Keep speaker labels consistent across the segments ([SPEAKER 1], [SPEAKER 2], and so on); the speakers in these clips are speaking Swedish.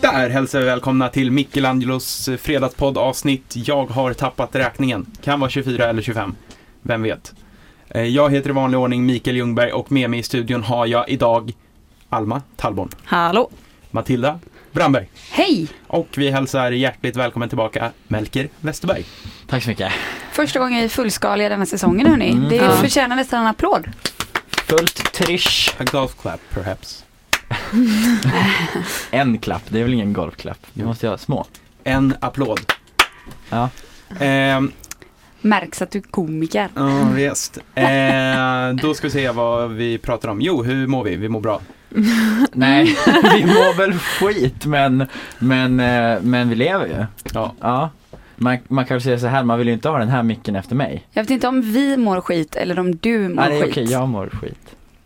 [SPEAKER 1] Där hälsar vi välkomna till Michelangelos fredagspodd avsnitt Jag har tappat räkningen. Kan vara 24 eller 25. Vem vet? Eh, Jag heter i vanlig ordning Mikael Ljungberg och med mig i studion har jag idag Alma Tallborn,
[SPEAKER 2] Hallå!
[SPEAKER 1] Matilda Brandberg
[SPEAKER 2] Hej!
[SPEAKER 1] och vi hälsar hjärtligt välkommen tillbaka Melker Westerberg.
[SPEAKER 3] Tack så mycket.
[SPEAKER 2] Första gången i fullskaliga denna säsongen hörni.
[SPEAKER 3] Mm.
[SPEAKER 2] Det
[SPEAKER 3] Ja.
[SPEAKER 2] förtjänar nästan en applåd.
[SPEAKER 3] Fullt trish.
[SPEAKER 1] A golf clap perhaps.
[SPEAKER 3] En klapp, det är väl ingen golfklapp? Du
[SPEAKER 1] Jo.
[SPEAKER 3] måste ha små.
[SPEAKER 1] En applåd.
[SPEAKER 3] Ja.
[SPEAKER 1] Ehm,
[SPEAKER 2] Märks att du är komiker.
[SPEAKER 1] Ja, visst. Eh, då ska vi se vad vi pratar om. Jo, hur mår vi? Vi mår bra.
[SPEAKER 3] Nej, vi mår väl skit men, men, eh, men vi lever ju.
[SPEAKER 1] Ja.
[SPEAKER 3] Ja. Man, man kan väl säga så här, man vill ju inte ha den här micken efter mig.
[SPEAKER 2] Jag vet inte om vi mår skit eller om du mår
[SPEAKER 3] Nej, det är
[SPEAKER 2] skit.
[SPEAKER 3] okej, jag mår skit.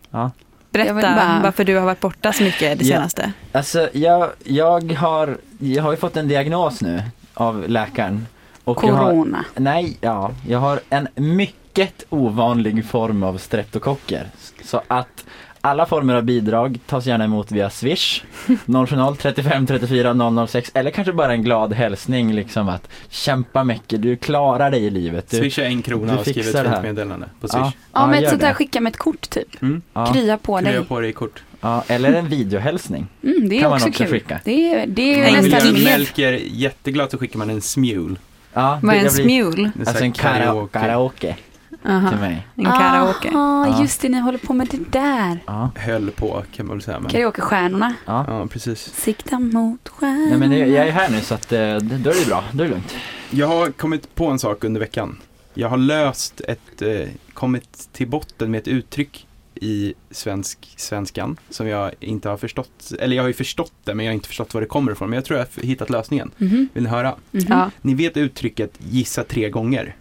[SPEAKER 2] Jag
[SPEAKER 4] Berätta
[SPEAKER 2] vill bara-
[SPEAKER 4] varför du har varit borta så mycket det
[SPEAKER 3] Ja.
[SPEAKER 4] senaste.
[SPEAKER 3] Alltså jag, jag har, jag har ju fått en diagnos nu av läkaren. Och jag har,
[SPEAKER 2] Corona.
[SPEAKER 3] nej, ja, jag har en mycket ovanlig form av streptokocker. Så att alla former av bidrag tas gärna emot via swish 070 35 34 006 eller kanske bara en glad hälsning liksom att kämpa mycket, du klarar dig i livet. Du,
[SPEAKER 1] Swisha en krona
[SPEAKER 3] du
[SPEAKER 1] och skriv ett
[SPEAKER 3] fixar det
[SPEAKER 1] fint
[SPEAKER 3] här.
[SPEAKER 1] meddelande på Swish.
[SPEAKER 2] Ja, men ett
[SPEAKER 3] gör
[SPEAKER 2] sånt där
[SPEAKER 3] det.
[SPEAKER 2] skicka med ett kort typ.
[SPEAKER 1] Mm.
[SPEAKER 3] ja,
[SPEAKER 2] Krya på
[SPEAKER 1] Krya
[SPEAKER 2] dig.
[SPEAKER 1] på dig kort.
[SPEAKER 3] ja, eller en videohälsning.
[SPEAKER 2] Mm, det är
[SPEAKER 3] Kan man
[SPEAKER 2] också,
[SPEAKER 3] också
[SPEAKER 2] kul.
[SPEAKER 3] skicka.
[SPEAKER 2] Det är, det är
[SPEAKER 4] Nej,
[SPEAKER 2] ju
[SPEAKER 1] Om vill göra
[SPEAKER 2] nästan
[SPEAKER 1] en
[SPEAKER 2] mer.
[SPEAKER 1] Melker jätteglad så skickar man en smule.
[SPEAKER 3] Ja,
[SPEAKER 4] Vad är en
[SPEAKER 3] jag blir-
[SPEAKER 4] smule?
[SPEAKER 1] Det är
[SPEAKER 3] Alltså en
[SPEAKER 1] så här
[SPEAKER 3] kara- karaoke till
[SPEAKER 4] Aha,
[SPEAKER 3] mig.
[SPEAKER 4] en karaoke.
[SPEAKER 2] Ah,
[SPEAKER 3] Ja.
[SPEAKER 2] just det, ni håller på med det där.
[SPEAKER 3] Ja,
[SPEAKER 1] Höll på kan man väl säga. Men...
[SPEAKER 2] Karaokestjärnorna.
[SPEAKER 3] ja.
[SPEAKER 1] Ja, precis.
[SPEAKER 2] Sikta mot stjärnorna.
[SPEAKER 3] Nej men jag jag är här nu så att eh, då är det bra, då är det lugnt.
[SPEAKER 1] Jag har kommit på en sak under veckan. Jag har löst ett, eh, kommit till botten med ett uttryck i svensk, svenskan som jag inte har förstått. Eller jag har ju förstått det men jag har inte förstått var det kommer ifrån. Men jag tror jag har hittat lösningen.
[SPEAKER 2] Mhm,
[SPEAKER 1] Vill ni höra?
[SPEAKER 2] mhm.
[SPEAKER 4] Ja.
[SPEAKER 1] Ni vet uttrycket gissa tre gånger?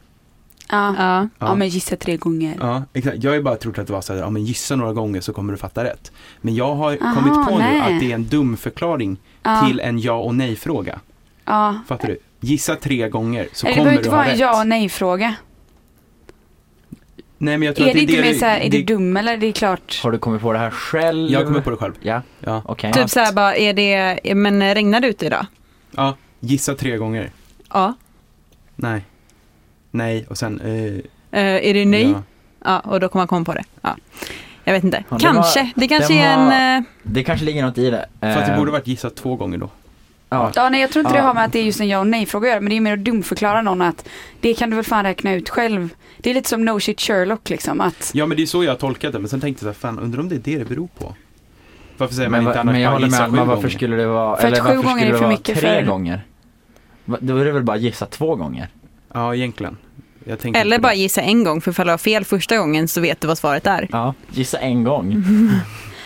[SPEAKER 2] Ja. Ja.
[SPEAKER 4] Ja.
[SPEAKER 1] Ja.
[SPEAKER 2] men gissa tre gånger.
[SPEAKER 1] Ja, exakt. Jag har ju bara trott att det var så här, ja men gissa några gånger så kommer du fatta rätt. Men jag har
[SPEAKER 2] Aha,
[SPEAKER 1] kommit på
[SPEAKER 2] nej.
[SPEAKER 1] nu att det är en dum förklaring
[SPEAKER 2] Ja.
[SPEAKER 1] till en ja och nej fråga.
[SPEAKER 2] Ja.
[SPEAKER 1] Fattar du? Gissa tre gånger så
[SPEAKER 2] Eller det
[SPEAKER 1] kommer
[SPEAKER 2] behöver
[SPEAKER 1] du
[SPEAKER 2] inte
[SPEAKER 1] ha
[SPEAKER 2] vara en
[SPEAKER 1] rätt.
[SPEAKER 2] ja och nej-fråga.
[SPEAKER 1] Nej men jag
[SPEAKER 2] Är
[SPEAKER 1] tror
[SPEAKER 2] det,
[SPEAKER 1] att det
[SPEAKER 2] inte
[SPEAKER 1] är
[SPEAKER 2] mer
[SPEAKER 1] det,
[SPEAKER 2] såhär, är du
[SPEAKER 1] det,
[SPEAKER 2] dum eller? Det är klart.
[SPEAKER 3] Har du kommit på det här själv?
[SPEAKER 1] Jag kommer på det själv.
[SPEAKER 3] Ja,
[SPEAKER 1] Ja.
[SPEAKER 3] okej.
[SPEAKER 4] Typ såhär bara, är det, men regnar det ute idag?
[SPEAKER 1] ja, gissa tre gånger.
[SPEAKER 4] Ja.
[SPEAKER 1] Nej. Nej och sen, eh,
[SPEAKER 4] Eh, är det nej? Ja.
[SPEAKER 1] Ja.
[SPEAKER 4] och då kommer man komma på det. Ja. Jag vet inte.
[SPEAKER 3] Ja, det
[SPEAKER 4] kanske.
[SPEAKER 3] var-
[SPEAKER 4] det kanske
[SPEAKER 3] den
[SPEAKER 4] är en...
[SPEAKER 3] var-
[SPEAKER 4] eh,
[SPEAKER 3] Det kanske ligger något i det.
[SPEAKER 1] Fast det
[SPEAKER 3] Eh,
[SPEAKER 1] borde varit gissa två gånger då.
[SPEAKER 3] Ja.
[SPEAKER 2] Ja, nej, jag tror inte
[SPEAKER 3] Ja.
[SPEAKER 2] det har med att det är just en ja och nej-fråga att göra. Men det är mer att dumförklara någon att det kan du väl fan räkna ut själv. Det är lite som No Shit Sherlock liksom. Att,
[SPEAKER 1] Ja men det är så jag har tolkat det men sen tänkte jag så här, fan undrar om det är det det beror på. Varför säger
[SPEAKER 3] Men,
[SPEAKER 1] man inte
[SPEAKER 3] va,
[SPEAKER 1] annars
[SPEAKER 3] men jag
[SPEAKER 1] bara
[SPEAKER 3] håller med
[SPEAKER 1] gissa sju
[SPEAKER 3] Alma, varför
[SPEAKER 1] gånger?
[SPEAKER 3] skulle det vara,
[SPEAKER 2] För att
[SPEAKER 3] eller
[SPEAKER 2] sju
[SPEAKER 3] varför
[SPEAKER 2] gånger
[SPEAKER 3] skulle
[SPEAKER 2] är
[SPEAKER 3] det
[SPEAKER 2] för
[SPEAKER 3] vara
[SPEAKER 2] mycket
[SPEAKER 3] tre
[SPEAKER 2] för-
[SPEAKER 3] gånger? Va, Då är det väl bara gissa två gånger?
[SPEAKER 1] Ja egentligen. Jag tänkte
[SPEAKER 4] eh, Eller
[SPEAKER 1] inte på
[SPEAKER 4] bara
[SPEAKER 1] det.
[SPEAKER 4] gissa en gång, för ifall du har fel första gången så vet du vad svaret är.
[SPEAKER 3] Ja, gissa en gång.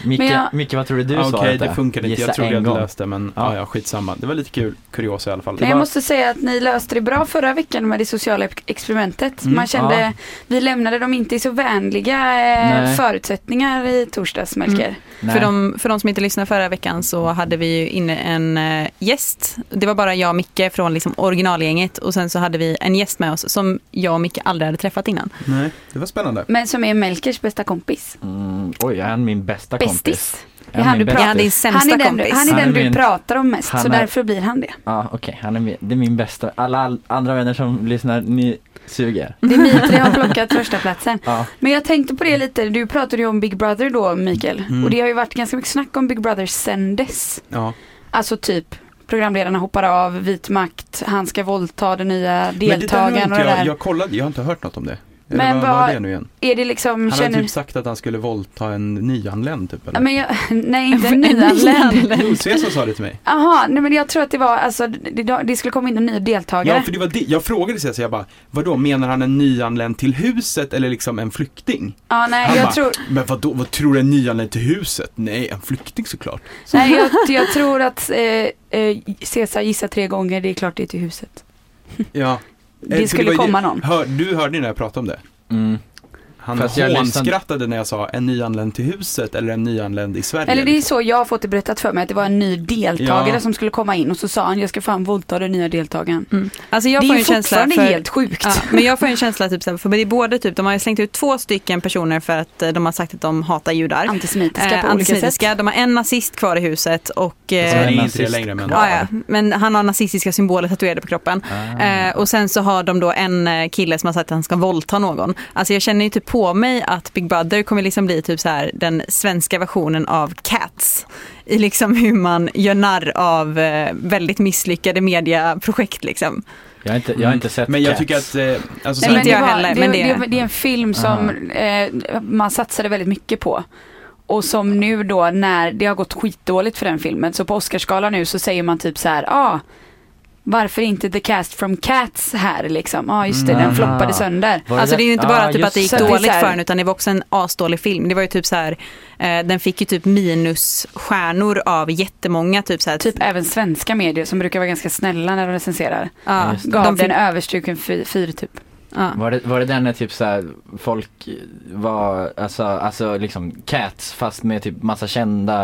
[SPEAKER 3] Micke,
[SPEAKER 2] Men jag-
[SPEAKER 3] Micke, vad trodde du
[SPEAKER 1] Ja, Okej,
[SPEAKER 3] svaret
[SPEAKER 1] det funkade inte.
[SPEAKER 3] Gissa
[SPEAKER 1] Jag trodde
[SPEAKER 3] en
[SPEAKER 1] jag hade
[SPEAKER 3] gång.
[SPEAKER 1] löst det, men ja.
[SPEAKER 3] Ja.
[SPEAKER 1] ja, skitsamma. Det var lite kul, kuriosa i alla fall.
[SPEAKER 2] men jag
[SPEAKER 3] var-
[SPEAKER 2] måste säga att ni löste det bra förra veckan med det sociala ex- experimentet.
[SPEAKER 1] Mm,
[SPEAKER 2] Man kände,
[SPEAKER 3] ja.
[SPEAKER 2] vi lämnade dem inte i så vänliga eh,
[SPEAKER 3] Nej. Mm.
[SPEAKER 2] förutsättningar i torsdags, Melker.
[SPEAKER 3] Nej.
[SPEAKER 4] För de, för de som inte lyssnade förra veckan så hade vi ju inne en eh, gäst. Det var bara jag och Micke från liksom originalgänget och sen så hade vi en gäst med oss som jag och Micke aldrig hade träffat innan.
[SPEAKER 1] Nej, det var spännande.
[SPEAKER 2] Men som är Melkers bästa kompis.
[SPEAKER 3] Mm, oj, jag är min bästa kompis.
[SPEAKER 2] Bästis.
[SPEAKER 3] Jag är
[SPEAKER 2] han
[SPEAKER 3] min
[SPEAKER 2] du
[SPEAKER 3] bästis.
[SPEAKER 2] pratar-
[SPEAKER 4] Ja, din sämsta
[SPEAKER 2] Han är den,
[SPEAKER 4] kompis.
[SPEAKER 2] han är
[SPEAKER 3] Han är
[SPEAKER 2] den du
[SPEAKER 3] min-
[SPEAKER 2] pratar om mest,
[SPEAKER 3] han
[SPEAKER 2] så
[SPEAKER 3] är-
[SPEAKER 2] därför blir han det.
[SPEAKER 3] Ja, okej, han är min, det är min bästa. Alla all, andra vänner som lyssnar, ni suger.
[SPEAKER 2] Det är ni tre har plockat första platsen.
[SPEAKER 3] Ja,
[SPEAKER 2] Men jag tänkte på det lite, du pratade ju om Big Brother då Mikael.
[SPEAKER 1] Mm.
[SPEAKER 2] Och det har ju varit ganska mycket snack om Big Brother sen dess.
[SPEAKER 1] Ja.
[SPEAKER 2] Alltså typ programledarna hoppar av, vit makt, han ska våldta den nya
[SPEAKER 1] Men det där har
[SPEAKER 2] deltagaren
[SPEAKER 1] inte
[SPEAKER 2] och det
[SPEAKER 1] jag,
[SPEAKER 2] där.
[SPEAKER 1] jag kollade, jag har inte hört något om det. Eller
[SPEAKER 2] Men
[SPEAKER 1] vad, vad
[SPEAKER 2] vad-
[SPEAKER 1] är det nu igen?
[SPEAKER 2] Är det liksom,
[SPEAKER 1] Han
[SPEAKER 2] känner...
[SPEAKER 1] hade typ sagt att han skulle våldta en nyanländ typ
[SPEAKER 2] Ja,
[SPEAKER 1] eller?
[SPEAKER 2] Men jag... Nej inte en nyanländ.
[SPEAKER 1] Jo, Cesar sa det till mig.
[SPEAKER 2] Jaha, nej men jag tror att det var alltså, det, det skulle komma in en ny deltagare.
[SPEAKER 1] Ja, för det var det. Jag frågade Cesar, jag bara, vadå, menar han en nyanländ till huset eller liksom en flykting?
[SPEAKER 2] Ja, nej
[SPEAKER 1] Han
[SPEAKER 2] jag
[SPEAKER 1] bara,
[SPEAKER 2] tror...
[SPEAKER 1] Men vadå, vad tror du en nyanländ till huset? Nej, en flykting såklart. Så,
[SPEAKER 2] Nej, jag, jag tror att eh, eh, Cesar gissar tre gånger, det är klart det är till huset.
[SPEAKER 1] ja. Eh, för
[SPEAKER 2] Det skulle
[SPEAKER 1] var ju-
[SPEAKER 2] komma någon.
[SPEAKER 1] Hör, du hörde ju när jag pratade om det.
[SPEAKER 3] mm.
[SPEAKER 1] Han
[SPEAKER 3] Fast jag lyssnade-
[SPEAKER 1] hånskrattade när jag sa en nyanländ till huset eller en nyanländ i Sverige. Liksom.
[SPEAKER 2] Eller det är så jag har fått det berättat för mig, att det var en ny deltagare
[SPEAKER 1] Ja.
[SPEAKER 2] som skulle komma in och så sa han jag ska fan våldta den nya deltagaren.
[SPEAKER 4] Alltså jag
[SPEAKER 2] det
[SPEAKER 4] får
[SPEAKER 2] är
[SPEAKER 4] ju en
[SPEAKER 2] ju
[SPEAKER 4] känsla
[SPEAKER 2] fortfarande
[SPEAKER 4] för,
[SPEAKER 2] helt sjukt.
[SPEAKER 4] Ja, men jag får ju en känsla typ, så här, för det är både typ, de har ju slängt ut två stycken personer för att eh, de har sagt att de hatar judar.
[SPEAKER 2] Antisemitiska
[SPEAKER 4] Eh,
[SPEAKER 2] på olika sätt.
[SPEAKER 4] antisemitiska, de har en nazist kvar i huset och
[SPEAKER 1] Så Alltså, han
[SPEAKER 4] eh,
[SPEAKER 1] är inte det
[SPEAKER 3] nazist.
[SPEAKER 1] längre men. Mm.
[SPEAKER 4] ja, ja, men han har nazistiska symboler tatuerade på kroppen.
[SPEAKER 3] Ah.
[SPEAKER 4] Eh, och sen så har de då en eh, kille som har sagt att han ska våldta någon. Alltså jag känner ju typ på mig att Big Brother kommer liksom bli typ så här den svenska versionen av Cats. I liksom hur man gör narr av eh, väldigt misslyckade mediaprojekt liksom.
[SPEAKER 3] Jag har inte, jag har inte sett
[SPEAKER 1] Men jag
[SPEAKER 3] Cats.
[SPEAKER 1] tycker att, eh, alltså,
[SPEAKER 4] Nej,
[SPEAKER 1] så
[SPEAKER 4] men
[SPEAKER 1] här,
[SPEAKER 4] inte jag heller,
[SPEAKER 2] det,
[SPEAKER 4] men det-
[SPEAKER 2] det, det, är en film som eh, man satsade väldigt mycket på. Och som nu då när det har gått skitdåligt för den filmen, så på Oscarsgalan nu så säger man typ så här, ah, varför inte the cast from Cats här liksom? Ja ah, just det, den
[SPEAKER 3] Mm.
[SPEAKER 2] floppade sönder.
[SPEAKER 3] Var
[SPEAKER 4] Alltså det är ju inte bara
[SPEAKER 3] Ah,
[SPEAKER 4] typ att
[SPEAKER 3] just
[SPEAKER 4] det gick
[SPEAKER 2] det. Så att det
[SPEAKER 4] dåligt
[SPEAKER 2] är så här-
[SPEAKER 4] för den utan det var också en asdålig film. Det var ju typ så här, eh, den fick ju typ minusstjärnor av jättemånga. Typ så här,
[SPEAKER 2] Typ även svenska medier som brukar vara ganska snälla när de recenserar.
[SPEAKER 4] ja,
[SPEAKER 3] Just
[SPEAKER 2] Gav
[SPEAKER 4] de fick,
[SPEAKER 2] den överstruken fy- fyr typ.
[SPEAKER 4] ja.
[SPEAKER 3] Var det, var det den när typ såhär folk var, alltså, alltså liksom Cats fast med typ massa kända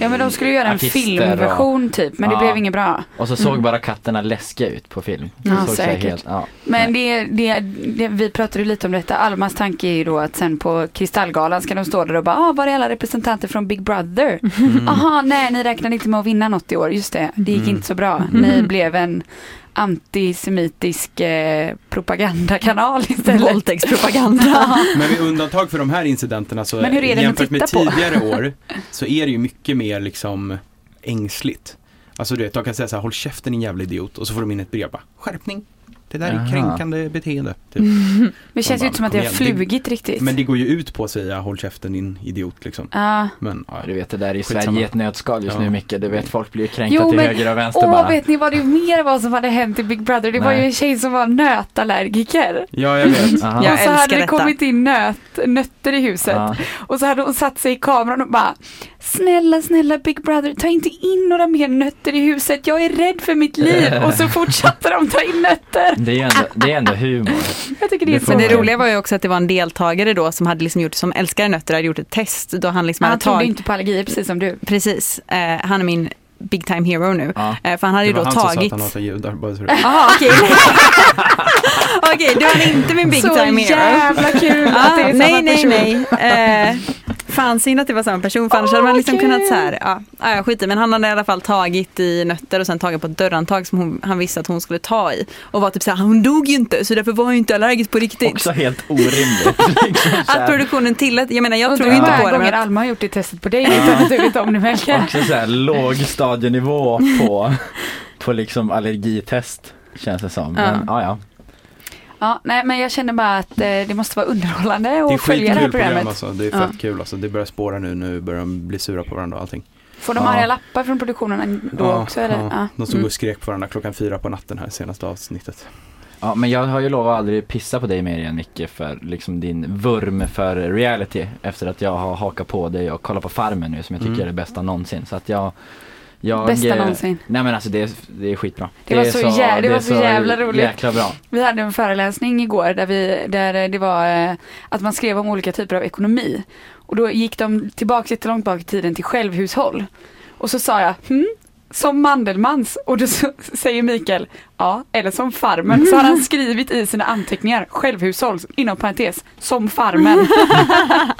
[SPEAKER 2] Ja men de skulle göra en
[SPEAKER 3] artister
[SPEAKER 2] filmversion typ, men det
[SPEAKER 3] Ja.
[SPEAKER 2] blev inget bra.
[SPEAKER 3] Och, och så såg bara katterna läskiga ut på film. De
[SPEAKER 2] Ja,
[SPEAKER 3] såg så här
[SPEAKER 2] säkert.
[SPEAKER 3] Helt, ja.
[SPEAKER 2] Men det, det, det, vi pratade ju lite om detta. Almas tanke är ju då att sen på Kristallgalan ska de stå där och bara, ah, var är alla representanter från Big Brother?
[SPEAKER 1] Mm.
[SPEAKER 2] Aha, nej, ni räknade inte med att vinna något i år. Just det, det gick
[SPEAKER 1] Mm.
[SPEAKER 2] inte så bra. Ni blev en antisemitisk eh, propagandakanal istället.
[SPEAKER 4] Våldtäktspropaganda.
[SPEAKER 1] Men med undantag för de här incidenterna så
[SPEAKER 2] Men hur är det
[SPEAKER 1] jämfört
[SPEAKER 2] att
[SPEAKER 1] med
[SPEAKER 2] titta på?
[SPEAKER 1] tidigare år så är det ju mycket mer liksom ängsligt. Alltså du vet, de kan säga så här, håll käften din jävla idiot och så får de in ett brev bara, skärpning. Det där är
[SPEAKER 3] Jaha.
[SPEAKER 1] kränkande beteende. Typ.
[SPEAKER 2] Mm. Det känns ju inte som att det har
[SPEAKER 1] Kom igen, det-
[SPEAKER 2] flugit riktigt.
[SPEAKER 1] Men det går ju ut på att säga håll käften din idiot liksom.
[SPEAKER 2] Ja.
[SPEAKER 1] Men, ja.
[SPEAKER 3] Du vet det där i
[SPEAKER 1] Skitsamma.
[SPEAKER 3] Sverige i ett nötskal just
[SPEAKER 1] Ja.
[SPEAKER 3] nu Micke, du vet folk blir kränkta
[SPEAKER 2] Jo,
[SPEAKER 3] till
[SPEAKER 2] men-
[SPEAKER 3] höger och vänster
[SPEAKER 2] Åh,
[SPEAKER 3] bara.
[SPEAKER 2] vet ni vad det mer var som hade hänt i Big Brother? Det var
[SPEAKER 3] Nej.
[SPEAKER 2] ju en tjej som var nötallergiker.
[SPEAKER 1] ja, jag vet.
[SPEAKER 3] Aha.
[SPEAKER 4] Jag
[SPEAKER 2] och så hade
[SPEAKER 4] älskar
[SPEAKER 2] det
[SPEAKER 4] detta.
[SPEAKER 2] kommit in nöt, nötter i huset.
[SPEAKER 3] Ja.
[SPEAKER 2] Och så hade hon satt sig i kameran och bara Snälla, snälla Big Brother, ta inte in några mer nötter i huset. Jag är rädd för mitt liv. Och så fortsatte de ta in nötter.
[SPEAKER 3] Det är ändå, det är ändå humor.
[SPEAKER 2] Jag tycker det är
[SPEAKER 3] Det
[SPEAKER 2] så
[SPEAKER 4] Men det
[SPEAKER 3] Okej.
[SPEAKER 4] roliga var ju också att det var en deltagare då som hade liksom gjort, som älskar nötter, hade gjort ett test då han liksom
[SPEAKER 2] Ah, Han
[SPEAKER 4] hade
[SPEAKER 2] trodde
[SPEAKER 4] tagit,
[SPEAKER 2] inte på allergier precis som du.
[SPEAKER 4] precis, eh, han är min big time hero nu.
[SPEAKER 3] Ja.
[SPEAKER 4] Eh, för han hade
[SPEAKER 1] Det
[SPEAKER 4] ju
[SPEAKER 1] var
[SPEAKER 4] då
[SPEAKER 1] han som sa att
[SPEAKER 4] tagit,
[SPEAKER 1] han hatar judar. Bara så du vet.
[SPEAKER 4] jaha okej. Okej, du är inte min big
[SPEAKER 2] så
[SPEAKER 4] time hero.
[SPEAKER 2] jävla kul att det
[SPEAKER 4] Ah, nej,
[SPEAKER 2] är samma
[SPEAKER 4] nej,
[SPEAKER 2] person.
[SPEAKER 4] nej. Eh, fan synd att det var samma person för annars hade man
[SPEAKER 2] Åh,
[SPEAKER 4] liksom
[SPEAKER 2] kul.
[SPEAKER 4] kunnat så här. Ja, ah, skit i. Men han hade i alla fall tagit i nötter och sen tagit på ett dörrhandtag som hon, han visste att hon skulle ta i. Och var typ så här, hon dog ju inte så därför var hon ju inte allergisk på riktigt.
[SPEAKER 3] Också helt orimligt. liksom, så
[SPEAKER 4] Att
[SPEAKER 3] här,
[SPEAKER 4] produktionen tillät, jag menar jag
[SPEAKER 2] Undrar
[SPEAKER 4] tror
[SPEAKER 2] hur
[SPEAKER 4] inte
[SPEAKER 2] många
[SPEAKER 4] på det.
[SPEAKER 2] gånger
[SPEAKER 4] Men,
[SPEAKER 2] Alma har gjort det testet på dig utan att du vet om det Melker.
[SPEAKER 3] också såhär lågstadienivå på, på liksom allergitest känns det som. Men ja, ja.
[SPEAKER 2] Ja, nej men jag känner bara att eh, det måste vara underhållande
[SPEAKER 1] Det är
[SPEAKER 2] att följa det här
[SPEAKER 1] skitkul program
[SPEAKER 2] programmet.
[SPEAKER 1] alltså. Det är fett kul alltså. Det börjar spåra nu. Nu börjar de bli sura på varandra och allting.
[SPEAKER 2] Får de
[SPEAKER 3] Ja.
[SPEAKER 2] arga lappar från produktionen
[SPEAKER 1] alltså.
[SPEAKER 2] då
[SPEAKER 1] Ja,
[SPEAKER 2] också eller?
[SPEAKER 1] ja.
[SPEAKER 2] Ja. Mm.
[SPEAKER 1] De stod och skrek på varandra klockan fyra på natten här senaste avsnittet.
[SPEAKER 3] Ja men jag har ju lovat att aldrig pissa på dig mer igen Micke för liksom din vurm för reality efter att jag har hakat på dig och kollat på Farmen nu som jag tycker
[SPEAKER 1] Mm.
[SPEAKER 3] är det bästa någonsin så att jag, jag
[SPEAKER 2] Bästa
[SPEAKER 3] eh,
[SPEAKER 2] någonsin.
[SPEAKER 3] Nej men alltså det är, det är skitbra.
[SPEAKER 2] Det var
[SPEAKER 3] är
[SPEAKER 2] så jä- det
[SPEAKER 3] är
[SPEAKER 2] var så jävla roligt.
[SPEAKER 3] Jäkla bra.
[SPEAKER 2] Vi hade en föreläsning igår där, vi, där det var eh, att man skrev om olika typer av ekonomi. Och då gick de tillbaka jättelångt bak i tiden till självhushåll. Och så sa jag, hm, som Mandelmans. Och då så, säger Mikael, ja, eller som Farmen. Så har han skrivit i sina anteckningar, självhushåll, inom parentes, som Farmen.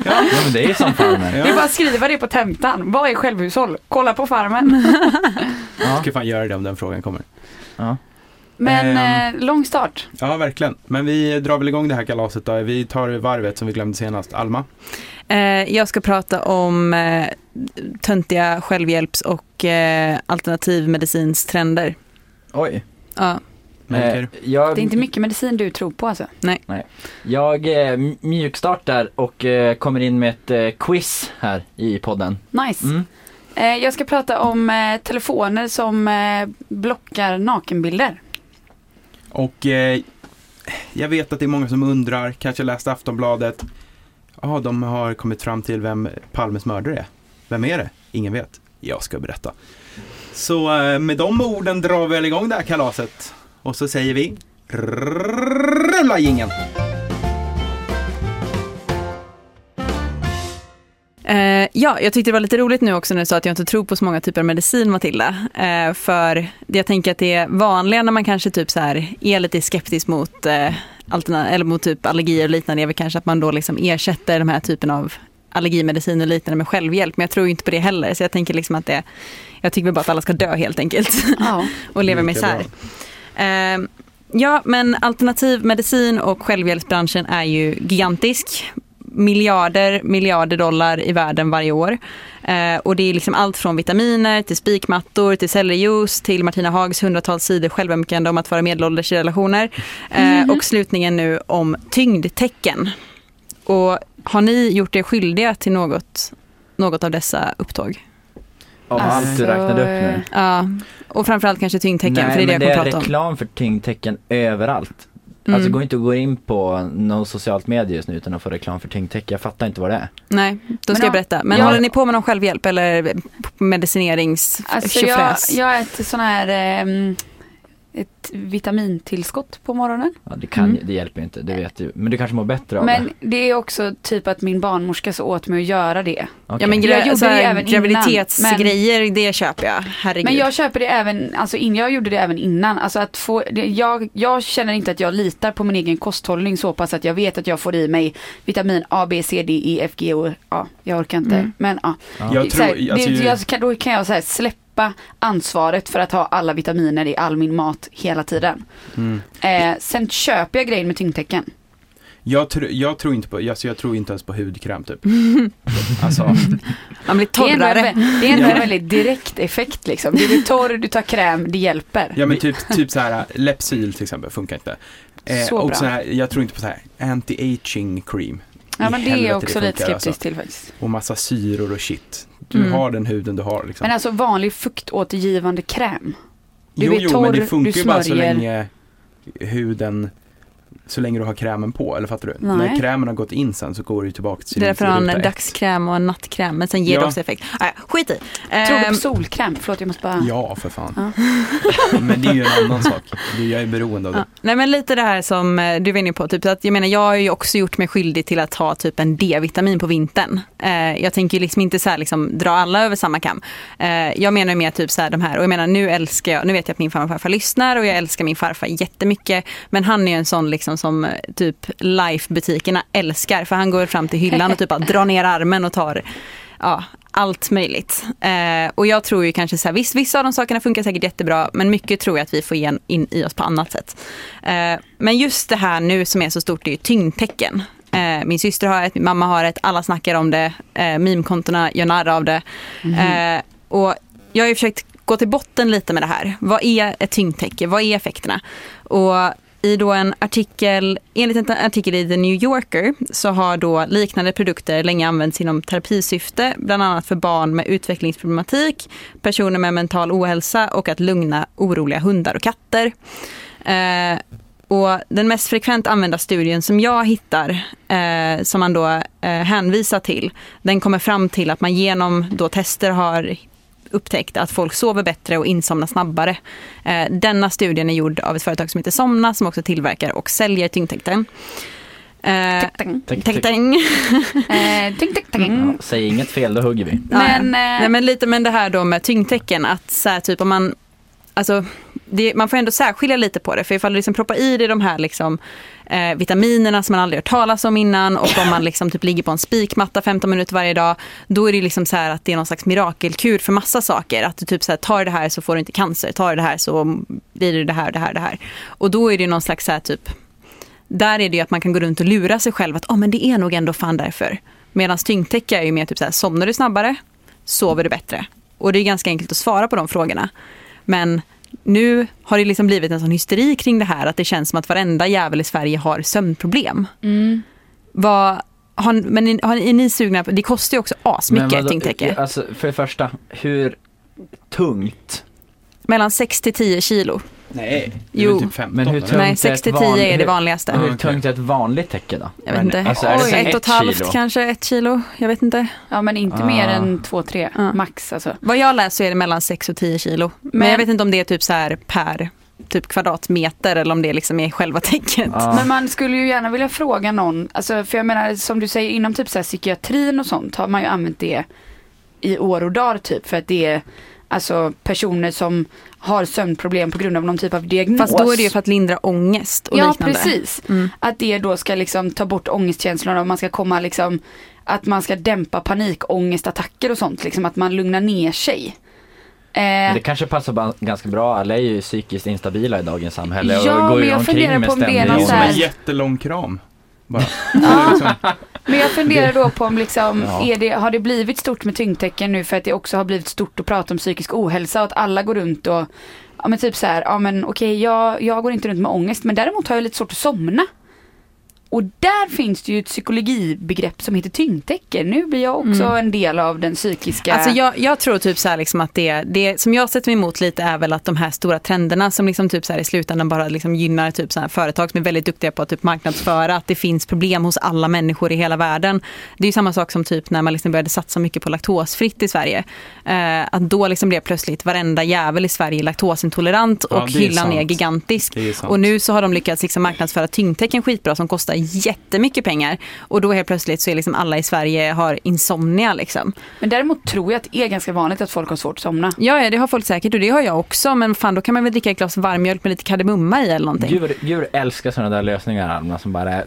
[SPEAKER 3] Ja men det är som Farmen.
[SPEAKER 2] Det är bara att skriva det på tentan. Vad är självhushåll? Kolla på Farmen.
[SPEAKER 3] Ja.
[SPEAKER 1] Ska fan göra det om den frågan kommer.
[SPEAKER 3] Ja.
[SPEAKER 2] Men eh, lång start.
[SPEAKER 1] Ja, verkligen. Men vi drar väl igång det här kalaset då. Vi tar varvet som vi glömde senast. Alma?
[SPEAKER 4] eh, jag ska prata om eh, töntiga självhjälps och eh, alternativmedicinstrender.
[SPEAKER 3] Oj.
[SPEAKER 4] Ja.
[SPEAKER 1] Melker?
[SPEAKER 3] Eh, jag,
[SPEAKER 2] Det är inte mycket medicin du tror på alltså.
[SPEAKER 3] jag eh, m- mjukstartar och eh, kommer in med ett eh, quiz här i podden.
[SPEAKER 2] Nice.
[SPEAKER 3] Mm.
[SPEAKER 2] Eh, Jag ska prata om eh, telefoner som eh, blockar nakenbilder.
[SPEAKER 1] Och eh, jag vet att det är många som undrar, kanske läste Aftonbladet. Ja, de har kommit fram till vem Palmes mördare är. Vem är det? Ingen vet. Jag ska berätta. Så eh, med de orden drar vi väl igång det här kalaset. Och så säger vi Rulla jingeln!
[SPEAKER 4] Eh, ja, jag tyckte det var lite roligt nu också när du sa att jag inte tror på så många typer av medicin Matilda. Eh, för jag tänker att det är vanliga när man kanske typ så här är lite skeptisk mot, eh, alterna- eller mot typ allergier och liknande är väl kanske att man då liksom ersätter de här typen av allergimedicin och liknande med självhjälp. Men jag tror ju inte på det heller. Så jag tänker liksom att det, jag tycker väl bara att alla ska dö helt enkelt
[SPEAKER 2] Ja.
[SPEAKER 4] och lever med
[SPEAKER 1] Lika
[SPEAKER 4] isär. Eh, ja, men alternativ medicin och självhjälpsbranschen är ju gigantisk. Miljarder, miljarder dollar i världen varje år. Eh, och det är liksom allt från vitaminer till spikmattor till celljuice till Martina Hags hundratals sidor självömkande om att vara medelålders i relationer. Eh, Och slutningen nu om tyngdtecken. Och har ni gjort er skyldiga till något, något av dessa upptåg?
[SPEAKER 3] Av allt du
[SPEAKER 2] Alltså,
[SPEAKER 3] räknade upp nu.
[SPEAKER 2] eh,
[SPEAKER 4] Ja, och framförallt kanske tyngdtecken
[SPEAKER 3] Nej,
[SPEAKER 4] för det är det
[SPEAKER 3] men
[SPEAKER 4] jag kommer prata om.
[SPEAKER 3] reklam för tyngdtecken överallt.
[SPEAKER 4] Mm.
[SPEAKER 3] Alltså gå inte och gå in på något socialt medie just nu utan att få reklam för tyngdtäcke. Jag fattar inte vad det är.
[SPEAKER 4] Nej, då ska
[SPEAKER 2] Men
[SPEAKER 4] jag
[SPEAKER 2] om-
[SPEAKER 4] berätta. Men
[SPEAKER 2] Ja.
[SPEAKER 4] håller ni på med någon självhjälp eller medicinerings
[SPEAKER 2] Alltså jag,
[SPEAKER 4] tjofräs?
[SPEAKER 2] jag äter sån här ehm, ett vitamintillskott på morgonen.
[SPEAKER 3] Ja, det, kan, ju-
[SPEAKER 4] Mm.
[SPEAKER 3] det hjälper ju inte, det vet du. Men du kanske mår bättre av det.
[SPEAKER 2] Men det är också typ att min barnmorska så åt mig att göra det.
[SPEAKER 3] Okej.
[SPEAKER 4] Ja men gra-
[SPEAKER 2] Jag gjorde
[SPEAKER 4] så här,
[SPEAKER 2] det även innan,
[SPEAKER 4] graviditetsgrejer, det köper jag. Herregud.
[SPEAKER 2] Men jag köper det även, alltså in, jag gjorde det även innan. Alltså att få, det, jag, jag känner inte att jag litar på min egen kosthållning så pass att jag vet att jag får i mig vitamin A, B, C, D, E, F, G och ja, jag orkar inte.
[SPEAKER 4] Mm.
[SPEAKER 2] Men ja.
[SPEAKER 3] Ja.
[SPEAKER 1] Jag
[SPEAKER 2] så här,
[SPEAKER 1] tror, alltså,
[SPEAKER 2] det, jag, kan- då kan jag så här släppa ansvaret för att ha alla vitaminer i all min mat hela tiden.
[SPEAKER 1] mm.
[SPEAKER 2] Eh, sen köper jag grejer med tyngdtecken.
[SPEAKER 1] jag, tr- jag tror inte på, alltså, jag tror inte ens på hudkräm typ. Alltså,
[SPEAKER 4] Man blir
[SPEAKER 2] Det är ändå en,
[SPEAKER 4] torrare.
[SPEAKER 2] vä- det är ändå
[SPEAKER 1] Ja.
[SPEAKER 2] en väldigt direkt effekt liksom. Du blir torr, du tar kräm, det hjälper.
[SPEAKER 1] ja men typ, typ så här, Lepsyl till exempel funkar inte. Eh,
[SPEAKER 2] Så
[SPEAKER 1] och
[SPEAKER 2] bra.
[SPEAKER 1] Så här, jag tror inte på så här anti-aging cream.
[SPEAKER 2] Ja
[SPEAKER 1] I
[SPEAKER 2] men det är
[SPEAKER 1] helvete,
[SPEAKER 2] jag också lite
[SPEAKER 1] funkar, alltså.
[SPEAKER 2] skeptisk till faktiskt.
[SPEAKER 1] Och massa syror och shit. Du
[SPEAKER 4] Mm.
[SPEAKER 1] har den huden du har liksom.
[SPEAKER 2] Men alltså vanlig fuktåtergivande kräm. du
[SPEAKER 1] jo,
[SPEAKER 2] blir
[SPEAKER 1] jo,
[SPEAKER 2] torr,
[SPEAKER 1] men det funkar
[SPEAKER 2] du
[SPEAKER 1] ju bara så
[SPEAKER 2] smörjer.
[SPEAKER 1] länge huden, så länge du har krämen på, eller fattar du?
[SPEAKER 2] Nej.
[SPEAKER 1] När krämen har gått in sen så går det ju tillbaka till
[SPEAKER 4] Det är därför
[SPEAKER 1] till
[SPEAKER 4] jag har
[SPEAKER 1] ruta
[SPEAKER 4] en
[SPEAKER 1] ett.
[SPEAKER 4] dagskräm och en nattkräm men sen ger det
[SPEAKER 1] Ja.
[SPEAKER 4] också effekt. Ah, ja, skit i.
[SPEAKER 2] Tror du
[SPEAKER 4] Ehm,
[SPEAKER 2] på solkräm? Förlåt jag måste bara.
[SPEAKER 1] Ja, för fan. men det är ju en annan sak. Det är- Jag är beroende av det.
[SPEAKER 4] Ja. Nej men lite det här som eh, du var inne på, typ, att jag menar jag har ju också gjort mig skyldig till att ha typ en D-vitamin på vintern. Eh, jag tänker ju liksom inte så här liksom dra alla över samma kam. Eh, jag menar ju mer typ så här de här, och jag menar nu älskar jag, nu vet jag att min farmor och farfar lyssnar och jag älskar min farfar jättemycket. Men han är ju en sån liksom som eh, typ Life-butikerna älskar för han går fram till hyllan och typ bara drar ner armen och tar ja, allt möjligt. Eh, och jag tror ju kanske så här, visst vissa av de sakerna funkar säkert jättebra men mycket tror jag att vi får igen in i oss på annat sätt. Eh, men just det här nu som är så stort det är ju tyngdtecken. Eh, min syster har ett, min mamma har ett, alla snackar om det, eh, meme-kontona gör narr av det. Eh, och jag har ju försökt gå till botten lite med det här. Vad är ett tyngdtäcke? Vad är effekterna? Och i då en artikel, enligt en artikel i The New Yorker så har då liknande produkter länge använts inom terapisyfte, bland annat för barn med utvecklingsproblematik, personer med mental ohälsa och att lugna oroliga hundar och katter. Eh, och den mest frekvent använda studien som jag hittar, eh, som man då eh, hänvisar till, den kommer fram till att man genom då tester har upptäckt att folk sover bättre och insomnar snabbare. Eh, denna studien är gjord av ett företag som heter Somna som också tillverkar och säljer tyngdtäkten. Eh,
[SPEAKER 2] Täng,
[SPEAKER 3] Tänk- tänk-
[SPEAKER 4] täng.
[SPEAKER 2] eh, täng, täng, täng.
[SPEAKER 1] Mm.
[SPEAKER 3] Ja, säg inget fel, då hugger vi.
[SPEAKER 2] Men, eh,
[SPEAKER 4] Nej men lite men det här då med tyngdtecken att så här, typ om man Alltså, det, man får ändå särskilja lite på det för ifall du liksom proppar i dig de här liksom, eh, vitaminerna som man aldrig hört talas om innan och om man liksom typ ligger på en spikmatta 15 minuter varje dag då är det liksom så här att det är någon slags mirakelkur för massa saker. Att du typ så här, tar det här så får du inte cancer, tar det här så blir det det här, det här, det här. Och då är det någon slags så här typ där är det ju att man kan gå runt och lura sig själv att oh, men det är nog ändå fan därför. Medan tyngdtäcke är ju mer typ så här, somnar du snabbare, sover du bättre? Och det är ganska enkelt att svara på de frågorna. Men nu har det liksom blivit en sån hysteri kring det här att det känns som att varenda jävel i Sverige har sömnproblem.
[SPEAKER 2] mm.
[SPEAKER 4] Vad, har, men ni- har, är ni sugna på, det kostar ju också asmycket
[SPEAKER 3] Men vadå-
[SPEAKER 4] tyngdtäcke.
[SPEAKER 3] Alltså för det första, hur tungt?
[SPEAKER 4] Mellan 6 till 10 kilo.
[SPEAKER 1] Nej,
[SPEAKER 4] Jo,
[SPEAKER 1] typ 15
[SPEAKER 3] men hur
[SPEAKER 1] eller?
[SPEAKER 3] tungt är
[SPEAKER 4] Nej,
[SPEAKER 3] ett
[SPEAKER 4] 6 till 10
[SPEAKER 3] van-
[SPEAKER 4] är det
[SPEAKER 3] hur-
[SPEAKER 4] vanligaste.
[SPEAKER 1] Ja,
[SPEAKER 3] Hur
[SPEAKER 1] okej.
[SPEAKER 3] tungt är ett vanligt täcke då?
[SPEAKER 4] Jag vet
[SPEAKER 3] Men,
[SPEAKER 4] inte.
[SPEAKER 3] Alltså, är det
[SPEAKER 2] Oj.
[SPEAKER 3] så här
[SPEAKER 4] ett och ett halvt
[SPEAKER 3] kilo?
[SPEAKER 4] kanske, ett kilo. Jag vet inte.
[SPEAKER 2] Ja men inte
[SPEAKER 3] Ah.
[SPEAKER 2] mer än två, tre
[SPEAKER 4] Ja.
[SPEAKER 2] max alltså.
[SPEAKER 4] Vad jag läser så är det mellan 6 och 10 kilo. Men,
[SPEAKER 2] Men-
[SPEAKER 4] jag vet inte om det är typ så här per typ kvadratmeter eller om det liksom är själva täcket.
[SPEAKER 3] Ja.
[SPEAKER 2] Men man skulle ju gärna vilja fråga någon, alltså, för jag menar som du säger inom typ så här psykiatrin och sånt har man ju använt det i år och dagar typ för att det är alltså personer som har sömnproblem på grund av någon typ av diagnos.
[SPEAKER 4] Fast då är det ju för att lindra ångest och
[SPEAKER 2] ja,
[SPEAKER 4] liknande.
[SPEAKER 2] precis.
[SPEAKER 4] Mm.
[SPEAKER 2] Att det då ska liksom ta bort ångestkänslorna och man ska komma liksom att man ska dämpa panikångestattacker och sånt liksom att man lugnar ner sig. Eh,
[SPEAKER 3] Men det kanske passar ba- ganska bra, alla är ju psykiskt instabila i dagens samhälle
[SPEAKER 2] Ja,
[SPEAKER 3] och går
[SPEAKER 2] men
[SPEAKER 3] ju
[SPEAKER 2] jag
[SPEAKER 3] omkring
[SPEAKER 2] funderar
[SPEAKER 3] med
[SPEAKER 2] på om det är
[SPEAKER 3] ständig
[SPEAKER 2] någon
[SPEAKER 1] Det är
[SPEAKER 2] så
[SPEAKER 1] som
[SPEAKER 2] här-
[SPEAKER 1] en
[SPEAKER 3] ångest.
[SPEAKER 1] jättelång kram. Bara.
[SPEAKER 2] Ja.
[SPEAKER 1] Liksom,
[SPEAKER 2] Men jag funderar då på om liksom,
[SPEAKER 3] Ja.
[SPEAKER 2] är det, har det blivit stort med tyngdtecken nu för att det också har blivit stort att prata om psykisk ohälsa och att alla går runt och, ja men typ så här, ja men okej jag, jag går inte runt med ångest men däremot har jag lite svårt att somna. Och där finns det ju ett psykologibegrepp som heter tyngdtecken. Nu blir jag också en del av den psykiska...
[SPEAKER 4] Alltså jag, jag tror typ så här liksom att det, det som jag sätter mig emot lite är väl att de här stora trenderna som liksom typ så här i slutändan bara liksom gynnar typ så här företag som är väldigt duktiga på att typ marknadsföra att det finns problem hos alla människor i hela världen. Det är ju samma sak som typ när man liksom började satsa mycket på laktosfritt i Sverige. Eh, att då liksom blev plötsligt varenda jävel i Sverige laktosintolerant
[SPEAKER 1] Ja,
[SPEAKER 4] och
[SPEAKER 1] det är
[SPEAKER 4] hyllan är
[SPEAKER 1] sant.
[SPEAKER 4] gigantisk.
[SPEAKER 1] det är sant.
[SPEAKER 4] Och nu så har de lyckats liksom marknadsföra tyngdtecken skitbra som kostar jättemycket pengar. Och då helt plötsligt så är liksom alla i Sverige har insomnia liksom.
[SPEAKER 2] Men däremot tror jag att det är ganska vanligt att folk har svårt att somna.
[SPEAKER 4] Ja, ja, det har folk säkert och det har jag också. Men fan, då kan man väl dricka ett glas varmmjölk med lite kardemumma i eller någonting.
[SPEAKER 3] Djur, djur älskar sådana där lösningar Alma som bara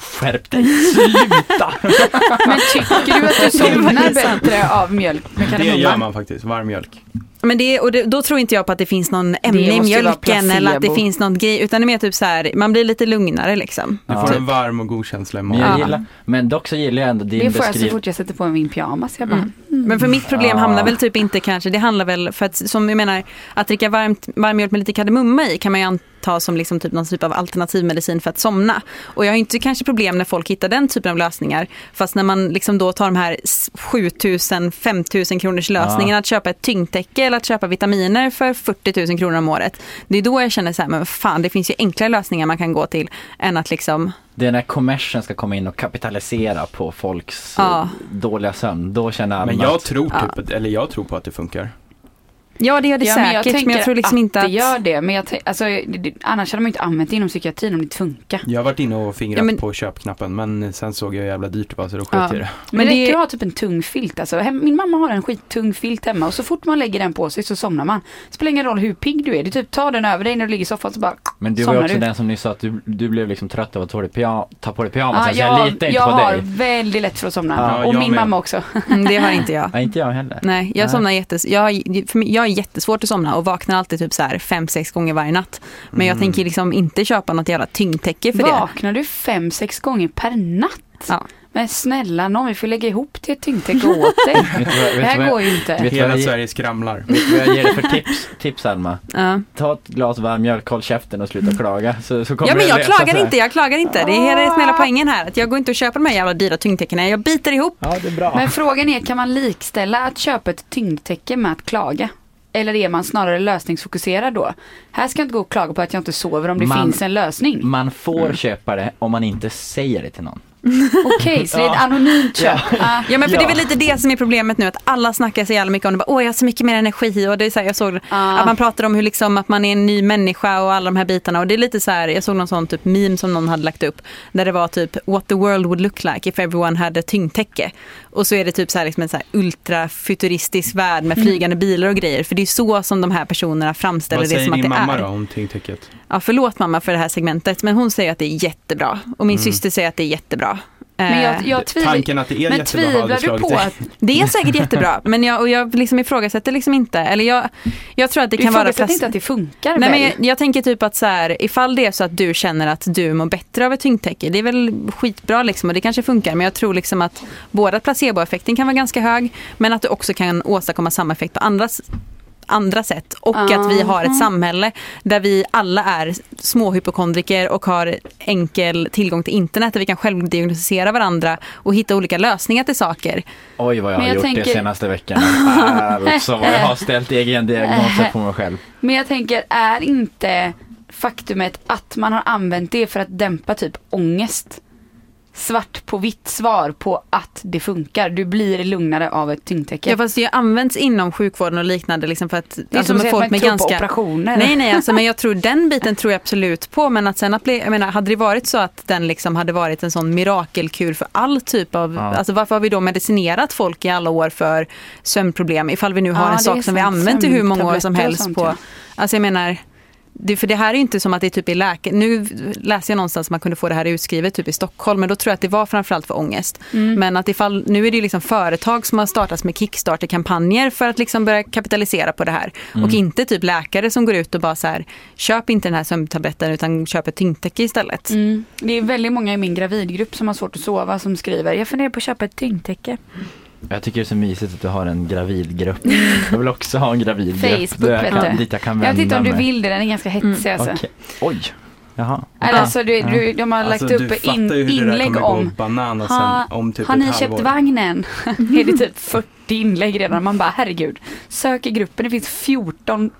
[SPEAKER 3] Skärp dig, sluta!
[SPEAKER 2] Men tycker du att du somnar
[SPEAKER 4] faktiskt sant.
[SPEAKER 2] bättre av mjölk med
[SPEAKER 1] det gör
[SPEAKER 2] kardemumma?
[SPEAKER 1] man faktiskt, varm mjölk.
[SPEAKER 4] Men det, och det, då tror inte jag på att det finns någon ämne i
[SPEAKER 2] måste ju vara
[SPEAKER 4] mjölken eller att det
[SPEAKER 2] placebo.
[SPEAKER 4] finns någon grej. Utan det är mer typ så här, man blir lite lugnare liksom.
[SPEAKER 1] Du
[SPEAKER 3] Ja.
[SPEAKER 1] får en varm och god känsla i
[SPEAKER 3] Men,
[SPEAKER 1] magen.
[SPEAKER 3] jag
[SPEAKER 4] Ja.
[SPEAKER 3] gillar, men dock så gillar jag ändå din
[SPEAKER 2] Det får jag så
[SPEAKER 3] beskrivning
[SPEAKER 2] fort jag sätter på mig min pyjamas. Jag bara,
[SPEAKER 4] Mm. Men för mitt problem
[SPEAKER 3] Ja.
[SPEAKER 4] hamnar väl typ inte kanske, det handlar väl för att som jag menar, att dricka varmt, varmmjölk med lite kardemumma i kan man ju anta som liksom typ någon typ av alternativmedicin för att somna. Och jag har ju inte kanske problem när folk hittar den typen av lösningar. Fast när man liksom då tar de här s- 7000, 5000 kronors lösningen att köpa ett tyngdtäcke eller att köpa vitaminer för 40 000 kronor om året. Det är då jag känner så här, men vad fan det finns ju enklare lösningar man kan gå till än att liksom,
[SPEAKER 3] Det är när kommersen ska komma in och kapitalisera på folks
[SPEAKER 4] Ja.
[SPEAKER 3] eh, dåliga sömn, då känner Alma
[SPEAKER 1] Men
[SPEAKER 3] att-
[SPEAKER 1] jag tror
[SPEAKER 4] Ja.
[SPEAKER 1] typ, att- eller jag tror på att det funkar.
[SPEAKER 4] ja det gör det
[SPEAKER 2] Ja,
[SPEAKER 4] säkert men jag,
[SPEAKER 2] tänker
[SPEAKER 4] tror liksom inte att
[SPEAKER 2] det gör det. Men jag, tän- alltså, det- det- annars hade man ju inte använt det inom psykiatrin om det inte funkar.
[SPEAKER 1] Jag har varit inne och fingrat
[SPEAKER 4] Ja, men-
[SPEAKER 1] på köpknappen men sen såg jag hur jävla dyrt det var så då sket
[SPEAKER 4] Ja.
[SPEAKER 1] jag i det.
[SPEAKER 2] Men,
[SPEAKER 4] Men
[SPEAKER 2] det
[SPEAKER 4] det-
[SPEAKER 2] räcker att ha typ en tung filt alltså. Hem, min mamma har en skittung filt hemma och så fort man lägger den på sig så somnar man. Spelar ingen roll hur pigg du är. Du typ tar den över dig när du ligger i soffan så bara
[SPEAKER 3] Men du var ju
[SPEAKER 2] somnar
[SPEAKER 3] också
[SPEAKER 2] du.
[SPEAKER 3] den som nyss sa att du, du blev liksom trött av att ta på dig pyja- ta på dig pyjamasen,
[SPEAKER 2] Ja,
[SPEAKER 3] så alltså, jag litar
[SPEAKER 2] Ah, jag
[SPEAKER 3] inte
[SPEAKER 2] jag
[SPEAKER 3] på
[SPEAKER 2] har
[SPEAKER 3] dig.
[SPEAKER 2] väldigt lätt för att somna.
[SPEAKER 1] Ja,
[SPEAKER 2] och
[SPEAKER 1] jag
[SPEAKER 2] min
[SPEAKER 1] med.
[SPEAKER 2] mamma också.
[SPEAKER 4] Mm, det har inte jag.
[SPEAKER 3] Nej, inte jag heller.
[SPEAKER 4] Nej, jag
[SPEAKER 3] Nej.
[SPEAKER 4] somnar jättes... jag, för mig, jag har jättesvårt att somna och vaknar alltid typ så här fem, sex gånger varje natt. Men jag
[SPEAKER 1] Mm.
[SPEAKER 4] tänker liksom inte köpa något jävla tyngdtäcke för det.
[SPEAKER 2] Vaknar du fem, sex gånger per natt?
[SPEAKER 4] Ja.
[SPEAKER 2] Men snälla någon, vi får lägga ihop till ett tyngdtäcke åt dig.
[SPEAKER 3] Vet du vad,
[SPEAKER 2] Det
[SPEAKER 3] vet du
[SPEAKER 2] här
[SPEAKER 3] vad, jag-
[SPEAKER 2] går ju inte.
[SPEAKER 3] Vet du vad
[SPEAKER 1] Hela
[SPEAKER 3] jag-
[SPEAKER 1] Sverige skramlar.
[SPEAKER 3] vet du vad jag ger dig för tips, tips Alma?
[SPEAKER 4] Ja.
[SPEAKER 3] Ta ett glas varm mjölk, håll käften och sluta klaga. Så, så kommer
[SPEAKER 4] Ja men
[SPEAKER 3] det
[SPEAKER 4] jag
[SPEAKER 3] lösa sig. Ah.
[SPEAKER 4] klagar inte, jag klagar inte. Det är hela det som är hela poängen här. Att jag går inte och köper de här jävla dyra tyngdtäckena. Jag biter ihop.
[SPEAKER 3] Ja, det är bra.
[SPEAKER 2] Men frågan är, kan man likställa att köpa ett tyngdtäcke med att klaga? Eller är man snarare lösningsfokuserad då? Här ska jag inte gå och klaga på att jag inte sover om det
[SPEAKER 3] Man- Mm.
[SPEAKER 2] finns en lösning.
[SPEAKER 3] Man får köpa det om man inte säger det till någon.
[SPEAKER 2] Okej, så det är ett anonymt köp. Ah,
[SPEAKER 4] Ja men för
[SPEAKER 3] Ja.
[SPEAKER 4] det är väl lite det som är problemet nu att alla snackar så jävla mycket om det. Bara, Åh jag har så mycket mer energi och det är så här, jag såg
[SPEAKER 2] Ah.
[SPEAKER 4] att man pratar om hur liksom att man är en ny människa och alla de här bitarna och det är lite så här, jag såg någon sån typ meme som någon hade lagt upp där det var typ what the world would look like if everyone had a tyngdtäcke och så är det typ så här liksom en så här ultrafuturistisk värld
[SPEAKER 2] Mm.
[SPEAKER 4] med flygande bilar och grejer för det är så som de här personerna framställer
[SPEAKER 1] Vad
[SPEAKER 4] det
[SPEAKER 1] säger
[SPEAKER 4] som att det
[SPEAKER 1] din mamma
[SPEAKER 4] är.
[SPEAKER 1] då om tyngdtäcket?
[SPEAKER 4] Ja förlåt mamma för det här segmentet men hon säger att det är jättebra och min
[SPEAKER 1] Mm.
[SPEAKER 4] syster säger att det är jättebra.
[SPEAKER 2] Men
[SPEAKER 4] Eh,
[SPEAKER 2] jag, jag tvivlar...
[SPEAKER 1] Tanken att det är
[SPEAKER 2] Men
[SPEAKER 1] jättebra har
[SPEAKER 2] tvivlar
[SPEAKER 1] aldrig
[SPEAKER 2] du
[SPEAKER 1] slagit
[SPEAKER 2] på
[SPEAKER 1] dig.
[SPEAKER 2] att...
[SPEAKER 4] Det är säkert jättebra, men jag, och jag liksom ifrågasätter liksom inte. Eller jag, jag tror att det
[SPEAKER 2] Du
[SPEAKER 4] kan vara...
[SPEAKER 2] ifrågasätter
[SPEAKER 4] plast-
[SPEAKER 2] inte att det funkar
[SPEAKER 4] Nej,
[SPEAKER 2] väl?
[SPEAKER 4] men jag, jag tänker typ att så här, ifall det är så att du känner att du mår bättre av ett tyngdtäcke, det är väl skitbra liksom och det kanske funkar. Men jag tror liksom att både att placeboeffekten kan vara ganska hög, men att du också kan åstadkomma samma effekt på andra s- andra sätt och att vi har ett samhälle där vi alla är småhypokondriker och har enkel tillgång till internet där vi kan självdiagnostisera varandra och hitta olika lösningar till saker.
[SPEAKER 3] Oj vad jag
[SPEAKER 2] Men
[SPEAKER 3] har
[SPEAKER 2] jag
[SPEAKER 3] gjort det
[SPEAKER 2] tänker-
[SPEAKER 3] senaste veckan. Alltså vad jag har ställt egen diagnoser på mig själv.
[SPEAKER 2] Men jag tänker, är inte faktumet att man har använt det för att dämpa typ ångest svart på vitt svar på att det funkar. Du blir lugnare av ett tyngdtäcke.
[SPEAKER 4] Ja fast det används inom sjukvården och liknande liksom för att,
[SPEAKER 2] det är som
[SPEAKER 4] med
[SPEAKER 2] att säga att man inte tror på operationer.
[SPEAKER 4] Nej nej alltså men jag tror den biten tror jag absolut på men att sen att bli, jag menar hade det varit så att den liksom hade varit en sån mirakelkur för all typ av,
[SPEAKER 3] Ja.
[SPEAKER 4] alltså varför har vi då medicinerat folk i alla år för sömnproblem ifall vi nu har
[SPEAKER 2] Ja,
[SPEAKER 4] en
[SPEAKER 2] det är
[SPEAKER 4] sak som vi
[SPEAKER 2] sant.
[SPEAKER 4] använt i hur många år som
[SPEAKER 2] Sömntabletter och
[SPEAKER 4] helst
[SPEAKER 2] sånt,
[SPEAKER 4] på,
[SPEAKER 2] ja.
[SPEAKER 4] alltså jag menar det, för det här är ju inte som att det typ är läke... Nu läste jag någonstans att man kunde få det här utskrivet typ i Stockholm, men då tror jag att det var framförallt för ångest.
[SPEAKER 2] Mm.
[SPEAKER 4] Men att ifall, nu är det ju liksom företag som har startats med Kickstarter-kampanjer för att liksom börja kapitalisera på det här. Och
[SPEAKER 2] Mm.
[SPEAKER 4] inte typ läkare som går ut och bara så här, köp inte den här sömntabletten utan köp ett tyngdtäcke istället.
[SPEAKER 2] Mm. Det är väldigt många i min gravidgrupp som har svårt att sova som skriver jag funderar på att köpa ett tyngdtäcke.
[SPEAKER 3] Jag tycker det är så mysigt att du har en gravidgrupp. Jag vill också ha en gravidgrupp.
[SPEAKER 2] Facebook,
[SPEAKER 3] där jag
[SPEAKER 2] vet
[SPEAKER 3] kan,
[SPEAKER 2] du.
[SPEAKER 3] dit jag kan
[SPEAKER 2] Jag
[SPEAKER 3] vända
[SPEAKER 2] vet inte om du
[SPEAKER 3] mig.
[SPEAKER 2] vill det, den är ganska hetsig
[SPEAKER 4] Mm.
[SPEAKER 2] alltså.
[SPEAKER 3] Okej. Oj. Jaha.
[SPEAKER 2] Eller, Alltså, du, du, de har lagt
[SPEAKER 1] Alltså,
[SPEAKER 2] upp in,
[SPEAKER 1] Du fattar ju hur det där
[SPEAKER 2] inlägg
[SPEAKER 1] kommer gå
[SPEAKER 2] om
[SPEAKER 1] bananas
[SPEAKER 2] Ha-
[SPEAKER 1] sen om typ
[SPEAKER 2] Har ni
[SPEAKER 1] ett
[SPEAKER 2] köpt
[SPEAKER 1] halvår.
[SPEAKER 2] vagnen? är det typ 40 inlägg redan? Man bara herregud. Sök i gruppen, det finns 14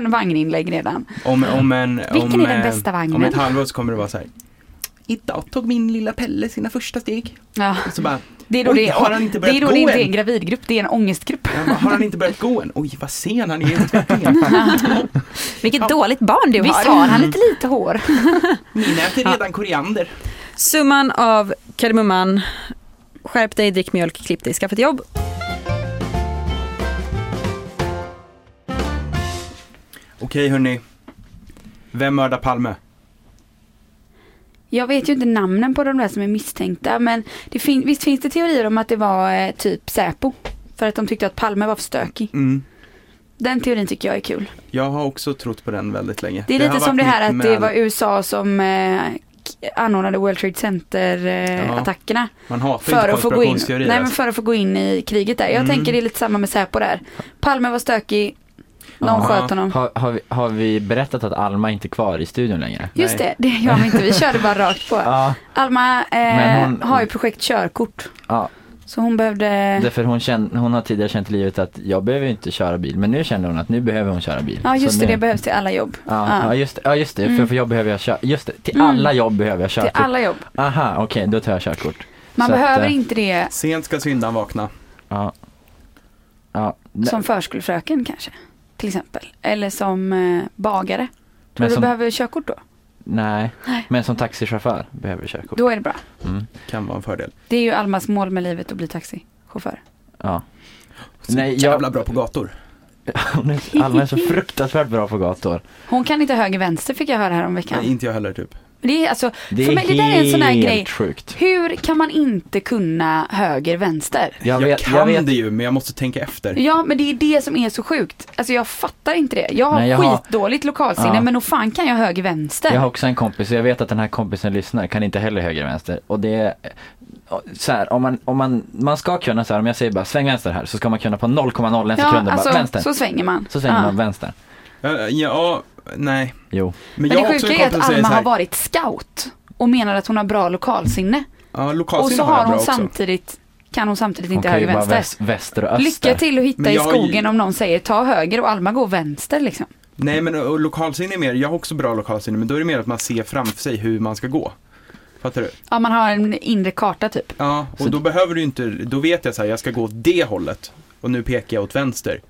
[SPEAKER 2] 000 vagninlägg redan.
[SPEAKER 1] Om, om en,
[SPEAKER 2] Vilken
[SPEAKER 1] om,
[SPEAKER 2] är den
[SPEAKER 1] eh,
[SPEAKER 2] bästa vagnen?
[SPEAKER 1] Om ett halvår så kommer det vara så här. Idag tog min lilla Pelle sina första steg.
[SPEAKER 2] Ja,
[SPEAKER 1] Och så bara,
[SPEAKER 2] det är då
[SPEAKER 1] Oj,
[SPEAKER 2] det,
[SPEAKER 1] har han inte
[SPEAKER 2] det, är
[SPEAKER 1] börjat
[SPEAKER 2] då det
[SPEAKER 1] gå
[SPEAKER 2] inte är
[SPEAKER 1] än?
[SPEAKER 2] en gravidgrupp, det är en ångestgrupp.
[SPEAKER 1] jag bara, har han inte börjat gå än? Oj, vad sen han är i utvecklingen.
[SPEAKER 4] Vilket dåligt barn du
[SPEAKER 2] Visst
[SPEAKER 4] har!
[SPEAKER 2] har han lite lite hår?
[SPEAKER 1] Min äter redan koriander.
[SPEAKER 4] Summan av kardemumman, skärp dig, drick mjölk, klipp dig, skaffa ett jobb.
[SPEAKER 1] Okej hörni. Vem mördar Palme?
[SPEAKER 2] Jag vet ju inte namnen på de där som är misstänkta men det fin- visst finns det teorier om att det var eh, typ Säpo? För att de tyckte att Palme var för stökig.
[SPEAKER 1] Mm.
[SPEAKER 2] Den teorin tycker jag är kul.
[SPEAKER 1] Jag har också trott på den väldigt länge.
[SPEAKER 2] Det är
[SPEAKER 1] har
[SPEAKER 2] lite som
[SPEAKER 1] varit
[SPEAKER 2] det här att
[SPEAKER 1] mitt
[SPEAKER 2] det
[SPEAKER 1] med-
[SPEAKER 2] var USA som eh, k- anordnade World Trade
[SPEAKER 1] Ja.
[SPEAKER 2] Center-attackerna.
[SPEAKER 1] Man hatar
[SPEAKER 2] för
[SPEAKER 1] inte
[SPEAKER 2] att få gå in,
[SPEAKER 1] konspirationsteorier.
[SPEAKER 2] nej, men
[SPEAKER 1] alltså.
[SPEAKER 2] för att få gå in i kriget där. Jag
[SPEAKER 1] Mm.
[SPEAKER 2] tänker det är lite samma med Säpo där. Palme var stökig, någon
[SPEAKER 1] Ja.
[SPEAKER 2] sköt honom.
[SPEAKER 3] Har, har, vi, har vi berättat att Alma inte är kvar i studion längre?
[SPEAKER 2] Just det, det gör vi inte. Vi körde bara rakt på.
[SPEAKER 3] Ja,
[SPEAKER 2] Alma eh,
[SPEAKER 3] Men hon-
[SPEAKER 2] har ju projekt körkort.
[SPEAKER 3] ja.
[SPEAKER 2] Så hon behövde,
[SPEAKER 3] Därför hon, känn, hon har tidigare känt i livet att jag behöver inte köra bil, men nu känner hon att nu behöver hon köra bil.
[SPEAKER 2] ja just
[SPEAKER 3] Så
[SPEAKER 2] det,
[SPEAKER 3] nu,
[SPEAKER 2] det behövs till alla jobb.
[SPEAKER 3] Ja, ja,
[SPEAKER 2] ja.
[SPEAKER 3] just, ja just det, för, för jobb behöver jag köra, just det, till
[SPEAKER 2] Mm.
[SPEAKER 3] alla jobb behöver jag
[SPEAKER 2] Till
[SPEAKER 3] körkort.
[SPEAKER 2] alla jobb.
[SPEAKER 3] Aha, okej, då tar jag körkort.
[SPEAKER 2] Man
[SPEAKER 3] Så att,
[SPEAKER 2] behöver
[SPEAKER 3] eh,
[SPEAKER 2] inte det
[SPEAKER 1] Sent ska syndan vakna.
[SPEAKER 3] Ja. Ja,
[SPEAKER 2] som förskolefröken kanske. Till exempel. Eller som eh, bagare. Tror
[SPEAKER 3] men
[SPEAKER 2] du
[SPEAKER 3] som,
[SPEAKER 2] behöver körkort då?
[SPEAKER 3] nej,
[SPEAKER 2] Nej.
[SPEAKER 3] men som taxichaufför behöver jag körkort.
[SPEAKER 2] Då är det bra.
[SPEAKER 3] Mm.
[SPEAKER 1] Kan vara en fördel.
[SPEAKER 2] Det är ju Almas mål med livet att bli taxichaufför.
[SPEAKER 3] Ja.
[SPEAKER 1] Så
[SPEAKER 3] Nej, jag-
[SPEAKER 1] jävla bra på gator.
[SPEAKER 3] Hon är- Alma är så fruktansvärt bra på gator.
[SPEAKER 2] Hon kan inte höger vänster fick jag höra här om veckan.
[SPEAKER 1] Nej, inte jag heller typ.
[SPEAKER 2] Det är alltså,
[SPEAKER 3] Det är,
[SPEAKER 2] För mig, det där är en sån här
[SPEAKER 3] helt
[SPEAKER 2] grej.
[SPEAKER 3] sjukt.
[SPEAKER 2] hur kan man inte kunna höger vänster?
[SPEAKER 1] Jag,
[SPEAKER 3] Jag, vet,
[SPEAKER 1] kan
[SPEAKER 3] jag vet
[SPEAKER 1] det ju men jag måste tänka efter.
[SPEAKER 2] Ja men det är det som är så sjukt. Alltså jag fattar inte det. Jag har
[SPEAKER 3] Nej, jag har-
[SPEAKER 2] skitdåligt lokalsinne
[SPEAKER 3] Ja.
[SPEAKER 2] men nog fan kan jag höger vänster.
[SPEAKER 3] Jag har också en kompis och jag vet att den här kompisen lyssnar, kan inte heller höger och vänster. Och det är så här, om man, om man, man ska kunna så här, om jag säger bara sväng vänster här så ska man kunna på 0,01
[SPEAKER 2] ja,
[SPEAKER 3] sekunder
[SPEAKER 2] alltså,
[SPEAKER 3] bara vänster. Så,
[SPEAKER 2] så svänger man.
[SPEAKER 3] svänger
[SPEAKER 2] Ja.
[SPEAKER 3] man vänster.
[SPEAKER 1] Ja, ja nej.
[SPEAKER 3] Jo.
[SPEAKER 2] Men det
[SPEAKER 1] också
[SPEAKER 2] sjuka är att
[SPEAKER 1] som säger
[SPEAKER 2] Alma
[SPEAKER 1] så
[SPEAKER 2] har
[SPEAKER 1] här,
[SPEAKER 2] varit scout och menar att hon har bra lokalsinne.
[SPEAKER 1] Ja,
[SPEAKER 2] och
[SPEAKER 1] lokalsinne
[SPEAKER 2] så
[SPEAKER 1] har
[SPEAKER 2] har
[SPEAKER 1] jag
[SPEAKER 2] hon
[SPEAKER 1] bra också.
[SPEAKER 2] samtidigt, kan hon samtidigt
[SPEAKER 3] Hon
[SPEAKER 2] inte
[SPEAKER 3] kan ju
[SPEAKER 2] höger
[SPEAKER 3] bara
[SPEAKER 2] vänster.
[SPEAKER 3] väst, väster och öster.
[SPEAKER 2] Lycka till att hitta
[SPEAKER 1] Men
[SPEAKER 2] i
[SPEAKER 1] jag har ju-
[SPEAKER 2] skogen om någon säger ta höger och Alma går vänster liksom.
[SPEAKER 1] Nej men och lokalsinne är mer, jag har också bra lokalsinne men då är det mer att man ser framför sig hur man ska gå. Fattar du?
[SPEAKER 2] Ja man har en inre karta typ.
[SPEAKER 1] Ja, och
[SPEAKER 3] Så-
[SPEAKER 1] då behöver du inte, då vet jag så här, jag ska gå åt det hållet och nu pekar jag åt vänster.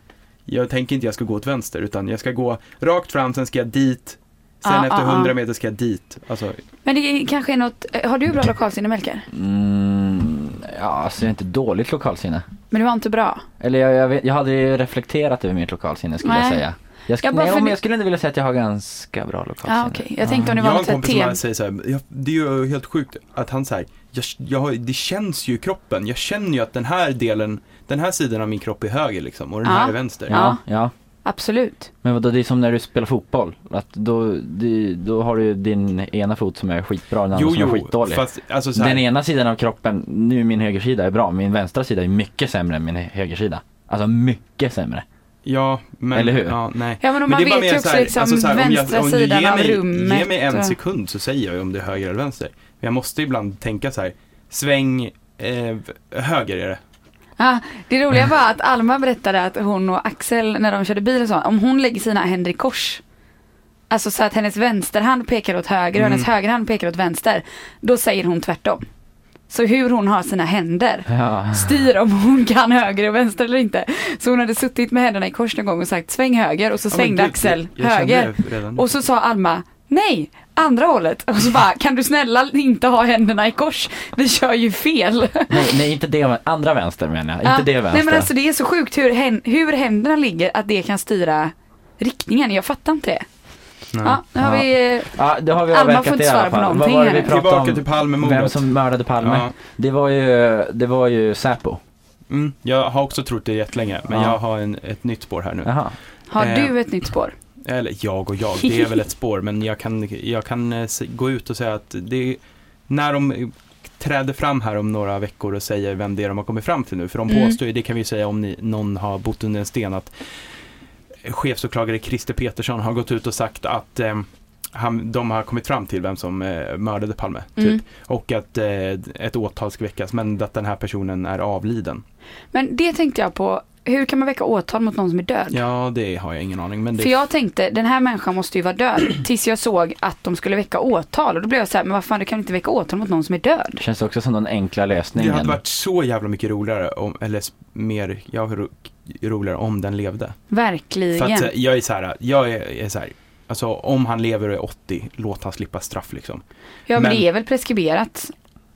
[SPEAKER 1] Jag tänker inte jag ska gå åt vänster utan jag ska gå rakt fram, sen ska jag dit, sen
[SPEAKER 3] Ah,
[SPEAKER 2] Ja,
[SPEAKER 1] efter
[SPEAKER 2] ja, ja.
[SPEAKER 1] 100 meter ska jag dit. Alltså,
[SPEAKER 2] Men det är kanske är något, eh, har du bra lokalsinne Melker?
[SPEAKER 3] Mm, ja, alltså jag är inte dåligt lokalsinne.
[SPEAKER 2] Men du var inte bra.
[SPEAKER 3] Eller jag, jag, vet, jag hade ju reflekterat över mitt lokalsinne skulle
[SPEAKER 2] Nej.
[SPEAKER 3] jag säga. Jag, sk-
[SPEAKER 2] Jag bara
[SPEAKER 3] nej,
[SPEAKER 2] för-
[SPEAKER 3] men jag skulle inte vilja säga att jag har ganska bra
[SPEAKER 2] Ja
[SPEAKER 3] lokalsinne.
[SPEAKER 2] ah, okej, jag tänkte om det
[SPEAKER 1] jag
[SPEAKER 2] var
[SPEAKER 1] har en
[SPEAKER 2] något sånt
[SPEAKER 1] kompis som
[SPEAKER 2] tema.
[SPEAKER 1] här säger så här, jag, det är ju helt sjukt att han säger, jag, jag, har- det känns ju i kroppen, jag känner ju att den här delen, den här sidan av min kropp är höger liksom och den
[SPEAKER 2] Ja.
[SPEAKER 1] här är vänster.
[SPEAKER 3] Ah. ja. ja.
[SPEAKER 2] Absolut.
[SPEAKER 3] Men vadå, det är som när du spelar fotboll. Att då, det, då har du din ena fot som är skitbra och den andra
[SPEAKER 1] Jo,
[SPEAKER 3] som är
[SPEAKER 1] jo,
[SPEAKER 3] skitdålig.
[SPEAKER 1] fast alltså så här,
[SPEAKER 3] Den ena sidan av kroppen, nu min högersida är bra, min vänstra sida är mycket sämre än min högersida. Alltså mycket sämre.
[SPEAKER 1] ja, men,
[SPEAKER 3] Eller hur?
[SPEAKER 1] Ja, nej.
[SPEAKER 2] Ja men om
[SPEAKER 1] Men
[SPEAKER 2] man
[SPEAKER 1] det är bara
[SPEAKER 2] vet
[SPEAKER 1] mer
[SPEAKER 2] ju också
[SPEAKER 1] så här,
[SPEAKER 2] liksom
[SPEAKER 1] alltså så här, om jag-
[SPEAKER 2] vänstra
[SPEAKER 1] om du ger
[SPEAKER 2] sidan av
[SPEAKER 1] mig-
[SPEAKER 2] rummet.
[SPEAKER 1] Ge mig en
[SPEAKER 2] och-
[SPEAKER 1] sekund så säger jag ju om det är höger eller vänster. Men jag måste ibland tänka så här, sväng eh, höger är det.
[SPEAKER 2] Ja, det roliga var att Alma berättade att hon och Axel när de körde bil och så, om hon lägger sina händer i kors. Alltså så att hennes vänsterhand pekar åt höger och
[SPEAKER 1] Mm.
[SPEAKER 2] hennes högerhand pekar åt vänster. Då säger hon tvärtom. Så hur hon har sina händer
[SPEAKER 3] Ja.
[SPEAKER 2] styr om hon kan höger och vänster eller inte. Så hon hade suttit med händerna i kors någon gång och sagt sväng höger och så
[SPEAKER 1] Ja, men
[SPEAKER 2] svängde
[SPEAKER 1] gud,
[SPEAKER 2] Axel
[SPEAKER 1] jag, jag kände
[SPEAKER 2] höger.
[SPEAKER 1] det redan nu.
[SPEAKER 2] Och så sa Alma, nej, andra hållet. Och så bara, kan du snälla inte ha händerna i kors? Vi kör ju fel.
[SPEAKER 3] Nej, nej, inte det, andra vänster menar jag.
[SPEAKER 2] Ja.
[SPEAKER 3] Inte det vänster.
[SPEAKER 2] Nej men alltså det är så sjukt hur, hän- hur händerna ligger, att det kan styra riktningen. Jag fattar inte det.
[SPEAKER 1] Nej.
[SPEAKER 2] Ja, nu har
[SPEAKER 3] Ja.
[SPEAKER 2] vi,
[SPEAKER 3] Ja, det har vi
[SPEAKER 2] Alma
[SPEAKER 3] avverkat
[SPEAKER 2] får inte
[SPEAKER 3] i alla
[SPEAKER 2] svara på
[SPEAKER 3] fall.
[SPEAKER 2] någonting
[SPEAKER 3] Vad var det
[SPEAKER 2] här
[SPEAKER 3] vi
[SPEAKER 2] nu.
[SPEAKER 1] Tillbaka
[SPEAKER 3] pratade
[SPEAKER 1] till
[SPEAKER 3] om?
[SPEAKER 1] Palmemordet.
[SPEAKER 3] Vem som mördade Palme?
[SPEAKER 1] Ja.
[SPEAKER 3] Det var ju, det var ju Säpo.
[SPEAKER 1] Mm, jag har också trott det jättelänge, men
[SPEAKER 3] Ja.
[SPEAKER 1] jag har en, ett nytt spår här nu.
[SPEAKER 3] Jaha.
[SPEAKER 2] har
[SPEAKER 1] Eh.
[SPEAKER 2] du ett nytt spår?
[SPEAKER 1] Eller jag och jag, det är väl ett spår, men jag kan, jag kan eh, s- gå ut och säga att det är, när de eh, träder fram här om några veckor och säger vem det är de har kommit fram till nu, för de
[SPEAKER 2] Mm.
[SPEAKER 1] påstår ju, det kan vi ju säga om ni, någon har bott under en sten, att chefsåklagare Christer Petersson har gått ut och sagt att eh, han, de har kommit fram till vem som eh, mördade Palme, typ.
[SPEAKER 2] Mm.
[SPEAKER 1] Och att eh, ett åtal ska väckas, men att den här personen är avliden.
[SPEAKER 2] Men det tänkte jag på, hur kan man väcka åtal mot någon som är död?
[SPEAKER 1] Ja, det har jag ingen aning, men det...
[SPEAKER 2] För jag tänkte, den här människan måste ju vara död. Tills jag såg att de skulle väcka åtal. Och då blev jag så här, men vad fan du kan väl inte väcka åtal mot någon som är död?
[SPEAKER 3] Det känns också som den enkla
[SPEAKER 1] Det
[SPEAKER 3] lösningen.
[SPEAKER 1] hade varit så jävla mycket roligare om, eller s- mer, ja, ro, roligare om den levde. För
[SPEAKER 2] Verkligen.
[SPEAKER 1] att eh, jag är så här, jag är, är så här, alltså om han lever och är 80, låt han slippa straff liksom.
[SPEAKER 2] ja men,
[SPEAKER 1] men-
[SPEAKER 2] det är väl preskriberat.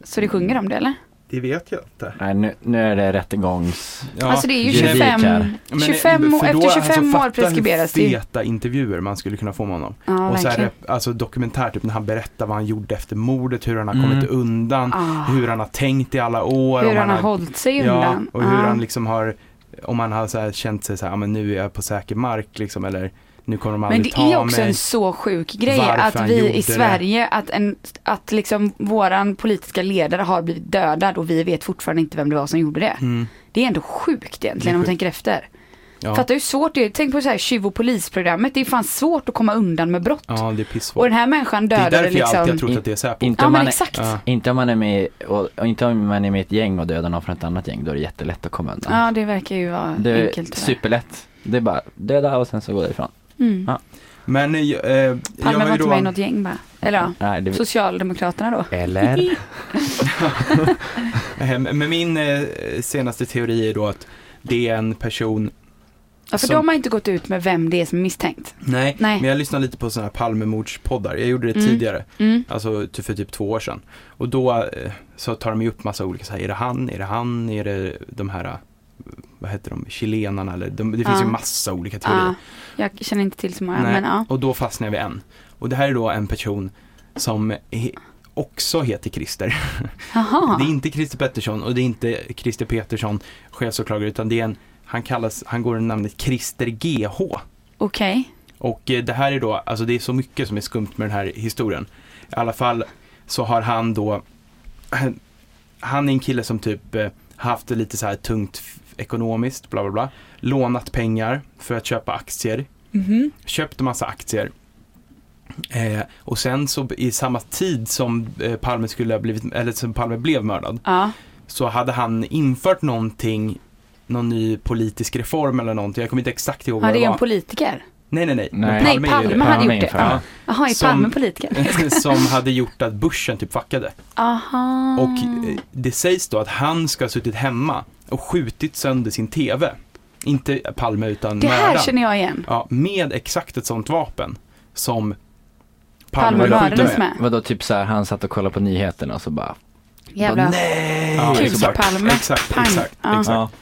[SPEAKER 2] Så det sjunger om det eller?
[SPEAKER 1] Det vet jag inte.
[SPEAKER 3] Nej, nu, nu är det rättegångs...
[SPEAKER 1] Ja,
[SPEAKER 2] alltså det är ju
[SPEAKER 3] juridik
[SPEAKER 2] 25,
[SPEAKER 3] här.
[SPEAKER 1] men, eh,
[SPEAKER 2] 25
[SPEAKER 1] för
[SPEAKER 2] år,
[SPEAKER 1] då,
[SPEAKER 2] efter 25
[SPEAKER 1] alltså,
[SPEAKER 2] år preskriberas det
[SPEAKER 1] det
[SPEAKER 2] ju.
[SPEAKER 1] feta intervjuer man skulle kunna få med honom.
[SPEAKER 2] Ja,
[SPEAKER 1] och så här,
[SPEAKER 2] verkligen.
[SPEAKER 1] rep- alltså dokumentär, typ när han berättar vad han gjorde efter mordet, hur han har
[SPEAKER 3] Mm.
[SPEAKER 1] kommit undan,
[SPEAKER 2] Ah,
[SPEAKER 1] eh, hur han har tänkt i alla år.
[SPEAKER 2] hur
[SPEAKER 1] om
[SPEAKER 2] han har hållit sig undan.
[SPEAKER 1] Ja, och hur
[SPEAKER 2] Ah.
[SPEAKER 1] han liksom har, om han har så här känt sig så här, "Ja, men nu är jag på säker mark liksom, eller nu kommer de
[SPEAKER 2] Men
[SPEAKER 1] aldrig
[SPEAKER 2] det
[SPEAKER 1] ta
[SPEAKER 2] är också
[SPEAKER 1] mig.
[SPEAKER 2] en så sjuk grej
[SPEAKER 1] Varför
[SPEAKER 2] att
[SPEAKER 1] han
[SPEAKER 2] vi
[SPEAKER 1] gjorde
[SPEAKER 2] i
[SPEAKER 1] det.
[SPEAKER 2] Sverige, att, en, att liksom våran politiska ledare har blivit dödad och vi vet fortfarande inte vem det var som gjorde det.
[SPEAKER 1] Mm,
[SPEAKER 2] Det är ändå sjukt
[SPEAKER 1] Det är
[SPEAKER 2] egentligen om man
[SPEAKER 1] sjukt.
[SPEAKER 2] tänker efter.
[SPEAKER 1] ja.
[SPEAKER 2] Fattar hur svårt det är. Tänk på så här tjuv och polisprogrammet. Det är fan svårt att komma undan med brott.
[SPEAKER 1] ja, det är
[SPEAKER 2] Och
[SPEAKER 1] pissvårt.
[SPEAKER 2] den här människan
[SPEAKER 1] Det är
[SPEAKER 2] dödade
[SPEAKER 1] därför jag alltid har
[SPEAKER 2] liksom.
[SPEAKER 1] trott att det är Säpo.
[SPEAKER 3] Inte
[SPEAKER 2] Ja
[SPEAKER 3] om
[SPEAKER 2] men
[SPEAKER 3] man är,
[SPEAKER 2] exakt.
[SPEAKER 1] Ja.
[SPEAKER 3] inte om man är med, i- och, och inte om man är med i ett gäng och dödar någon från ett annat gäng, då är det jättelätt att komma undan.
[SPEAKER 2] Ja det verkar ju vara
[SPEAKER 3] det är
[SPEAKER 2] enkelt. tyvärr.
[SPEAKER 3] superlätt. Det är bara döda och sen så gå därifrån.
[SPEAKER 2] Mm.
[SPEAKER 3] Ja.
[SPEAKER 1] Men eh, eh, jag
[SPEAKER 2] Palme
[SPEAKER 1] var
[SPEAKER 2] var
[SPEAKER 1] ju
[SPEAKER 2] inte med i
[SPEAKER 1] då,
[SPEAKER 2] något gäng bara. Eller ja,
[SPEAKER 3] Nej, det...
[SPEAKER 2] Socialdemokraterna då.
[SPEAKER 3] Eller?
[SPEAKER 1] eh, men min eh, senaste teori är då att det är en person,
[SPEAKER 2] Ja, för
[SPEAKER 1] Som-
[SPEAKER 2] de har inte gått ut med vem det är som är misstänkt.
[SPEAKER 1] nej,
[SPEAKER 2] Nej.
[SPEAKER 1] men jag lyssnar lite på sådana här Palmemordspoddar, jag gjorde det
[SPEAKER 2] Mm.
[SPEAKER 1] tidigare,
[SPEAKER 2] Mm.
[SPEAKER 1] alltså ty- för typ två år sedan. Och då eh, så tar de ju upp massa olika, så här, är det han, är det han, är det de här, eh, vad heter de, chilenarna eller, de, det finns
[SPEAKER 2] Ja.
[SPEAKER 1] ju massa olika teorier.
[SPEAKER 2] Ja, Ah, jag känner inte till så många
[SPEAKER 1] Nej.
[SPEAKER 2] men ja.
[SPEAKER 1] Och då fastnar vi en. Och det här är då en person som he- också heter Christer.
[SPEAKER 2] Jaha.
[SPEAKER 1] Det är inte Christer Pettersson och det är inte Christer Petersson, chefsåklagare, utan det är en, han kallas, han går under namnet Christer GH.
[SPEAKER 2] Okej.
[SPEAKER 1] Och eh, det här är då, alltså det är så mycket som är skumt med den här historien. I alla fall så har han då, han, han är en kille som typ eh, haft det lite så här tungt f- ekonomiskt, bla bla bla. Lånat pengar för att köpa aktier
[SPEAKER 2] Mhm.
[SPEAKER 1] köpt massa aktier. Eh, och sen så i samma tid som eh, Palme skulle ha blivit, eller som Palme blev mördad,
[SPEAKER 2] Ja.
[SPEAKER 1] så hade han infört någonting, någon ny politisk reform eller någonting, jag kommer inte exakt ihåg
[SPEAKER 2] ja,
[SPEAKER 1] vad
[SPEAKER 2] det
[SPEAKER 1] det
[SPEAKER 2] är
[SPEAKER 1] var.
[SPEAKER 2] en politiker.
[SPEAKER 1] Nej, nej, nej. Men
[SPEAKER 3] Nej.
[SPEAKER 2] Nej,
[SPEAKER 1] är ju
[SPEAKER 2] Palme hade gjort det.
[SPEAKER 3] inför. Ja.
[SPEAKER 2] Jaha, är
[SPEAKER 1] Som-
[SPEAKER 2] Palme politiker?
[SPEAKER 1] det. som hade gjort att börsen typ fuckade.
[SPEAKER 2] Aha.
[SPEAKER 1] Och eh, det sägs då att han ska ha suttit hemma och skjutit sönder sin TV. Inte Palme utan
[SPEAKER 2] det här
[SPEAKER 1] mördaren.
[SPEAKER 2] känner jag igen.
[SPEAKER 1] Ja, med exakt ett sånt vapen som
[SPEAKER 2] Palme
[SPEAKER 1] sköt med.
[SPEAKER 2] mördades med.
[SPEAKER 3] Vadå, typ så här, han satt och kollade på nyheterna och så bara...
[SPEAKER 2] Jävla
[SPEAKER 3] Nej!
[SPEAKER 1] Ja,
[SPEAKER 2] kul
[SPEAKER 1] exakt.
[SPEAKER 2] för Palme.
[SPEAKER 1] Exakt,
[SPEAKER 2] Pang.
[SPEAKER 1] exakt.
[SPEAKER 2] Ja.
[SPEAKER 1] exakt.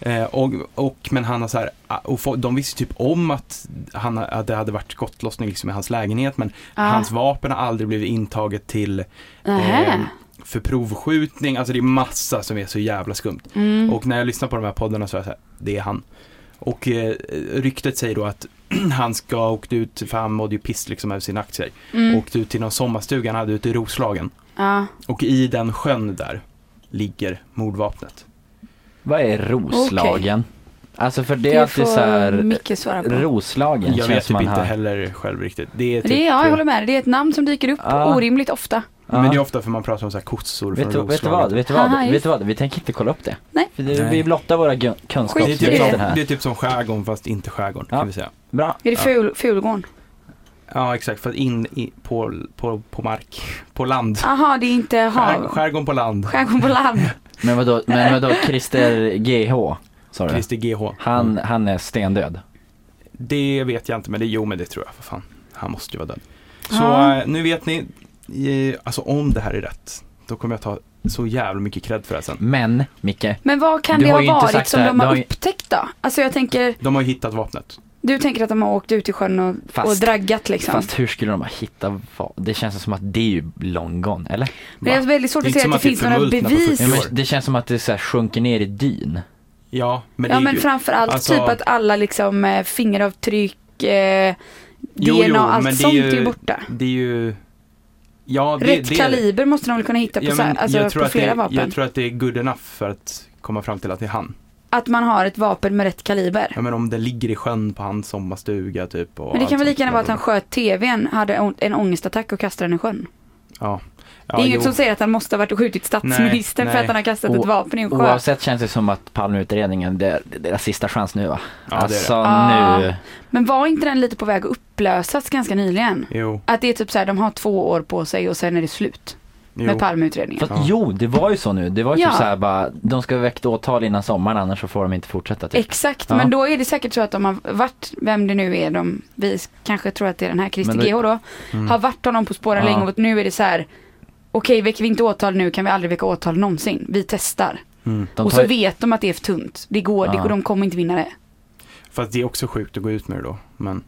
[SPEAKER 3] Ja.
[SPEAKER 1] Eh, och, och, men han har så här, ah, och få- de visste typ om att, han, att det hade varit skottlossning liksom i hans lägenhet men
[SPEAKER 2] Ja.
[SPEAKER 1] hans vapen har aldrig blivit intaget till
[SPEAKER 2] Nähä.
[SPEAKER 1] eh, för provskjutning, alltså det är massa som är så jävla skumt.
[SPEAKER 2] Mm.
[SPEAKER 1] Och när jag lyssnar på de här poddarna så är jag så här, det är han. Och eh, ryktet säger då att han ska ha åkt ut, för han mådde ju piss liksom över sina aktier,
[SPEAKER 2] Mm.
[SPEAKER 1] åkt ut till någon sommarstuga han hade ute i Roslagen.
[SPEAKER 2] ja.
[SPEAKER 1] Och i den sjön där ligger mordvapnet.
[SPEAKER 3] Vad är Roslagen? Alltså för det
[SPEAKER 2] Det,
[SPEAKER 3] är alltid
[SPEAKER 2] får
[SPEAKER 3] så här... eh,
[SPEAKER 2] Micke svara på.
[SPEAKER 3] Roslagen
[SPEAKER 1] Jag vet
[SPEAKER 3] känns
[SPEAKER 1] typ
[SPEAKER 3] man
[SPEAKER 1] inte
[SPEAKER 3] här.
[SPEAKER 1] heller själv riktigt. Det är typ,
[SPEAKER 2] Det är, ja, jag håller med dig. Det är ett namn som dyker upp
[SPEAKER 3] Ja.
[SPEAKER 2] orimligt ofta.
[SPEAKER 3] Ja.
[SPEAKER 1] Men det är ofta för man pratar om så här kossor
[SPEAKER 3] Vet du,
[SPEAKER 1] från
[SPEAKER 3] vet du
[SPEAKER 1] Roslagen.
[SPEAKER 3] vad, vet du vad,
[SPEAKER 2] Aha,
[SPEAKER 3] vet
[SPEAKER 2] just.
[SPEAKER 3] du vad, vi tänker inte kolla upp det.
[SPEAKER 2] Nej.
[SPEAKER 3] För det,
[SPEAKER 1] Nej.
[SPEAKER 3] vi blottar våra gu-
[SPEAKER 1] Det är,
[SPEAKER 2] Skit i
[SPEAKER 1] typ
[SPEAKER 3] kunskapsbrister
[SPEAKER 1] som,
[SPEAKER 3] här.
[SPEAKER 1] det är typ som skärgården fast inte skärgården
[SPEAKER 3] Ja.
[SPEAKER 1] kan vi säga.
[SPEAKER 3] Bra.
[SPEAKER 2] Är det ful, Fulgården?
[SPEAKER 1] Ja, exakt. För att in i, på, på, på mark, på land.
[SPEAKER 2] Aha, det är
[SPEAKER 1] Skär,
[SPEAKER 2] inte hav.
[SPEAKER 1] skärgården på land,
[SPEAKER 2] Skärgården på land.
[SPEAKER 3] Men vadå, men vadå Christer GH? Sa du?
[SPEAKER 1] Christer GH.
[SPEAKER 3] Han, han är stendöd.
[SPEAKER 1] Det vet jag inte, men det, jo men det tror jag. För fan. Han måste ju vara död. Så
[SPEAKER 2] Ja.
[SPEAKER 1] eh, nu vet ni, eh, alltså om det här är rätt, då kommer jag ta så jävla mycket cred för det här sen.
[SPEAKER 3] Men, Micke,
[SPEAKER 2] Men vad kan
[SPEAKER 3] Du
[SPEAKER 2] det
[SPEAKER 3] har
[SPEAKER 2] ha
[SPEAKER 3] ju inte
[SPEAKER 2] varit
[SPEAKER 3] sagt
[SPEAKER 2] som
[SPEAKER 3] det här.
[SPEAKER 2] de
[SPEAKER 3] Du har
[SPEAKER 2] har
[SPEAKER 3] ju-
[SPEAKER 2] upptäckt då? Alltså jag tänker,
[SPEAKER 1] De har ju hittat vapnet.
[SPEAKER 2] du tänker att de har åkt ut i sjön och,
[SPEAKER 3] Fast-
[SPEAKER 2] och draggat liksom.
[SPEAKER 3] fast hur skulle de ha hittat vad? Det känns som att det är ju long gone, eller?
[SPEAKER 2] Men jag är
[SPEAKER 1] Va?
[SPEAKER 2] väldigt svårt
[SPEAKER 1] Det är
[SPEAKER 2] att
[SPEAKER 1] inte
[SPEAKER 2] se att
[SPEAKER 1] som
[SPEAKER 2] det
[SPEAKER 1] att det är förmultna på
[SPEAKER 2] finns några bevis.
[SPEAKER 3] Ja,
[SPEAKER 1] fyrtio år.
[SPEAKER 3] men det känns som att det så här sjunker ner i dyn.
[SPEAKER 1] Ja, men
[SPEAKER 2] Ja
[SPEAKER 1] det är
[SPEAKER 2] men
[SPEAKER 1] ju...
[SPEAKER 2] framförallt
[SPEAKER 1] alltså-
[SPEAKER 2] typ att alla liksom eh, fingeravtryck, eh,
[SPEAKER 1] Jo,
[SPEAKER 2] DNA,
[SPEAKER 1] jo, men
[SPEAKER 2] allt
[SPEAKER 1] det är
[SPEAKER 2] sånt
[SPEAKER 1] ju-
[SPEAKER 2] är ju borta.
[SPEAKER 1] Det är ju... Ja, det,
[SPEAKER 2] Rätt
[SPEAKER 1] det,
[SPEAKER 2] kaliber måste de väl kunna hitta på,
[SPEAKER 1] Ja,
[SPEAKER 2] så här,
[SPEAKER 1] men
[SPEAKER 2] alltså,
[SPEAKER 1] jag tror
[SPEAKER 2] på
[SPEAKER 1] att
[SPEAKER 2] flera
[SPEAKER 1] det,
[SPEAKER 2] vapen?
[SPEAKER 1] Jag tror att det är good enough för att komma fram till att det är han.
[SPEAKER 2] Att man har ett vapen med rätt kaliber.
[SPEAKER 1] Ja men om det ligger i sjön på hans sommarstuga typ. Och
[SPEAKER 2] Men det
[SPEAKER 1] allt
[SPEAKER 2] kan väl
[SPEAKER 1] sånt
[SPEAKER 2] lika gärna
[SPEAKER 1] där.
[SPEAKER 2] vara att han sköt tvn, hade å- en ångestattack och kastade den i sjön.
[SPEAKER 1] Ja. ja
[SPEAKER 2] det
[SPEAKER 1] jo.
[SPEAKER 2] är inget som säger att han måste ha varit och skjutit statsministern
[SPEAKER 1] Nej,
[SPEAKER 2] för
[SPEAKER 1] nej.
[SPEAKER 2] att han har kastat
[SPEAKER 3] O-
[SPEAKER 2] ett vapen i en sjö.
[SPEAKER 3] Oavsett känns det som att Palmeutredningen, det är det är deras sista chans nu va?
[SPEAKER 1] Ja,
[SPEAKER 3] alltså
[SPEAKER 2] Ah.
[SPEAKER 3] nu,
[SPEAKER 2] Men var inte den lite på väg att upplösas ganska nyligen?
[SPEAKER 1] det är det. Jo.
[SPEAKER 2] Att det är typ så här, de har två år på sig och sen är det slut
[SPEAKER 1] jo.
[SPEAKER 2] med Palmeutredningen.
[SPEAKER 3] fast, jo det var ju så nu, det var ju
[SPEAKER 2] Ja.
[SPEAKER 3] typ såhär bara, de ska väcka åtal innan sommaren annars så får de inte fortsätta typ.
[SPEAKER 2] Exakt,
[SPEAKER 3] Ja.
[SPEAKER 2] men då är det säkert så att de har varit, vem det nu är, de, vi kanske tror att det är den här Christer
[SPEAKER 3] Men det-
[SPEAKER 2] GH då,
[SPEAKER 1] Mm.
[SPEAKER 2] har varit honom på spåren
[SPEAKER 3] Ja.
[SPEAKER 2] länge och nu är det så här, okej väcker vi inte åtal nu kan vi aldrig väcka åtal någonsin, vi testar.
[SPEAKER 1] Mm.
[SPEAKER 3] De
[SPEAKER 2] och
[SPEAKER 3] tar
[SPEAKER 2] så
[SPEAKER 3] ju-
[SPEAKER 2] vet de att det är för tunt, det går, det
[SPEAKER 3] Ja.
[SPEAKER 2] går, de kommer inte vinna det.
[SPEAKER 1] Fast det är också sjukt att gå ut med det då. Men...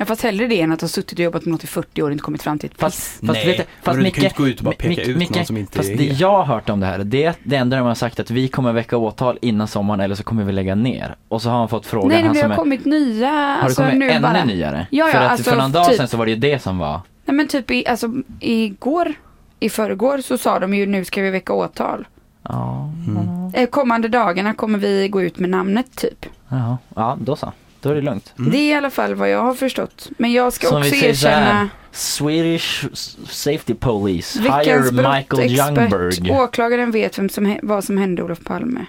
[SPEAKER 2] Ja, fast hellre det än att ha suttit och jobbat med något i 40 år och inte kommit fram till ett
[SPEAKER 3] Fast-
[SPEAKER 2] piss.
[SPEAKER 3] Fast vet du,
[SPEAKER 1] men
[SPEAKER 3] fast
[SPEAKER 1] du kan ju
[SPEAKER 3] Micke-
[SPEAKER 1] inte gå ut och bara peka
[SPEAKER 3] Micke-
[SPEAKER 1] ut
[SPEAKER 3] Micke,
[SPEAKER 1] någon som inte
[SPEAKER 3] Fast
[SPEAKER 1] är...
[SPEAKER 3] det jag har hört om det här, det är att det enda de har sagt att vi kommer väcka åtal innan sommaren eller så kommer vi lägga ner. Och så har han fått frågan,
[SPEAKER 2] Nej,
[SPEAKER 3] han
[SPEAKER 2] det
[SPEAKER 3] som
[SPEAKER 2] har
[SPEAKER 3] är,
[SPEAKER 2] kommit nya,
[SPEAKER 3] har
[SPEAKER 2] alltså
[SPEAKER 3] det kommit
[SPEAKER 2] nu
[SPEAKER 3] ännu
[SPEAKER 2] bara.
[SPEAKER 3] nyare?
[SPEAKER 2] Ja, ja,
[SPEAKER 3] för att
[SPEAKER 2] alltså,
[SPEAKER 3] för någon dag
[SPEAKER 2] typ-
[SPEAKER 3] sedan så var det ju det som var,
[SPEAKER 2] Nej men typ i, alltså igår, i förrgår så sa de ju nu ska vi väcka åtal.
[SPEAKER 3] ja,
[SPEAKER 1] Mm.
[SPEAKER 2] Eh, Kommande dagarna kommer vi gå ut med namnet typ.
[SPEAKER 3] jaha. ja då så. Då är det lugnt.
[SPEAKER 1] Mm.
[SPEAKER 2] Det är i alla fall vad jag har förstått. Men jag ska
[SPEAKER 3] Som vi
[SPEAKER 2] också
[SPEAKER 3] säger så här,
[SPEAKER 2] erkänna
[SPEAKER 3] Swedish Safety Police
[SPEAKER 2] veckans
[SPEAKER 3] Hire Michael
[SPEAKER 2] brottexpert.
[SPEAKER 3] Youngberg.
[SPEAKER 2] Åklagaren vet vem som, hä- vad som hände Olof Palme.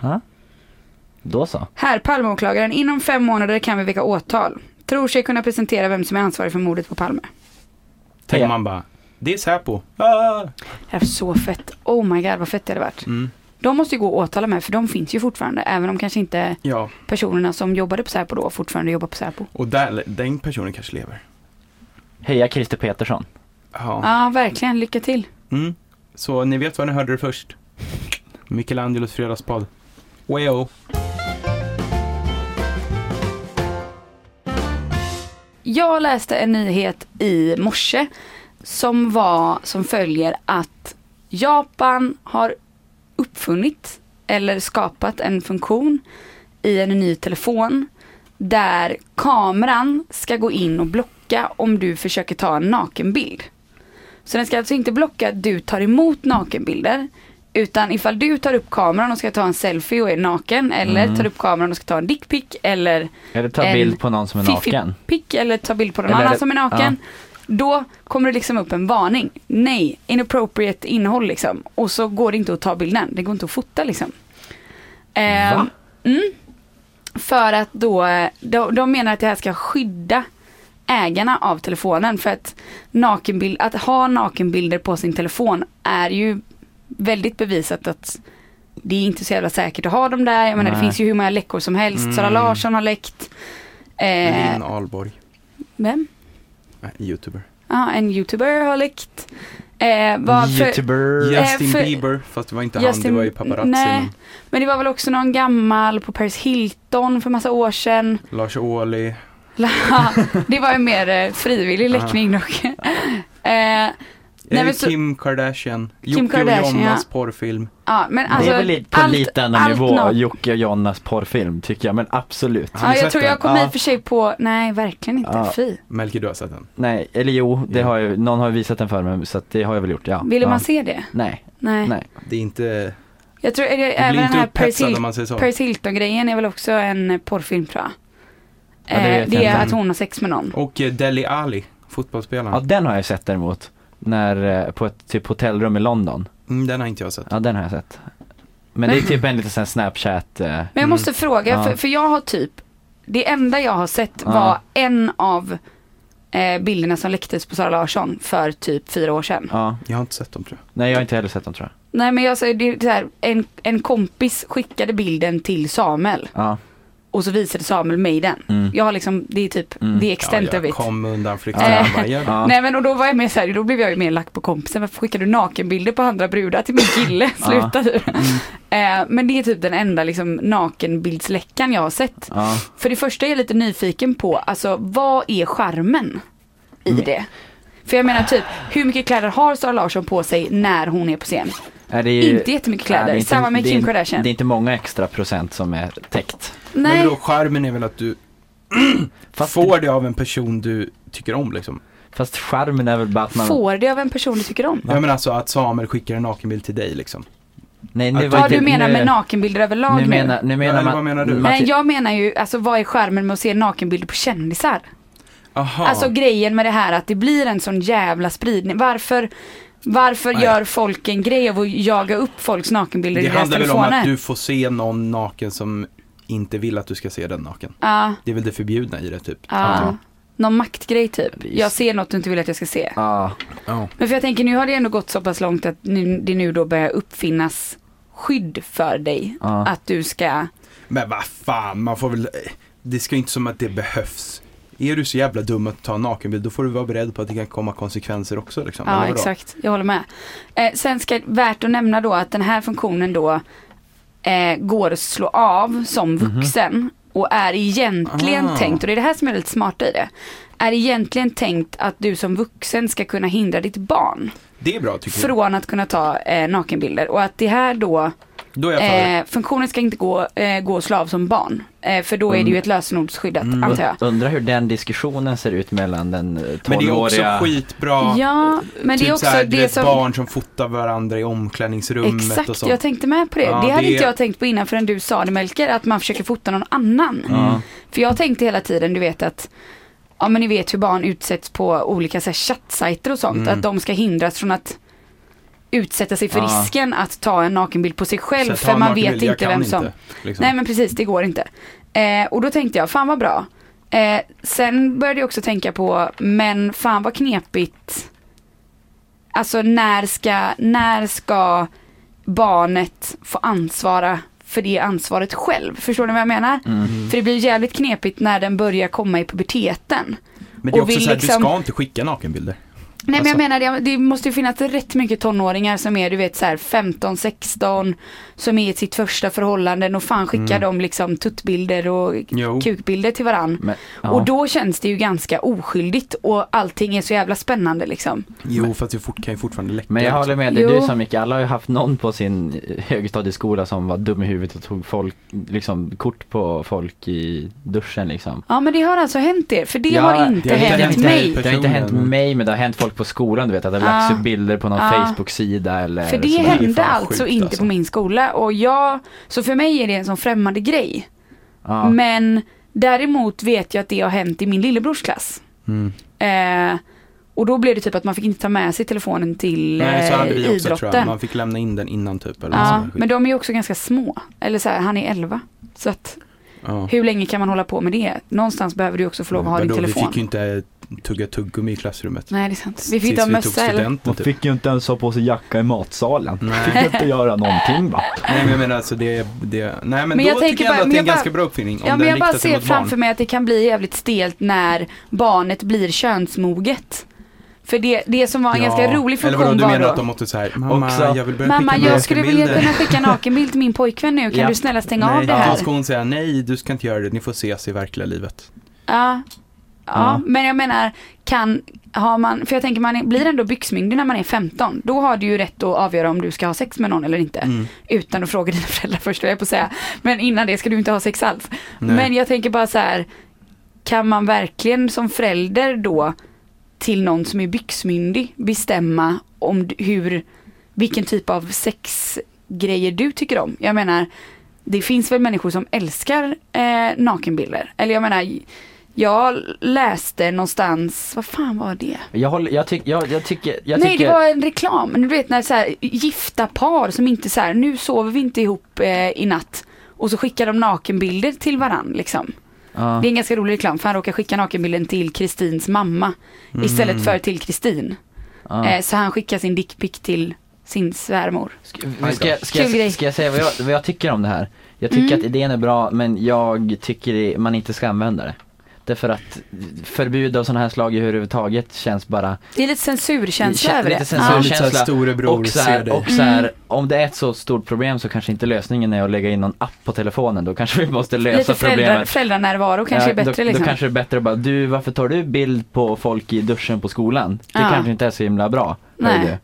[SPEAKER 3] Då så.
[SPEAKER 2] Här, Palmeåklagaren. Inom fem månader kan vi väcka åtal. Tror sig kunna presentera vem som är ansvarig för mordet på Palme.
[SPEAKER 1] Tänker man bara, det är Säpo. Ah!
[SPEAKER 2] Det här är så fett. Oh my god vad fett det hade varit.
[SPEAKER 1] Mm.
[SPEAKER 2] De måste ju gå och åtala med för de finns ju fortfarande. Även om kanske inte
[SPEAKER 1] Ja,
[SPEAKER 2] personerna som jobbade på Säpo då fortfarande jobbar på Säpo.
[SPEAKER 1] och där, den personen kanske lever.
[SPEAKER 3] Heja Christer Petersson.
[SPEAKER 1] Ja.
[SPEAKER 2] Ja, verkligen. Lycka till.
[SPEAKER 1] Mm. Så ni vet vad ni hörde det först. Michelangelos fredagspodd. Wow.
[SPEAKER 2] Jag läste en nyhet i morse som var som följer att Japan har uppfunnit eller skapat en funktion i en ny telefon där kameran ska gå in och blocka om du försöker ta en nakenbild. Så den ska alltså inte blocka att du tar emot nakenbilder utan ifall du tar upp kameran och ska ta en selfie och är naken eller tar upp kameran och ska ta en dickpic eller
[SPEAKER 3] Eller ta
[SPEAKER 2] En
[SPEAKER 3] bild på någon som är
[SPEAKER 2] fiffig
[SPEAKER 3] naken.
[SPEAKER 2] pick eller ta bild på någon
[SPEAKER 3] Eller-
[SPEAKER 2] annan som är naken. Då kommer det liksom upp en varning. Nej, inappropriate innehåll liksom. Och så går det inte att ta bilden. Det går inte att fota liksom. Ehm,
[SPEAKER 3] Va?
[SPEAKER 2] Mm, för att då, de, de menar att det här ska skydda ägarna av telefonen. För att, nakenbild, att ha nakenbilder på sin telefon är ju väldigt bevisat att det är inte så jävla säkert att ha dem där. Jag menar, det
[SPEAKER 3] Nej.
[SPEAKER 2] finns ju hur många läckor som helst. Sara
[SPEAKER 1] Mm.
[SPEAKER 2] Larsson har läckt. Eh,
[SPEAKER 1] Linn Ahlborg.
[SPEAKER 2] vem?
[SPEAKER 1] Nej, Youtuber.
[SPEAKER 2] Ja, en youtuber har läckt. Eh, vad för,
[SPEAKER 3] Youtuber.
[SPEAKER 2] Ja.
[SPEAKER 1] Justin
[SPEAKER 2] för-
[SPEAKER 1] Bieber, fast det var inte han, det
[SPEAKER 2] Justin-
[SPEAKER 1] var ju paparazzi.
[SPEAKER 2] nej. Men det var väl också någon gammal på Paris Hilton för massa år sedan.
[SPEAKER 1] Lars Ohly.
[SPEAKER 2] La- det var ju mer eh, frivillig läckning dock. eh, Nej,
[SPEAKER 1] Är
[SPEAKER 2] men
[SPEAKER 1] det
[SPEAKER 2] så-
[SPEAKER 1] Kim Kardashian.
[SPEAKER 2] Kim
[SPEAKER 1] Jocke
[SPEAKER 2] Kardashian,
[SPEAKER 1] och Jonas
[SPEAKER 2] ja.
[SPEAKER 1] porrfilm.
[SPEAKER 2] ja, men
[SPEAKER 3] det
[SPEAKER 2] alltså,
[SPEAKER 3] är väl lite på
[SPEAKER 2] allt-
[SPEAKER 3] lite annan
[SPEAKER 2] allt
[SPEAKER 3] nivå,
[SPEAKER 2] något.
[SPEAKER 3] Jocke och Jonas porrfilm tycker jag, men absolut.
[SPEAKER 1] Har ni
[SPEAKER 2] Ja, jag
[SPEAKER 1] sett
[SPEAKER 2] tror
[SPEAKER 1] den?
[SPEAKER 2] jag kom i
[SPEAKER 3] Ja.
[SPEAKER 2] och för sig på, nej verkligen inte,
[SPEAKER 3] Ja.
[SPEAKER 2] fy.
[SPEAKER 1] Melker, du har sett den?
[SPEAKER 3] Nej, eller jo, det
[SPEAKER 1] Ja.
[SPEAKER 3] har jag, någon har ju visat den för mig så att det har jag väl gjort, ja.
[SPEAKER 2] Ville
[SPEAKER 3] ja.
[SPEAKER 2] man se det?
[SPEAKER 3] Nej,
[SPEAKER 2] Nej.
[SPEAKER 3] nej.
[SPEAKER 1] Det är inte,
[SPEAKER 2] Jag tror, är det,
[SPEAKER 1] du blir
[SPEAKER 2] även den
[SPEAKER 1] inte
[SPEAKER 2] här Paris,
[SPEAKER 1] upphetsad om
[SPEAKER 2] Hil-
[SPEAKER 1] man säger så.
[SPEAKER 2] Paris Hilton-grejen är väl också en eh, porrfilm tror jag.
[SPEAKER 3] Ja, det
[SPEAKER 2] Eh,
[SPEAKER 3] vet
[SPEAKER 2] det
[SPEAKER 3] jag
[SPEAKER 2] är
[SPEAKER 3] inte.
[SPEAKER 2] att hon har sex med någon.
[SPEAKER 1] Och eh, Deli Ali,
[SPEAKER 3] Ja,
[SPEAKER 1] fotbollsspelaren.
[SPEAKER 3] den har jag sett däremot. När, eh, på ett typ hotellrum i London.
[SPEAKER 1] Mm, den har inte jag sett.
[SPEAKER 3] Ja, den har jag sett. Men det är typ en liten sån här snapchat, eh,
[SPEAKER 2] Men jag
[SPEAKER 1] Mm.
[SPEAKER 2] måste fråga,
[SPEAKER 3] Ja.
[SPEAKER 2] för, för jag har typ, det enda jag har sett
[SPEAKER 3] Ja.
[SPEAKER 2] var en av eh, bilderna som läcktes på Sara Larsson för typ fyra år sedan.
[SPEAKER 3] Ja.
[SPEAKER 1] Jag har inte sett dem tror jag.
[SPEAKER 3] Nej jag har inte heller sett dem tror jag.
[SPEAKER 2] Nej men jag säger det är så här, en, en kompis skickade bilden till Samuel
[SPEAKER 3] Ja.
[SPEAKER 2] och så visade Samuel mig den.
[SPEAKER 3] Mm.
[SPEAKER 2] Jag har liksom, det är typ
[SPEAKER 3] Mm.
[SPEAKER 2] the extent
[SPEAKER 1] ja,
[SPEAKER 2] of
[SPEAKER 1] jag
[SPEAKER 2] it.
[SPEAKER 1] kom undan flykten.
[SPEAKER 2] Ja.
[SPEAKER 1] Jag bara, jag-
[SPEAKER 3] Ja.
[SPEAKER 2] Nej men och då var jag mer så här, då blev jag ju mer lack på kompisen. Varför skickar du nakenbilder på andra brudar till min kille? Sluta du. Eh, men det är typ den enda liksom nakenbildsläckan jag har sett.
[SPEAKER 3] Ja.
[SPEAKER 2] För det första är jag lite nyfiken på, alltså vad är charmen i
[SPEAKER 3] Mm.
[SPEAKER 2] det? För jag menar typ, hur mycket kläder har Sara Larsson på sig när hon är på scen?
[SPEAKER 3] Nej, det är ju-
[SPEAKER 2] Inte jättemycket
[SPEAKER 3] Nej, det
[SPEAKER 2] kläder,
[SPEAKER 3] är inte-
[SPEAKER 2] samma med
[SPEAKER 3] det är
[SPEAKER 2] Kim
[SPEAKER 3] inte-
[SPEAKER 2] Kardashian.
[SPEAKER 3] Det är inte många extra procent som är täckt.
[SPEAKER 1] Men
[SPEAKER 2] Nej,
[SPEAKER 1] då skärmen är väl att du
[SPEAKER 3] Fast,
[SPEAKER 1] får det av en person du tycker om liksom.
[SPEAKER 3] fast charmen är väl bara att man...
[SPEAKER 2] får det av en person du tycker om?
[SPEAKER 1] Jag menar alltså att Samuel skickar en nakenbild till dig liksom.
[SPEAKER 3] Nej, nu
[SPEAKER 1] Att-
[SPEAKER 3] var
[SPEAKER 2] Vad
[SPEAKER 3] inte-
[SPEAKER 2] du menar
[SPEAKER 3] nu-
[SPEAKER 2] med nakenbilder överlag
[SPEAKER 3] nu
[SPEAKER 2] nu?
[SPEAKER 3] menar, nu menar
[SPEAKER 1] Eller
[SPEAKER 3] man,
[SPEAKER 1] vad menar du?
[SPEAKER 3] man-
[SPEAKER 2] Nej jag menar ju, alltså vad är skärmen med att se nakenbilder på kändisar?
[SPEAKER 1] Aha.
[SPEAKER 2] Alltså grejen med det här att det blir en sån jävla spridning. Varför, varför
[SPEAKER 1] Nej.
[SPEAKER 2] gör folk en grej av att jaga upp folks nakenbilder
[SPEAKER 1] det
[SPEAKER 2] i deras
[SPEAKER 1] handlar väl om
[SPEAKER 2] telefoner?
[SPEAKER 1] att du får se någon naken som inte vill att du ska se den naken.
[SPEAKER 2] Ja,
[SPEAKER 1] Det är väl det förbjudna i det typ.
[SPEAKER 2] ja.
[SPEAKER 3] Ja.
[SPEAKER 2] Någon maktgrej typ.
[SPEAKER 3] Precis.
[SPEAKER 2] Jag ser något du inte vill att jag ska se.
[SPEAKER 3] Ja,
[SPEAKER 1] Ja.
[SPEAKER 2] Men för jag tänker nu har det ändå gått så pass långt att nu, det nu då börjar uppfinnas skydd för dig.
[SPEAKER 3] ja.
[SPEAKER 2] Att du ska,
[SPEAKER 1] Men vad fan, man får väl, det ska ju inte som att det behövs. Är du så jävla dum att ta en nakenbild, då får du vara beredd på att det kan komma konsekvenser också liksom.
[SPEAKER 2] ja
[SPEAKER 1] Eller vadå?
[SPEAKER 2] exakt, jag håller med. Eh, sen ska, värt att nämna då att den här funktionen då eh, går att slå av som vuxen och är egentligen
[SPEAKER 1] Ah.
[SPEAKER 2] tänkt, och det är det här som är lite smart i det, är egentligen tänkt att du som vuxen ska kunna hindra ditt barn
[SPEAKER 1] Det är bra tycker jag.
[SPEAKER 2] från att kunna ta eh, nakenbilder och att det här då
[SPEAKER 1] Då är jag för.
[SPEAKER 2] Eh, funktionen ska inte gå, eh, gå slav som barn. Eh, för då är det ju ett lösenordsskyddat
[SPEAKER 1] Mm.
[SPEAKER 2] antar jag.
[SPEAKER 3] Undrar hur den diskussionen ser ut mellan den eh,
[SPEAKER 1] Men det är också
[SPEAKER 3] 12-åriga...
[SPEAKER 1] skitbra.
[SPEAKER 2] Ja, men
[SPEAKER 1] typ
[SPEAKER 2] det är också
[SPEAKER 1] så här, du
[SPEAKER 2] det
[SPEAKER 1] vet,
[SPEAKER 2] som...
[SPEAKER 1] barn som fotar varandra i omklädningsrummet och
[SPEAKER 2] Exakt,
[SPEAKER 1] sånt.
[SPEAKER 2] jag tänkte med på det.
[SPEAKER 1] Ja,
[SPEAKER 2] det hade
[SPEAKER 1] det-
[SPEAKER 2] inte jag tänkt på innan förrän du sa det Melker, att man försöker fota någon annan.
[SPEAKER 3] Ja.
[SPEAKER 2] För jag tänkte hela tiden, du vet att Ja men ni vet hur barn utsätts på olika så här, chattsajter och sånt,
[SPEAKER 1] Mm.
[SPEAKER 2] att de ska hindras från att utsätta sig för
[SPEAKER 3] Ja.
[SPEAKER 2] risken att ta en nakenbild på sig
[SPEAKER 1] Så
[SPEAKER 2] själv
[SPEAKER 1] att ta
[SPEAKER 2] för
[SPEAKER 1] en
[SPEAKER 2] man
[SPEAKER 1] nakenbild,
[SPEAKER 2] vet
[SPEAKER 1] jag
[SPEAKER 2] inte
[SPEAKER 1] kan
[SPEAKER 2] vem som
[SPEAKER 1] liksom.
[SPEAKER 2] Nej men precis, det går inte. Eh, och då tänkte jag, fan vad bra. Eh, sen började jag också tänka på, men fan vad knepigt. Alltså när ska, när ska barnet få ansvara för det ansvaret själv? Förstår ni vad jag
[SPEAKER 1] Mm.
[SPEAKER 2] menar?
[SPEAKER 3] Mm.
[SPEAKER 2] För det blir jävligt knepigt när den börjar komma i puberteten.
[SPEAKER 1] Men det är
[SPEAKER 2] och
[SPEAKER 1] också
[SPEAKER 2] vill
[SPEAKER 1] så här,
[SPEAKER 2] liksom-
[SPEAKER 1] du ska inte skicka nakenbilder.
[SPEAKER 2] Nej
[SPEAKER 1] Alltså-
[SPEAKER 2] men jag menar det, det måste ju finnas rätt mycket tonåringar som är du vet så här 15, 16 som är i sitt första förhållanden och fan skickar
[SPEAKER 1] Mm.
[SPEAKER 2] de liksom tuttbilder och
[SPEAKER 1] Jo.
[SPEAKER 2] kukbilder till varann.
[SPEAKER 3] Men, ja.
[SPEAKER 2] Och då känns det ju ganska oskyldigt och allting är så jävla spännande liksom.
[SPEAKER 1] Jo, fast det fort, kan ju fortfarande läcka.
[SPEAKER 3] Men jag håller med, det är
[SPEAKER 2] Jo.
[SPEAKER 3] du som Micke, alla har ju haft någon på sin eh, högstadieskola som var dum i huvudet och tog folk, liksom kort på folk i duschen liksom.
[SPEAKER 2] Ja men det har alltså hänt er, för det
[SPEAKER 3] Ja,
[SPEAKER 2] har inte
[SPEAKER 1] det har
[SPEAKER 2] hänt
[SPEAKER 1] hänt
[SPEAKER 2] mig.
[SPEAKER 1] dig.
[SPEAKER 3] Det har inte hänt
[SPEAKER 1] Personligen.
[SPEAKER 3] mig men det har hänt folk på skolan du vet, att det har
[SPEAKER 2] Ja.
[SPEAKER 3] lagts upp bilder på någon
[SPEAKER 2] Ja.
[SPEAKER 3] Facebook-sida eller
[SPEAKER 2] Ah. För det
[SPEAKER 3] sådär.
[SPEAKER 1] här-
[SPEAKER 2] hände
[SPEAKER 1] fan
[SPEAKER 2] alltså
[SPEAKER 1] sjukt,
[SPEAKER 2] inte
[SPEAKER 1] alltså.
[SPEAKER 2] på min skola och jag, så för mig är det en sån främmande grej.
[SPEAKER 3] Ja.
[SPEAKER 2] Men däremot vet jag att det har hänt i min lillebrors klass.
[SPEAKER 1] Mm.
[SPEAKER 2] Eh, och då blev det typ att man fick inte ta med sig telefonen till
[SPEAKER 1] Nej, så hade
[SPEAKER 2] eh,
[SPEAKER 1] vi också tror jag.
[SPEAKER 2] idrotten.
[SPEAKER 1] Man fick lämna in den innan typ. Eller
[SPEAKER 2] Ja,
[SPEAKER 1] något sånt där
[SPEAKER 2] men de är ju också ganska små. Eller så här, han är 11. Så att
[SPEAKER 1] skit. Ja.
[SPEAKER 2] hur länge kan man hålla på med det? Någonstans behöver du också få lov att ha din
[SPEAKER 1] Vadå, Vi
[SPEAKER 2] telefon.
[SPEAKER 1] fick ju inte tugga tuggummi i klassrummet.
[SPEAKER 2] Nej det är sant. Vi fick inte ha
[SPEAKER 1] Tills vi
[SPEAKER 2] mössa
[SPEAKER 1] tog
[SPEAKER 2] eller?
[SPEAKER 1] studenten typ.
[SPEAKER 3] ju inte ens ha på sig jacka i matsalen.
[SPEAKER 1] Nej.
[SPEAKER 3] inte göra någonting va?
[SPEAKER 1] Nej men jag menar alltså det, det nej men,
[SPEAKER 2] Men
[SPEAKER 1] då
[SPEAKER 2] jag tänker
[SPEAKER 1] tycker jag
[SPEAKER 2] bara-
[SPEAKER 1] ändå att
[SPEAKER 2] men
[SPEAKER 1] det är
[SPEAKER 2] jag
[SPEAKER 1] en
[SPEAKER 2] bara-
[SPEAKER 1] ganska bra uppfinning. Om
[SPEAKER 2] Ja
[SPEAKER 1] den
[SPEAKER 2] men jag bara
[SPEAKER 1] riktar sig
[SPEAKER 2] ser
[SPEAKER 1] mot barn.
[SPEAKER 2] framför mig att det kan bli jävligt stelt när barnet blir könsmoget. För det, det som var en ganska rolig funktion
[SPEAKER 1] Eller vadå, du
[SPEAKER 2] var
[SPEAKER 1] menar
[SPEAKER 2] då.
[SPEAKER 1] att de måste så här, mamma
[SPEAKER 3] Också-
[SPEAKER 1] jag vill börja
[SPEAKER 2] Mamma
[SPEAKER 1] skicka
[SPEAKER 2] jag skulle vilja
[SPEAKER 1] nakenbilder."
[SPEAKER 2] kunna skicka en nakenbild till min pojkvän nu, kan
[SPEAKER 3] Ja.
[SPEAKER 2] du snälla stänga av
[SPEAKER 1] Nej,
[SPEAKER 2] det
[SPEAKER 1] då
[SPEAKER 2] här?
[SPEAKER 1] ska hon säga nej, du ska inte göra det, ni får ses i verkliga livet.
[SPEAKER 2] Ja. Ja,
[SPEAKER 3] Ja.
[SPEAKER 2] men jag menar, kan, har man, för jag tänker man är- blir ändå byxmyndig när man är 15. Då har du ju rätt att avgöra om du ska ha sex med någon eller inte.
[SPEAKER 1] Mm.
[SPEAKER 2] Utan att fråga dina föräldrar först, höll jag på att säga. Men innan det ska du inte ha sex alls.
[SPEAKER 1] Nej.
[SPEAKER 2] Men jag tänker bara så här, kan man verkligen som förälder då till någon som är byxmyndig bestämma om d- hur, vilken typ av sexgrejer du tycker om? Jag menar, det finns väl människor som älskar eh, nakenbilder? Eller jag menar, jag läste någonstans, vad fan var det?
[SPEAKER 3] Jag, håller, jag, tyck, jag, jag tycker, jag
[SPEAKER 2] Nej
[SPEAKER 3] tycker,
[SPEAKER 2] det var en reklam, du vet när så här, gifta par som inte så här, nu sover vi inte ihop eh, i natt. Och så skickar de nakenbilder till varann liksom.
[SPEAKER 3] Ja.
[SPEAKER 2] Det är en ganska rolig reklam för han råkar skicka nakenbilden till Kristins mamma istället för till Kristin.
[SPEAKER 3] Mm. Ja.
[SPEAKER 2] Eh, så han skickar sin dickpic till sin svärmor.
[SPEAKER 3] Ska, ska, jag- ska,
[SPEAKER 2] Kul grej.
[SPEAKER 3] jag, ska jag säga vad jag, vad jag tycker om det här? Jag tycker
[SPEAKER 2] Mm.
[SPEAKER 3] att idén är bra men jag tycker det- man inte ska använda det. Därför att förbud av sådana här slag överhuvudtaget känns bara
[SPEAKER 2] Det är lite censurkänsla
[SPEAKER 3] Kä-
[SPEAKER 2] över
[SPEAKER 3] lite
[SPEAKER 2] det.
[SPEAKER 1] Det är
[SPEAKER 3] censur.
[SPEAKER 2] Ja.
[SPEAKER 1] lite såhär
[SPEAKER 3] känsla.
[SPEAKER 1] storebror
[SPEAKER 3] och så
[SPEAKER 1] ser
[SPEAKER 3] här,
[SPEAKER 1] dig.
[SPEAKER 3] och så
[SPEAKER 2] Mm.
[SPEAKER 3] här, om det är ett så stort problem så kanske inte lösningen är att lägga in någon app på telefonen. Då kanske vi måste lösa
[SPEAKER 2] Lite föräldrar,
[SPEAKER 3] alltså problemet.
[SPEAKER 2] föräldranärvaro kanske
[SPEAKER 3] Ja,
[SPEAKER 2] är bättre
[SPEAKER 3] då,
[SPEAKER 2] liksom.
[SPEAKER 3] då kanske det är bättre att bara, du varför tar du bild på folk i duschen på skolan? Det
[SPEAKER 2] Ja.
[SPEAKER 3] kanske inte är så himla bra.
[SPEAKER 2] Nej.
[SPEAKER 3] hör du.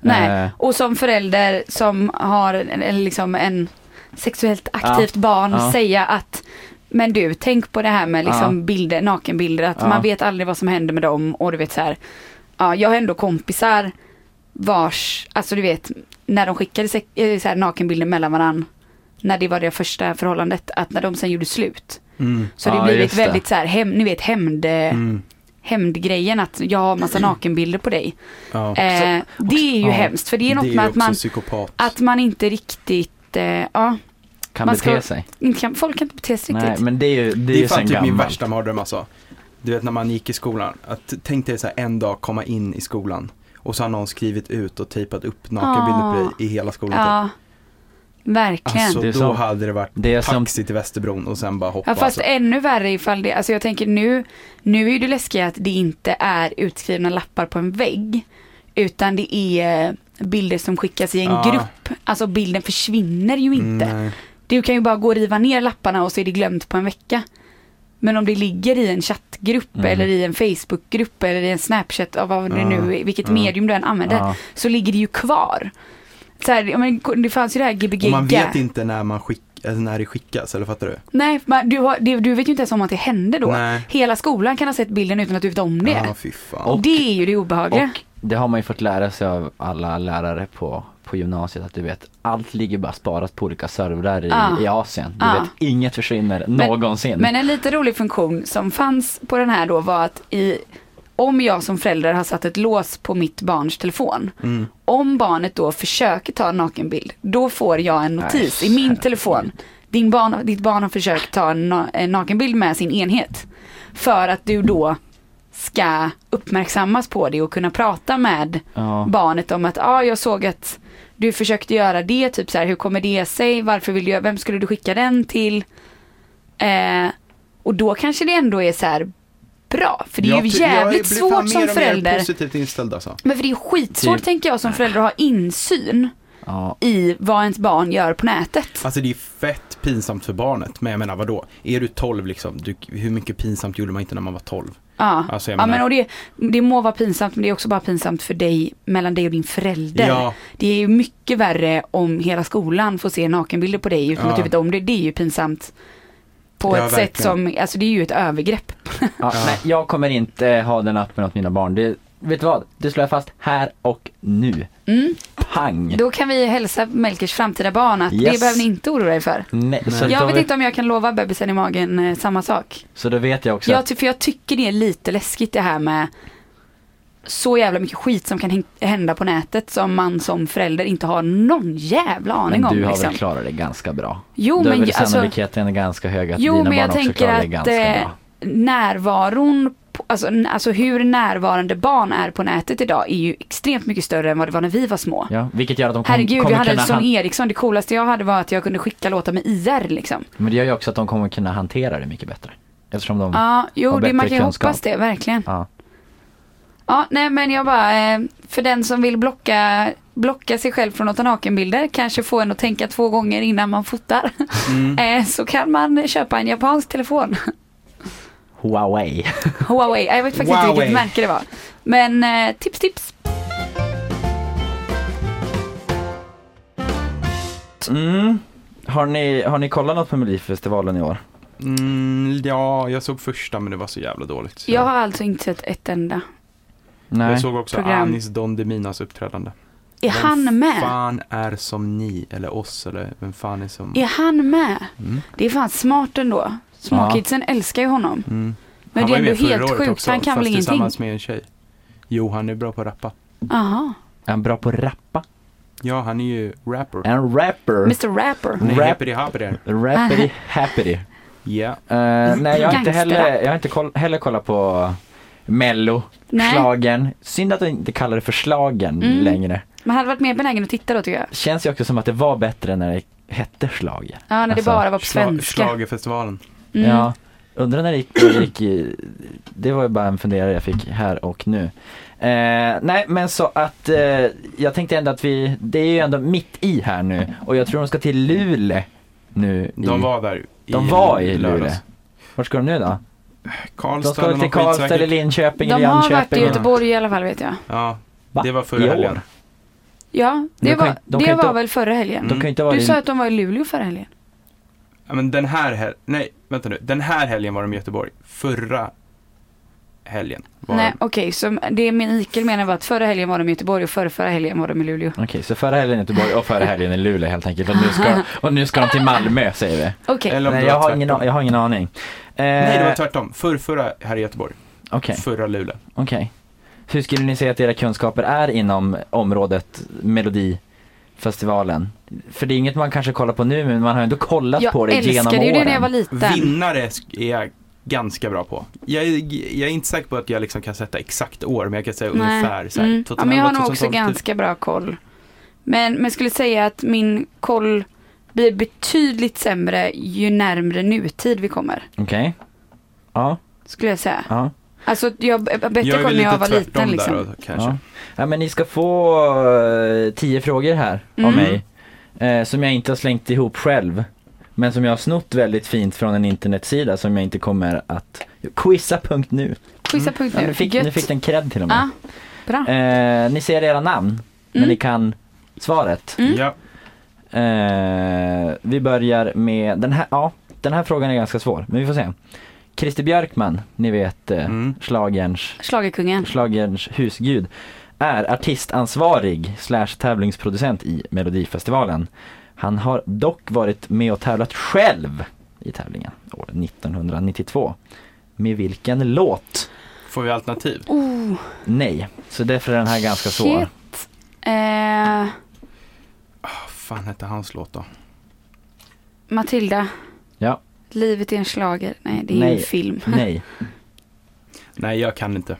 [SPEAKER 2] Nej.
[SPEAKER 3] Eh,
[SPEAKER 2] Och som förälder som har en, en, liksom en sexuellt aktivt barn
[SPEAKER 3] Ja.
[SPEAKER 2] säga att men du, tänk på det här med liksom bilder, nakenbilder, att
[SPEAKER 3] Ja.
[SPEAKER 2] man vet aldrig vad som händer med dem och du vet så här. Ja, jag har ändå kompisar vars, alltså du vet, när de skickade sex, eh, så här, nakenbilder mellan varandra, när det var det första förhållandet, att när de sen gjorde slut.
[SPEAKER 1] Mm.
[SPEAKER 2] Så det
[SPEAKER 3] Ja,
[SPEAKER 2] blivit
[SPEAKER 3] just det.
[SPEAKER 2] väldigt så här, hem, ni vet hämnd,
[SPEAKER 1] Mm.
[SPEAKER 2] hämndgrejen att jag har massa nakenbilder på dig.
[SPEAKER 1] Ja.
[SPEAKER 2] Eh, det är ju
[SPEAKER 3] ja,
[SPEAKER 2] hemskt för det är något
[SPEAKER 1] det är
[SPEAKER 2] med
[SPEAKER 1] ju
[SPEAKER 2] att
[SPEAKER 1] också
[SPEAKER 2] man,
[SPEAKER 1] psykopat.
[SPEAKER 2] att man inte riktigt, eh, ja,
[SPEAKER 3] kan
[SPEAKER 2] Man
[SPEAKER 3] bete
[SPEAKER 2] ska-
[SPEAKER 3] sig.
[SPEAKER 2] inte kan, folk kan inte bete sig
[SPEAKER 3] Nej
[SPEAKER 2] riktigt.
[SPEAKER 3] men det är ju, det är
[SPEAKER 1] Det är
[SPEAKER 3] ju sen
[SPEAKER 1] fan typ min
[SPEAKER 3] gammalt.
[SPEAKER 1] värsta mardröm alltså. Du vet när man gick i skolan, att tänk dig så här en dag komma in i skolan och så har någon skrivit ut och tejpat upp nakenbilder på dig i hela skolan. typ.
[SPEAKER 2] Ah. ja, verkligen.
[SPEAKER 1] Alltså
[SPEAKER 3] Det är
[SPEAKER 1] då
[SPEAKER 3] som-
[SPEAKER 1] hade det varit
[SPEAKER 3] Det är som
[SPEAKER 1] taxi till Västerbron och sen bara hoppa.
[SPEAKER 2] Ja fast
[SPEAKER 1] alltså.
[SPEAKER 2] ännu värre ifall det, alltså jag tänker nu, nu är ju det läskiga att det inte är utskrivna lappar på en vägg. Utan det är eh, bilder som skickas i en
[SPEAKER 1] Ja. Mm.
[SPEAKER 2] grupp. Alltså bilden försvinner ju inte.
[SPEAKER 1] Nej.
[SPEAKER 2] Du kan ju bara gå och riva ner lapparna och så är det glömt på en vecka. Men om det ligger i en chattgrupp
[SPEAKER 3] Mm.
[SPEAKER 2] eller i en Facebookgrupp eller i en Snapchat, av vad det
[SPEAKER 1] Ja,
[SPEAKER 2] nu är, vilket
[SPEAKER 1] ja.
[SPEAKER 2] medium du än använder,
[SPEAKER 3] Ja.
[SPEAKER 2] så ligger det ju kvar. Så här, ja, men det fanns ju det här
[SPEAKER 1] Och
[SPEAKER 2] Gbg.
[SPEAKER 1] man vet inte när, man skick, alltså när det skickas, eller fattar du?
[SPEAKER 2] Nej, men du, har, du, du vet ju inte ens om att det hände då.
[SPEAKER 1] Nej.
[SPEAKER 2] Hela skolan kan ha sett bilden utan att du vet om det.
[SPEAKER 1] Ja, fy fan.
[SPEAKER 3] och-
[SPEAKER 2] det är ju det obehagliga.
[SPEAKER 3] Och det har man ju fått lära sig av alla lärare på, på gymnasiet att du vet, allt ligger bara sparat på olika servrar i,
[SPEAKER 2] Ja.
[SPEAKER 3] i Asien. Du
[SPEAKER 2] Ja.
[SPEAKER 3] vet, inget försvinner någonsin.
[SPEAKER 2] Ah. Men en lite rolig funktion som fanns på den här då var att i, om jag som förälder har satt ett lås på mitt barns telefon.
[SPEAKER 1] Mm.
[SPEAKER 2] Om barnet då försöker ta en nakenbild, då får jag en notis
[SPEAKER 3] Nej,
[SPEAKER 2] i min
[SPEAKER 3] herregud.
[SPEAKER 2] telefon. Din barn, ditt barn har försökt ta en, na- en nakenbild med sin enhet. För att du då ska uppmärksammas på det och kunna prata med
[SPEAKER 3] ja.
[SPEAKER 2] barnet om att ja, ah, jag såg att du försökte göra det, typ så här, hur kommer det sig, varför vill du, vem skulle du skicka den till? Eh, och då kanske det ändå är så här bra, för det är
[SPEAKER 1] Jag
[SPEAKER 2] ju
[SPEAKER 1] ty- jag
[SPEAKER 2] jävligt
[SPEAKER 1] blir fan
[SPEAKER 2] svårt som
[SPEAKER 1] mer och mer
[SPEAKER 2] förälder.
[SPEAKER 1] positivt inställd alltså.
[SPEAKER 2] Men för det är skitsvårt
[SPEAKER 3] Typ.
[SPEAKER 2] tänker jag som förälder att ha insyn
[SPEAKER 3] Ja. Ah,
[SPEAKER 2] i vad ens barn gör på nätet.
[SPEAKER 1] Alltså det är fett pinsamt för barnet, men jag menar vadå? Är du 12 liksom, du, hur mycket pinsamt gjorde man inte när man var 12?
[SPEAKER 2] Ja.
[SPEAKER 1] Alltså jag
[SPEAKER 2] Ja
[SPEAKER 1] menar,
[SPEAKER 2] men och det, det må vara pinsamt men det är också bara pinsamt för dig, mellan dig och din förälder.
[SPEAKER 1] ja,
[SPEAKER 2] Det är ju mycket värre om hela skolan får se nakenbilder på dig utan
[SPEAKER 1] Ja.
[SPEAKER 2] att du vet om det. Det är ju pinsamt. På
[SPEAKER 1] Ja,
[SPEAKER 2] ett sätt
[SPEAKER 1] verkligen.
[SPEAKER 2] som, alltså det är ju ett övergrepp.
[SPEAKER 3] Ja,
[SPEAKER 1] Ja.
[SPEAKER 3] Nej, jag kommer inte ha den appen åt mina barn. Det, vet du vad? Det slår jag fast här och nu.
[SPEAKER 2] Mm.
[SPEAKER 3] Pang!
[SPEAKER 2] Då kan vi hälsa Melkers framtida barn att det
[SPEAKER 3] Yes.
[SPEAKER 2] behöver ni inte oroa er för.
[SPEAKER 3] Nej, så,
[SPEAKER 1] Nej.
[SPEAKER 3] då
[SPEAKER 2] Jag vet
[SPEAKER 3] vet-
[SPEAKER 2] inte om jag kan lova bebisen i magen eh, samma sak.
[SPEAKER 3] så då vet jag också.
[SPEAKER 2] Jag, ty- för jag tycker det är lite läskigt det här med så jävla mycket skit som kan häng- hända på nätet som man som förälder inte har någon jävla aning
[SPEAKER 3] men
[SPEAKER 2] om.
[SPEAKER 3] du har
[SPEAKER 2] liksom.
[SPEAKER 3] väl klarat det ganska bra?
[SPEAKER 2] Jo
[SPEAKER 3] då är
[SPEAKER 2] men
[SPEAKER 3] väl
[SPEAKER 2] ju- alltså,
[SPEAKER 3] sannolikheten ganska hög att
[SPEAKER 2] Jo,
[SPEAKER 3] dina
[SPEAKER 2] men jag
[SPEAKER 3] barn också
[SPEAKER 2] tänker
[SPEAKER 3] klarar det
[SPEAKER 2] att,
[SPEAKER 3] ganska
[SPEAKER 2] eh,
[SPEAKER 3] bra.
[SPEAKER 2] närvaron, på- alltså, n- alltså hur närvarande barn är på nätet idag är ju extremt mycket större än vad det var när vi var små.
[SPEAKER 3] Ja, vilket gör att de kom,
[SPEAKER 2] Herregud, jag
[SPEAKER 3] kommer
[SPEAKER 2] hade
[SPEAKER 3] kunna...
[SPEAKER 2] Son
[SPEAKER 3] han-
[SPEAKER 2] Eriksson, det coolaste jag hade var att jag kunde skicka låtar med IR liksom.
[SPEAKER 3] Men det gör ju också att de kommer kunna hantera det mycket bättre. Eftersom de...
[SPEAKER 2] Ja, jo,
[SPEAKER 3] Och
[SPEAKER 2] det, man
[SPEAKER 3] bättre
[SPEAKER 2] kan ju
[SPEAKER 3] kunskap.
[SPEAKER 2] hoppas det, verkligen.
[SPEAKER 3] Ja.
[SPEAKER 2] Ja, nej men jag bara, eh, för den som vill blocka, blocka sig själv från att ta nakenbilder, kanske få en att tänka två gånger innan man fotar,
[SPEAKER 1] mm.
[SPEAKER 2] eh, så kan man köpa en japansk telefon.
[SPEAKER 3] Huawei.
[SPEAKER 2] Huawei, jag vet faktiskt inte
[SPEAKER 1] Huawei.
[SPEAKER 2] vilket märke det var. Men eh, tips tips.
[SPEAKER 3] Mm. Har, ni, har ni kollat något på Melodifestivalen i år?
[SPEAKER 1] Mm, ja, jag såg första men det var så jävla dåligt. Så
[SPEAKER 2] Jag har alltså inte sett ett enda.
[SPEAKER 1] Jag
[SPEAKER 3] Nej.
[SPEAKER 1] såg också
[SPEAKER 2] Program.
[SPEAKER 1] Anis Don Deminas uppträdande.
[SPEAKER 2] Är
[SPEAKER 1] vem
[SPEAKER 2] han med?
[SPEAKER 1] fan är som ni, eller oss, eller vem fan är som...
[SPEAKER 2] Är han med?
[SPEAKER 1] Mm.
[SPEAKER 2] Det är fan smart ändå. Småkidsen älskar ju honom.
[SPEAKER 1] Mm.
[SPEAKER 2] Men
[SPEAKER 1] Han
[SPEAKER 2] det
[SPEAKER 1] var
[SPEAKER 2] är
[SPEAKER 1] ju
[SPEAKER 2] ändå
[SPEAKER 1] med förra
[SPEAKER 2] helt
[SPEAKER 1] året
[SPEAKER 2] sjukt,
[SPEAKER 1] också,
[SPEAKER 2] han kan
[SPEAKER 1] fast
[SPEAKER 2] väl ingenting.
[SPEAKER 1] tillsammans med en tjej. Jo, han är bra på att rappa.
[SPEAKER 2] Jaha.
[SPEAKER 3] Är han bra på att rappa?
[SPEAKER 1] Ja, han är ju rapper.
[SPEAKER 3] Är han rapper?
[SPEAKER 2] Mr Rapper.
[SPEAKER 1] Nej,
[SPEAKER 3] Rap-
[SPEAKER 1] rappity hoppity.
[SPEAKER 3] Rappity happity.
[SPEAKER 1] Ja.
[SPEAKER 3] Eh, nej, jag har inte, heller,
[SPEAKER 2] Gangsterrap.
[SPEAKER 3] jag har inte koll, heller kollat på Mello,
[SPEAKER 2] Nej,
[SPEAKER 3] slagen. Synd att de inte kallar det för slagen
[SPEAKER 2] Mm.
[SPEAKER 3] längre.
[SPEAKER 2] man hade varit mer benägen att titta då tycker jag.
[SPEAKER 3] Känns ju också som att det var bättre när det hette slagen.
[SPEAKER 2] Ja, när det
[SPEAKER 3] Alltså,
[SPEAKER 2] bara var på
[SPEAKER 1] Schla-
[SPEAKER 2] svenska.
[SPEAKER 1] Schlagerfestivalen.
[SPEAKER 2] Mm.
[SPEAKER 3] Ja, undrar när det gick, när det gick i, det var ju bara en funderare jag fick här och nu. Eh, nej men så att eh, jag tänkte ändå att vi, det är ju ändå mitt i här nu och jag tror de ska till Luleå nu. i-
[SPEAKER 1] De var där.
[SPEAKER 3] de var i Luleå. Vart ska de nu då? De
[SPEAKER 1] Karlstad
[SPEAKER 3] ska
[SPEAKER 1] eller
[SPEAKER 3] till
[SPEAKER 1] något
[SPEAKER 3] Karlstad eller
[SPEAKER 1] skitsäkert.
[SPEAKER 3] Linköping
[SPEAKER 2] De
[SPEAKER 3] eller
[SPEAKER 2] har varit i
[SPEAKER 3] Jönköping.
[SPEAKER 2] Göteborg i alla fall vet jag.
[SPEAKER 1] Ja,
[SPEAKER 3] Va?
[SPEAKER 1] det var
[SPEAKER 3] I
[SPEAKER 1] förra
[SPEAKER 3] år?
[SPEAKER 1] helgen.
[SPEAKER 2] Ja, det
[SPEAKER 3] De kan-
[SPEAKER 2] var,
[SPEAKER 3] de
[SPEAKER 2] det
[SPEAKER 3] kan
[SPEAKER 2] var
[SPEAKER 3] inte-
[SPEAKER 2] väl förra helgen.
[SPEAKER 3] De kan ju inte vara
[SPEAKER 2] Du
[SPEAKER 3] i-
[SPEAKER 2] sa att de var i Luleå förra helgen.
[SPEAKER 1] Ja, men den här helgen, nej vänta nu, den här helgen var de i Göteborg. Förra helgen var
[SPEAKER 2] Nej,
[SPEAKER 1] Nej.
[SPEAKER 2] okej, så det Mikael menar var att förra helgen var de i Göteborg och förra, förra helgen var de i Luleå.
[SPEAKER 3] Okej, så förra helgen i Göteborg och förra helgen i Luleå helt enkelt. Och nu ska, och nu ska de till Malmö säger vi.
[SPEAKER 2] Okej,
[SPEAKER 1] Eller om
[SPEAKER 3] Nej,
[SPEAKER 1] det var
[SPEAKER 3] jag, har
[SPEAKER 1] tvärtom.
[SPEAKER 3] ingen, a- jag har ingen aning. Eh,
[SPEAKER 1] Nej, det var tvärtom. Förrförra här i Göteborg,
[SPEAKER 3] Okej,
[SPEAKER 1] förra Luleå.
[SPEAKER 3] okej. Hur skulle ni säga att era kunskaper är inom området Melodifestivalen? För det är inget man kanske kollar på nu, men man har ändå kollat
[SPEAKER 2] jag
[SPEAKER 3] på det genom
[SPEAKER 2] älskade ju det när jag var
[SPEAKER 3] åren.
[SPEAKER 2] liten.
[SPEAKER 1] Vinnare sk- är jag ganska bra på. Jag är, jag är inte säker på att jag liksom kan sätta exakt år, men jag kan säga ungefär så här,
[SPEAKER 2] Mm. Ja, men jag har nog också
[SPEAKER 1] 2012, typ.
[SPEAKER 2] ganska bra koll. Men, men jag skulle säga att min koll blir betydligt sämre ju närmre nutid vi kommer.
[SPEAKER 3] Okej. Ja,
[SPEAKER 2] Skulle jag säga.
[SPEAKER 3] ja,
[SPEAKER 2] Alltså jag har bättre
[SPEAKER 1] Jag är väl
[SPEAKER 2] koll när
[SPEAKER 1] lite
[SPEAKER 2] jag var
[SPEAKER 1] tvärtom
[SPEAKER 2] liten
[SPEAKER 1] där
[SPEAKER 2] liksom.
[SPEAKER 1] då, kanske.
[SPEAKER 3] ja. Ja, men ni ska få eh, tio frågor här av
[SPEAKER 2] Mm.
[SPEAKER 3] mig. Eh, som jag inte har slängt ihop själv. Men som jag har snott väldigt fint från en internetsida som jag inte kommer att... Quizza.nu.
[SPEAKER 2] Quizza punkt
[SPEAKER 3] Mm. Ja,
[SPEAKER 2] nu.
[SPEAKER 3] nu, fick,
[SPEAKER 2] Gött.
[SPEAKER 3] nu fick den cred till och med.
[SPEAKER 2] Ja, bra.
[SPEAKER 3] Eh, ni ser era namn, men
[SPEAKER 2] Mm.
[SPEAKER 3] ni kan svaret.
[SPEAKER 2] Mm.
[SPEAKER 1] Ja,
[SPEAKER 3] Eh, vi börjar med den här, ja, den här frågan är ganska svår, men vi får se. Christer Björkman, ni vet eh,
[SPEAKER 1] Mm.
[SPEAKER 3] schlagerns,
[SPEAKER 2] Schlagerkungen.
[SPEAKER 3] schlagerns husgud, är artistansvarig slash tävlingsproducent i Melodifestivalen. Han har dock varit med och tävlat själv i tävlingen år 1992. Med vilken låt?
[SPEAKER 1] får vi alternativ?
[SPEAKER 2] Oh,
[SPEAKER 3] Nej, så därför är den här ganska svår.
[SPEAKER 2] Shit. eh,
[SPEAKER 1] Vad fan hette hans låt då?
[SPEAKER 2] Matilda.
[SPEAKER 3] Ja.
[SPEAKER 2] Livet är en slager. Nej, det är
[SPEAKER 3] Nej.
[SPEAKER 2] en film.
[SPEAKER 3] Nej.
[SPEAKER 1] Nej, jag kan inte.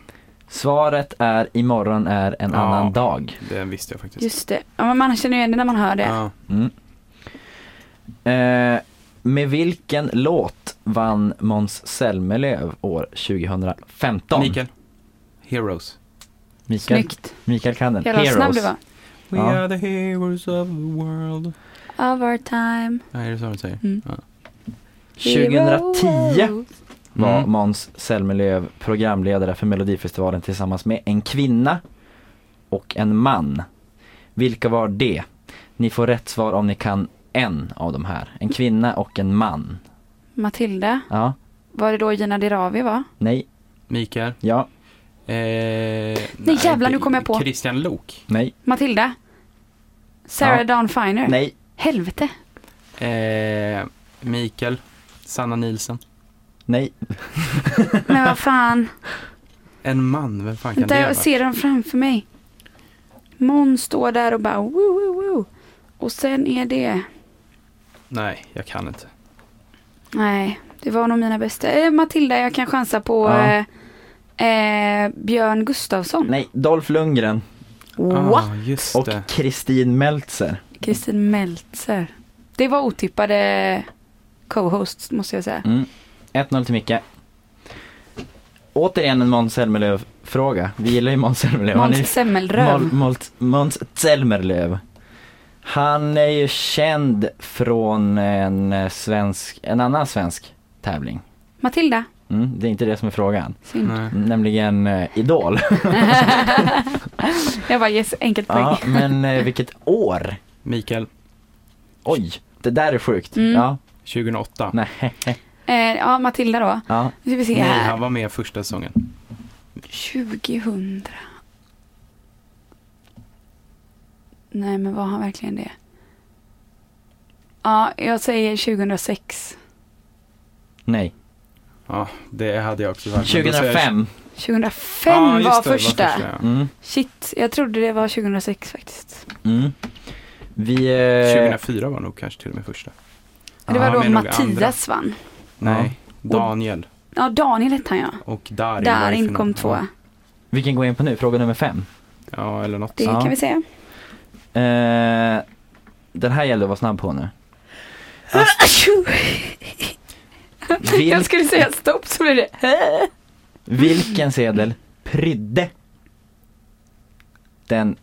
[SPEAKER 3] Svaret är imorgon är en
[SPEAKER 1] Ja.
[SPEAKER 3] annan dag.
[SPEAKER 1] Det visste jag faktiskt.
[SPEAKER 2] Just det. Ja, men man känner ju igen det när man hör det.
[SPEAKER 1] Ja.
[SPEAKER 3] Mm. Eh, med vilken låt vann Måns Zelmerlöw år 2015?
[SPEAKER 1] Mikael. Heroes.
[SPEAKER 3] Mikael,
[SPEAKER 2] Snyggt.
[SPEAKER 3] Mikael kan den.
[SPEAKER 2] Jävlar vad snabb du
[SPEAKER 3] Heroes.
[SPEAKER 2] var.
[SPEAKER 1] We
[SPEAKER 3] Ja.
[SPEAKER 1] are the heroes of the world.
[SPEAKER 2] Of our time.
[SPEAKER 1] Nej, är det så de säger?
[SPEAKER 2] Mm.
[SPEAKER 1] Ja.
[SPEAKER 3] 2010
[SPEAKER 2] Heroes.
[SPEAKER 3] var
[SPEAKER 1] Mm.
[SPEAKER 3] Måns Zelmerlöw programledare för Melodifestivalen tillsammans med en kvinna och en man. Vilka var det? Ni får rätt svar om ni kan en av de här. En kvinna och en man.
[SPEAKER 2] Matilda.
[SPEAKER 3] Ja,
[SPEAKER 2] Var det då Gina Dirawi var?
[SPEAKER 3] nej,
[SPEAKER 1] Mikael.
[SPEAKER 3] ja,
[SPEAKER 1] Eh, nej,
[SPEAKER 2] jävlar, nu
[SPEAKER 1] det-
[SPEAKER 2] kom jag på.
[SPEAKER 1] Christian Lok.
[SPEAKER 3] Nej,
[SPEAKER 2] Matilda. Sarah
[SPEAKER 3] Ja.
[SPEAKER 2] Dawn Finer.
[SPEAKER 3] nej,
[SPEAKER 2] Helvete.
[SPEAKER 1] Eh, Mikael. Sanna Nilsson.
[SPEAKER 3] nej.
[SPEAKER 2] Men vad fan.
[SPEAKER 1] En man, vem fan kan
[SPEAKER 2] Vänta,
[SPEAKER 1] det vara?
[SPEAKER 2] jag ser dem framför mig. Måns står där och bara woo, woo, woo. Och sen är det.
[SPEAKER 1] Nej, jag kan inte.
[SPEAKER 2] Nej, det var nog mina bästa. Eh, Matilda, jag kan chansa på
[SPEAKER 3] Ja.
[SPEAKER 2] eh, eh, Björn Gustafsson.
[SPEAKER 3] Nej, Dolph Lundgren
[SPEAKER 1] Ah, just
[SPEAKER 3] och
[SPEAKER 1] det.
[SPEAKER 3] Kristin Meltzer.
[SPEAKER 2] Kristin Meltzer. Det var otippade co-hosts måste jag säga.
[SPEAKER 3] Mm. 1-0 till Micke. Återigen en Måns Zelmerlöw-fråga. Vi gillar ju Måns Zelmerlöw. Han är-
[SPEAKER 2] Måns Semmelröv.
[SPEAKER 3] Mål- Måls- Måns Zelmerlöw. Han är ju känd från en eh, svensk, en annan svensk tävling.
[SPEAKER 2] Matilda.
[SPEAKER 3] Mm, det är inte det som är frågan.
[SPEAKER 2] Synd.
[SPEAKER 1] Nej.
[SPEAKER 3] Nämligen eh, Idol.
[SPEAKER 2] jag bara yes, enkelt poäng.
[SPEAKER 3] ja, men eh, vilket år?
[SPEAKER 1] Mikael.
[SPEAKER 3] Oj, det där är sjukt.
[SPEAKER 2] Mm.
[SPEAKER 3] Ja,
[SPEAKER 1] 2008. Nej,
[SPEAKER 3] nej.
[SPEAKER 2] Eh, ja, Matilda då.
[SPEAKER 3] Ja,
[SPEAKER 2] Nu ska vi se
[SPEAKER 1] han
[SPEAKER 2] här.
[SPEAKER 1] var med första säsongen.
[SPEAKER 2] 2000. Nej, men var han verkligen det? Ja, jag säger 2006.
[SPEAKER 3] nej.
[SPEAKER 1] Ja, det hade jag också sagt. Men då säger jag-
[SPEAKER 3] 2005.
[SPEAKER 2] 2005
[SPEAKER 1] Ja,
[SPEAKER 2] var,
[SPEAKER 1] just det,
[SPEAKER 2] första.
[SPEAKER 1] ja.
[SPEAKER 3] Mm.
[SPEAKER 2] Shit, jag trodde det var 2006 faktiskt.
[SPEAKER 3] Mm. Vi, eh,
[SPEAKER 1] 2004 var nog kanske till och med första.
[SPEAKER 2] det
[SPEAKER 1] Ja,
[SPEAKER 2] var då
[SPEAKER 1] men nog andra.
[SPEAKER 2] Mattias vann.
[SPEAKER 1] Nej, Daniel
[SPEAKER 2] Ja, Daniel hette han ja.
[SPEAKER 1] och Darin var i
[SPEAKER 2] Darin
[SPEAKER 1] finalen.
[SPEAKER 2] kom tvåa.
[SPEAKER 3] Vi kan gå in på nu, fråga nummer fem.
[SPEAKER 1] Ja, eller något.
[SPEAKER 2] Det
[SPEAKER 3] Ja.
[SPEAKER 2] kan vi säga.
[SPEAKER 3] Eh, den här gäller att vara snabb på nu. Alltså, vil,
[SPEAKER 2] Jag skulle säga stopp så blev det
[SPEAKER 3] vilken sedel prydde den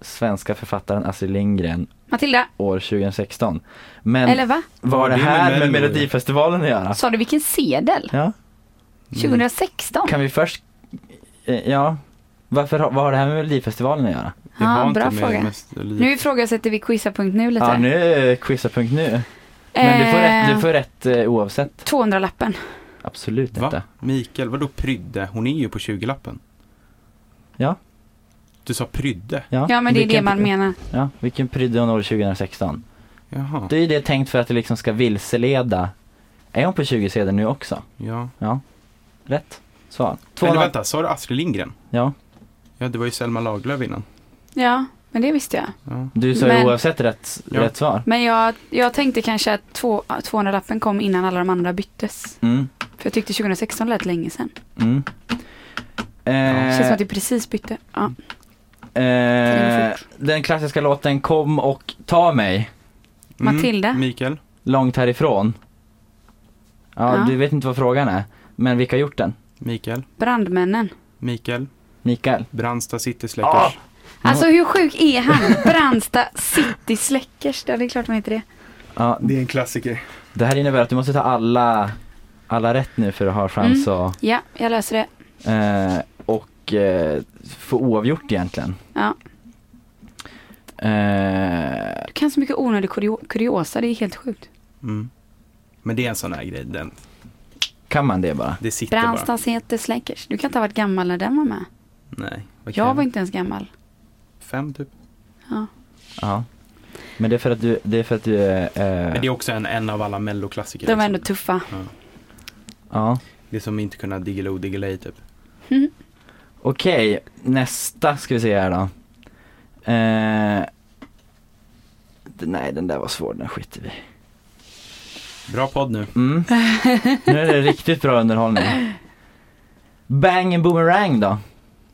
[SPEAKER 3] svenska författaren Astrid Lindgren
[SPEAKER 2] Matilda,
[SPEAKER 3] år 2016? Men Alltså-
[SPEAKER 2] eller Alltså- va?
[SPEAKER 3] var det
[SPEAKER 1] Det är
[SPEAKER 3] här
[SPEAKER 1] med
[SPEAKER 3] med
[SPEAKER 1] Melody.
[SPEAKER 3] Melodifestivalen att göra?
[SPEAKER 2] Sa du vilken sedel?
[SPEAKER 3] Ja,
[SPEAKER 1] Mm.
[SPEAKER 2] 2016?
[SPEAKER 3] kan vi först, eh, ja, varför, har- vad har det här med Melodifestivalen att göra?
[SPEAKER 1] Det
[SPEAKER 2] Ja,
[SPEAKER 1] var
[SPEAKER 2] bra
[SPEAKER 1] inte med
[SPEAKER 2] fråga.
[SPEAKER 1] mest- eller-
[SPEAKER 2] Nu ifrågasätter vi quizza.nu lite.
[SPEAKER 3] Ja, nu är det quizza.nu. Men du får rätt, du får rätt eh, oavsett.
[SPEAKER 2] 200 lappen.
[SPEAKER 3] Absolut
[SPEAKER 1] Va?
[SPEAKER 3] inte.
[SPEAKER 1] Mikael, vadå prydde? Hon är ju på 20-lappen.
[SPEAKER 3] Ja.
[SPEAKER 1] Du sa prydde?
[SPEAKER 2] Ja men det är
[SPEAKER 3] vilken-
[SPEAKER 2] det man menar.
[SPEAKER 3] Ja, vilken prydde hon år 2016?
[SPEAKER 1] Jaha.
[SPEAKER 3] Då är det tänkt för att det liksom ska vilseleda. Är hon på 20 sedeln nu också?
[SPEAKER 1] Ja.
[SPEAKER 3] Rätt svar.
[SPEAKER 1] Eller
[SPEAKER 3] 200,
[SPEAKER 1] vänta, sa du Astrid Lindgren?
[SPEAKER 3] ja,
[SPEAKER 1] Ja, det var ju Selma Lagerlöf innan.
[SPEAKER 2] Ja, men det visste jag.
[SPEAKER 1] Ja. Mm.
[SPEAKER 3] du sa ju
[SPEAKER 2] Men-
[SPEAKER 3] oavsett rätt,
[SPEAKER 1] Ja.
[SPEAKER 3] rätt svar.
[SPEAKER 2] Men jag, jag tänkte kanske att två- 200 lappen kom innan alla de andra byttes.
[SPEAKER 3] Mm,
[SPEAKER 2] För jag tyckte 2016 lät länge sedan.
[SPEAKER 3] mm.
[SPEAKER 2] Det känns som
[SPEAKER 3] Eh,
[SPEAKER 2] att det precis bytte. Ja.
[SPEAKER 3] eh, den klassiska låten Kom och ta mig
[SPEAKER 2] Matilda.
[SPEAKER 1] Mikael.
[SPEAKER 3] långt härifrån. Ja,
[SPEAKER 2] Ja.
[SPEAKER 3] du vet inte vad frågan är. Men vilka har gjort den?
[SPEAKER 1] Mikael.
[SPEAKER 2] Brandmännen.
[SPEAKER 1] Mikael.
[SPEAKER 3] Mikael?
[SPEAKER 1] Brandsta City
[SPEAKER 3] Ah!
[SPEAKER 1] Släckers.
[SPEAKER 2] Alltså hur sjuk är han? Brandsta City Släckers. Ja det är klart man heter det.
[SPEAKER 3] Ja,
[SPEAKER 1] är en klassiker.
[SPEAKER 3] det här innebär att du måste ta alla, alla rätt nu för att ha chans att
[SPEAKER 2] Ja, jag löser det.
[SPEAKER 3] Eh, och eh, få oavgjort egentligen.
[SPEAKER 2] Ja.
[SPEAKER 3] Eh,
[SPEAKER 2] Du kan så mycket onödig kurio- kuriosa, det är helt sjukt.
[SPEAKER 1] Mm. Men det är en sån här grej, den,
[SPEAKER 3] kan man det bara?
[SPEAKER 1] det sitter bara.
[SPEAKER 2] Brandsta City Släckers. Du kan inte ha varit gammal när den var med.
[SPEAKER 1] Nej, vad
[SPEAKER 2] Jag
[SPEAKER 1] kan-
[SPEAKER 2] var inte ens gammal.
[SPEAKER 1] Fem typ.
[SPEAKER 3] Ja. Men det är för att du, det är för att du är, eh,
[SPEAKER 1] Men det är också en, en av alla melloklassiker.
[SPEAKER 2] De var
[SPEAKER 1] liksom.
[SPEAKER 2] ändå tuffa.
[SPEAKER 3] ja.
[SPEAKER 1] Det är som inte kunna diggiloo diggiley typ.
[SPEAKER 3] Okej, nästa ska vi se här då. Eh, d- nej den där var svår, den skiter vi i.
[SPEAKER 1] Bra podd nu.
[SPEAKER 3] mm. Nu är det riktigt bra underhållning. Bang and boomerang då?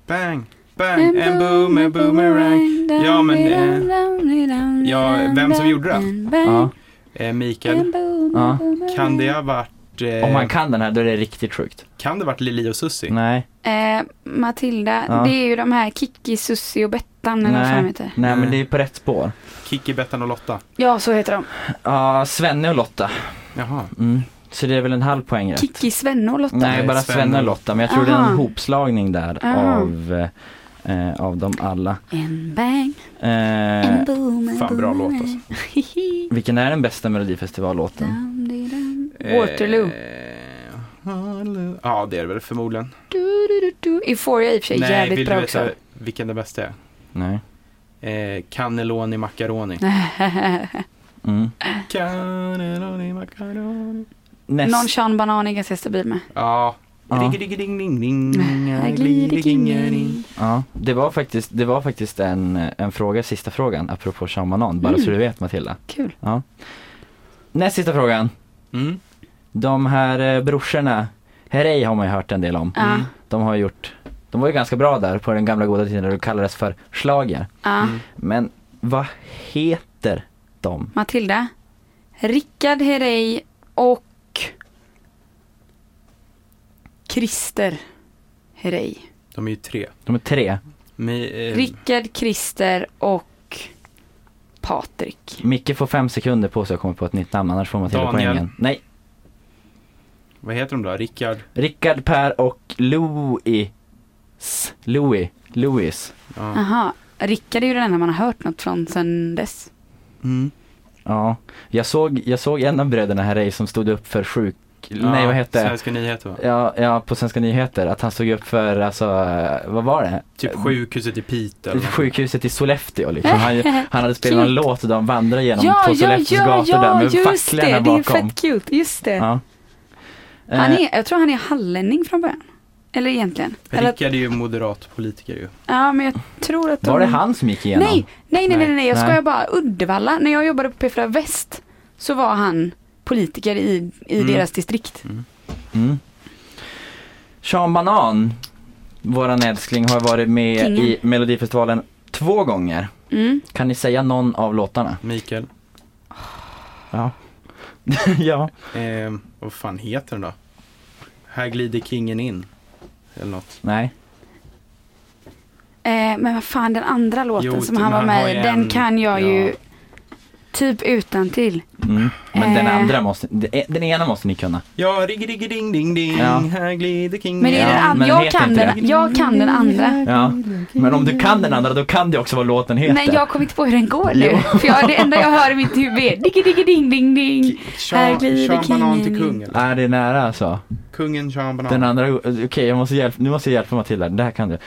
[SPEAKER 1] Bang, bang, en boom, en boomerang. Ja, men, eh, ja, vem som gjorde det?
[SPEAKER 3] Ja.
[SPEAKER 1] Eh, Mikael,
[SPEAKER 3] Ja.
[SPEAKER 1] kan det ha varit... Eh,
[SPEAKER 3] Om man kan den här då är det riktigt sjukt.
[SPEAKER 1] Kan det varit Lili och Susie?
[SPEAKER 3] Nej.
[SPEAKER 2] Eh, Matilda,
[SPEAKER 3] Ja.
[SPEAKER 2] det är ju de här Kikki, Sussi och Bettan eller vad
[SPEAKER 3] Nej.
[SPEAKER 2] fan de heter.
[SPEAKER 3] Nej men
[SPEAKER 1] Nej.
[SPEAKER 3] det är på rätt spår.
[SPEAKER 1] Kikki, Bettan och Lotta?
[SPEAKER 2] Ja, så heter de.
[SPEAKER 3] Ja, Svenne och Lotta.
[SPEAKER 1] Jaha.
[SPEAKER 3] Mm. Så det är väl en halv poäng rätt?
[SPEAKER 2] Kikki, Svenne och Lotta.
[SPEAKER 3] Nej,
[SPEAKER 1] Nej,
[SPEAKER 3] bara
[SPEAKER 1] Svenne
[SPEAKER 3] Svenne och
[SPEAKER 1] och
[SPEAKER 3] Lotta. Men jag tror det är en
[SPEAKER 2] Aha.
[SPEAKER 3] hopslagning där
[SPEAKER 2] Aha.
[SPEAKER 3] av, eh, eh, av dem alla.
[SPEAKER 2] En bang,
[SPEAKER 3] Eh,
[SPEAKER 2] en boom, en
[SPEAKER 1] fan, bra låt,
[SPEAKER 2] boomerang.
[SPEAKER 1] alltså.
[SPEAKER 2] Hihi.
[SPEAKER 3] vilken är den bästa melodifestivallåten?
[SPEAKER 2] Dam, di, dam. Waterloo.
[SPEAKER 1] Eh, Waterloo. Ja, det är det väl förmodligen.
[SPEAKER 2] Du, du, du, du. Euphoria i och för sig jävligt
[SPEAKER 1] vill
[SPEAKER 2] bra
[SPEAKER 1] du veta
[SPEAKER 2] också.
[SPEAKER 1] vilken det bästa är?
[SPEAKER 3] Nej.
[SPEAKER 1] Eh, cannelloni macaroni.
[SPEAKER 3] Mm.
[SPEAKER 1] Cannelloni macaroni.
[SPEAKER 3] Näst,
[SPEAKER 2] Någon Sean Banan är ganska stabil med.
[SPEAKER 1] Ja.
[SPEAKER 3] Ja.
[SPEAKER 1] Riggediggedigning-ding.
[SPEAKER 2] Här glider kingen.
[SPEAKER 3] ja, det var faktiskt, det var faktiskt en, en fråga, sista frågan, apropå Sean Banan. Bara
[SPEAKER 2] Mm.
[SPEAKER 3] så du vet Matilda.
[SPEAKER 2] Kul.
[SPEAKER 3] Näst sista frågan.
[SPEAKER 1] Mm.
[SPEAKER 3] De här eh, brorsorna, Herrey har man ju hört en del om.
[SPEAKER 1] Mm.
[SPEAKER 2] Ja,
[SPEAKER 3] De har gjort, de var ju ganska bra där på den gamla goda tiden när det kallades för slager.
[SPEAKER 2] ja.
[SPEAKER 1] Mm.
[SPEAKER 3] Men vad heter de?
[SPEAKER 2] Matilda. Rickard Herrey och Christer Herrey.
[SPEAKER 1] De är ju tre.
[SPEAKER 3] De är tre.
[SPEAKER 1] Mi, eh,
[SPEAKER 2] Rickard, Christer och Patrik.
[SPEAKER 3] Micke får fem sekunder på sig att komma på ett nytt namn, annars får man till
[SPEAKER 1] Daniel.
[SPEAKER 3] poängen. Nej,
[SPEAKER 1] vad heter de då? Rickard?
[SPEAKER 3] Rickard, Per och Louis. Louis. Louis.
[SPEAKER 1] Ja.
[SPEAKER 2] Aha, Rickard är ju den enda man har hört något från sen dess.
[SPEAKER 1] Mm.
[SPEAKER 3] Ja, jag såg, jag såg en av bröderna Herrey som stod upp för sjuk...
[SPEAKER 1] Ja,
[SPEAKER 3] Nej, vad hette det?
[SPEAKER 1] Svenska nyheter va?
[SPEAKER 3] Ja, ja, på Svenska nyheter, att han stod upp för, alltså, eh, vad var det?
[SPEAKER 1] Typ sjukhuset i Piteå. eller något.
[SPEAKER 3] Sjukhuset i Sollefteå liksom. Han, han hade spelat en
[SPEAKER 2] Cute.
[SPEAKER 3] låt och de vandrade genom
[SPEAKER 2] Ja,
[SPEAKER 3] på
[SPEAKER 2] ja,
[SPEAKER 3] Sollefteås
[SPEAKER 2] ja,
[SPEAKER 3] gator där
[SPEAKER 2] ja,
[SPEAKER 3] med
[SPEAKER 2] just det. Det
[SPEAKER 3] facklarna
[SPEAKER 2] är
[SPEAKER 3] bakom.
[SPEAKER 2] fett cute. Just det.
[SPEAKER 3] Ja.
[SPEAKER 2] Han
[SPEAKER 3] Eh,
[SPEAKER 2] är, jag tror han är hallänning från början. Eller egentligen. Eller, att-
[SPEAKER 1] Rickard är ju moderat politiker ju.
[SPEAKER 2] ja, men jag tror att de...
[SPEAKER 3] Var det han som gick igenom?
[SPEAKER 2] Nej, nej, nej, nej, nej, jag
[SPEAKER 3] Nej.
[SPEAKER 2] skojar bara. Uddevalla, när jag jobbade på P4 Väst så var han politiker i, i
[SPEAKER 1] Mm.
[SPEAKER 2] deras distrikt.
[SPEAKER 3] Mm. Sean Banan, våran älskling, har varit med
[SPEAKER 2] Kingen.
[SPEAKER 3] i Melodifestivalen två gånger.
[SPEAKER 2] Mm.
[SPEAKER 3] Kan ni säga någon av låtarna?
[SPEAKER 1] Mikael.
[SPEAKER 3] Ja. ja.
[SPEAKER 1] Eh, vad fan heter den då? Här glider kingen in. Eller något.
[SPEAKER 3] Nej.
[SPEAKER 2] Eh, men vad fan den andra låten
[SPEAKER 1] Jo,
[SPEAKER 2] som
[SPEAKER 1] men
[SPEAKER 2] han var
[SPEAKER 1] han har
[SPEAKER 2] med i,
[SPEAKER 1] ju
[SPEAKER 2] den
[SPEAKER 1] en-
[SPEAKER 2] kan jag
[SPEAKER 1] ja.
[SPEAKER 2] ju typ utan till.
[SPEAKER 3] Mm. Men den
[SPEAKER 2] Eh.
[SPEAKER 3] andra måste, den- den ena måste ni kunna.
[SPEAKER 1] Ja, rigg rigg ding ding ding.
[SPEAKER 3] Ja.
[SPEAKER 1] Här glider kingen
[SPEAKER 2] Men, det är
[SPEAKER 3] Ja,
[SPEAKER 2] den an-
[SPEAKER 3] men
[SPEAKER 2] jag,
[SPEAKER 3] heter
[SPEAKER 2] kan
[SPEAKER 3] inte
[SPEAKER 2] den, jag kan den andra.
[SPEAKER 3] Ja. Men om du kan den andra då kan det också vad låten heter.
[SPEAKER 2] Nej jag kommer inte på hur den går nu. För jag, det enda jag hör i mitt huvud är diggi diggi ding ding ding. Här
[SPEAKER 1] Sean,
[SPEAKER 2] glider
[SPEAKER 1] Sean Banan till
[SPEAKER 2] kingen in.
[SPEAKER 1] kung. Eller?
[SPEAKER 3] Nej, det är nära alltså.
[SPEAKER 1] Kungen Sean Banan.
[SPEAKER 3] Den andra, okej jag måste hjälpa, nu måste jag hjälpa Matilda, det här kan du.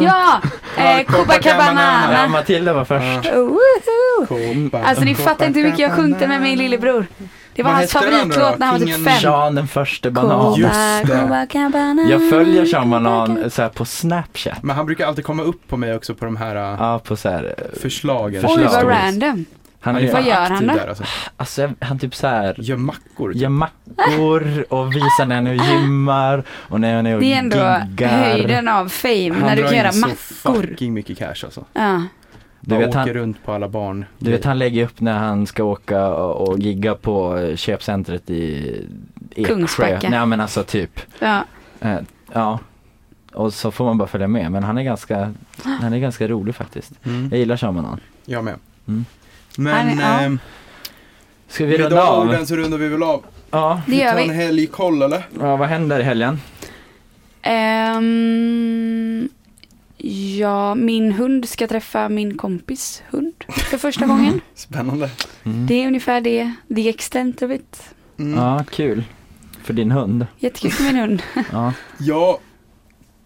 [SPEAKER 2] Ja! Eh,
[SPEAKER 3] Ja,
[SPEAKER 2] Copacabana.
[SPEAKER 3] Matilda var först.
[SPEAKER 2] Woho!
[SPEAKER 1] Kobba-
[SPEAKER 2] Alltså ni fattar inte hur mycket jag sjungit den med min lillebror. Det var
[SPEAKER 1] Vad
[SPEAKER 2] hans
[SPEAKER 1] hette den då?
[SPEAKER 2] favoritlåt när han var typ
[SPEAKER 1] Kingen-
[SPEAKER 2] fem.
[SPEAKER 3] Sean den första banan.
[SPEAKER 1] Cool.
[SPEAKER 2] Copa,
[SPEAKER 1] Just det.
[SPEAKER 2] Copacabana.
[SPEAKER 3] Jag följer Sean Banan så här på Snapchat.
[SPEAKER 1] Men han brukar alltid komma upp på mig också på de här uh,
[SPEAKER 3] Ja, på så här. eh,
[SPEAKER 1] förslagen.
[SPEAKER 2] Oj vad
[SPEAKER 3] Förslag.
[SPEAKER 2] random.
[SPEAKER 3] Han är
[SPEAKER 1] är
[SPEAKER 3] ju,
[SPEAKER 2] Vad
[SPEAKER 1] fan
[SPEAKER 2] gör
[SPEAKER 1] aktiv
[SPEAKER 2] han då?
[SPEAKER 1] Där, alltså.
[SPEAKER 3] alltså, jag- han typ så här
[SPEAKER 1] Gör mackor. typ.
[SPEAKER 3] gör mackor och visar när han är och gymmar och när han är och
[SPEAKER 2] Det är ändå
[SPEAKER 3] giggar.
[SPEAKER 2] höjden av fame
[SPEAKER 1] Han
[SPEAKER 2] när du
[SPEAKER 1] drar
[SPEAKER 2] kan göra
[SPEAKER 1] in så
[SPEAKER 2] mackor.
[SPEAKER 1] fucking mycket cash alltså.
[SPEAKER 2] Ja.
[SPEAKER 3] Du
[SPEAKER 1] Du
[SPEAKER 3] vet,
[SPEAKER 1] åker
[SPEAKER 3] han-
[SPEAKER 1] runt på alla barn.
[SPEAKER 3] Du vet han lägger upp när han ska åka och, och gigga på eh, köpcentret i Eksjö.
[SPEAKER 2] Kungsbacka.
[SPEAKER 3] Nej men alltså typ.
[SPEAKER 2] Ja.
[SPEAKER 3] Eh, ja. Och så får man bara följa med men han är ganska, han är ganska rolig faktiskt.
[SPEAKER 1] Mm.
[SPEAKER 3] Jag gillar Shamanan.
[SPEAKER 1] Jag med.
[SPEAKER 3] Mm.
[SPEAKER 1] Men
[SPEAKER 2] Han är- ja.
[SPEAKER 1] ehm,
[SPEAKER 3] Ska vi
[SPEAKER 1] med
[SPEAKER 3] runda
[SPEAKER 1] de
[SPEAKER 3] av?
[SPEAKER 1] orden så rundar vi väl av.
[SPEAKER 3] Ja.
[SPEAKER 2] Det gör
[SPEAKER 1] tar
[SPEAKER 2] vi.
[SPEAKER 1] en helgkoll eller?
[SPEAKER 3] ja, vad händer i helgen?
[SPEAKER 2] Ehm, ja, min hund ska träffa min kompis hund för första
[SPEAKER 1] Mm.
[SPEAKER 2] gången.
[SPEAKER 1] Spännande.
[SPEAKER 3] Mm.
[SPEAKER 2] Det är ungefär det, the extent of it.
[SPEAKER 1] Mm.
[SPEAKER 3] Ja, kul. För din hund.
[SPEAKER 2] Jättekul för min hund.
[SPEAKER 3] Ja.
[SPEAKER 1] Jag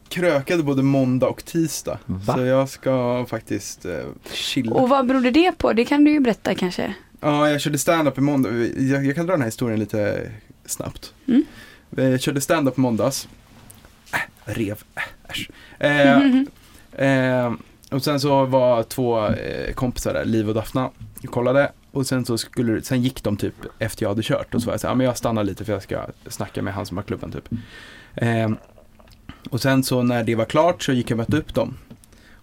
[SPEAKER 1] krökade både måndag och tisdag.
[SPEAKER 3] Va?
[SPEAKER 1] Så jag ska faktiskt eh, chilla.
[SPEAKER 2] Och vad berodde det på? Det kan du ju berätta kanske.
[SPEAKER 1] Ja, jag körde stand-up i måndag. Jag, jag kan dra den här historien lite snabbt.
[SPEAKER 2] Mm.
[SPEAKER 1] Eh, Jag körde stand-up i måndags. Äh, rev, äh, äsch. Eh,
[SPEAKER 2] Mhm.
[SPEAKER 1] eh, och sen så var två eh, kompisar där, Liv och Daphna, och kollade. Och sen så skulle, sen gick de typ efter jag hade kört. Och så var jag så här, "Ja, men jag stannar lite för jag ska snacka med han som har klubben typ. Eh, och sen så när det var klart så gick jag och mötte upp dem.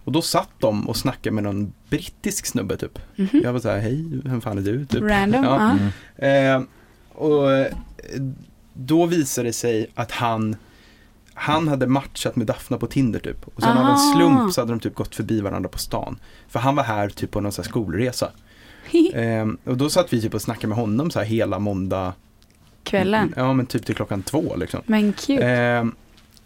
[SPEAKER 1] Och då satt de och snackade med någon brittisk snubbe typ.
[SPEAKER 2] Mhm.
[SPEAKER 1] Jag var så här, hej, vem fan är du? Typ.
[SPEAKER 2] Random.
[SPEAKER 1] Ja.
[SPEAKER 2] Ja.
[SPEAKER 3] Mm.
[SPEAKER 1] Eh, och eh, då visade det sig att han, han hade matchat med Daphna på Tinder typ. Och sen av en
[SPEAKER 2] Aha.
[SPEAKER 1] slump så hade de typ gått förbi varandra på stan. För han var här typ på någon så här skolresa. Eh, och då satt vi typ och snackade med honom så här hela måndag.
[SPEAKER 2] Kvällen.
[SPEAKER 1] Ja men typ till klockan två liksom.
[SPEAKER 2] Men kul.
[SPEAKER 1] Eh,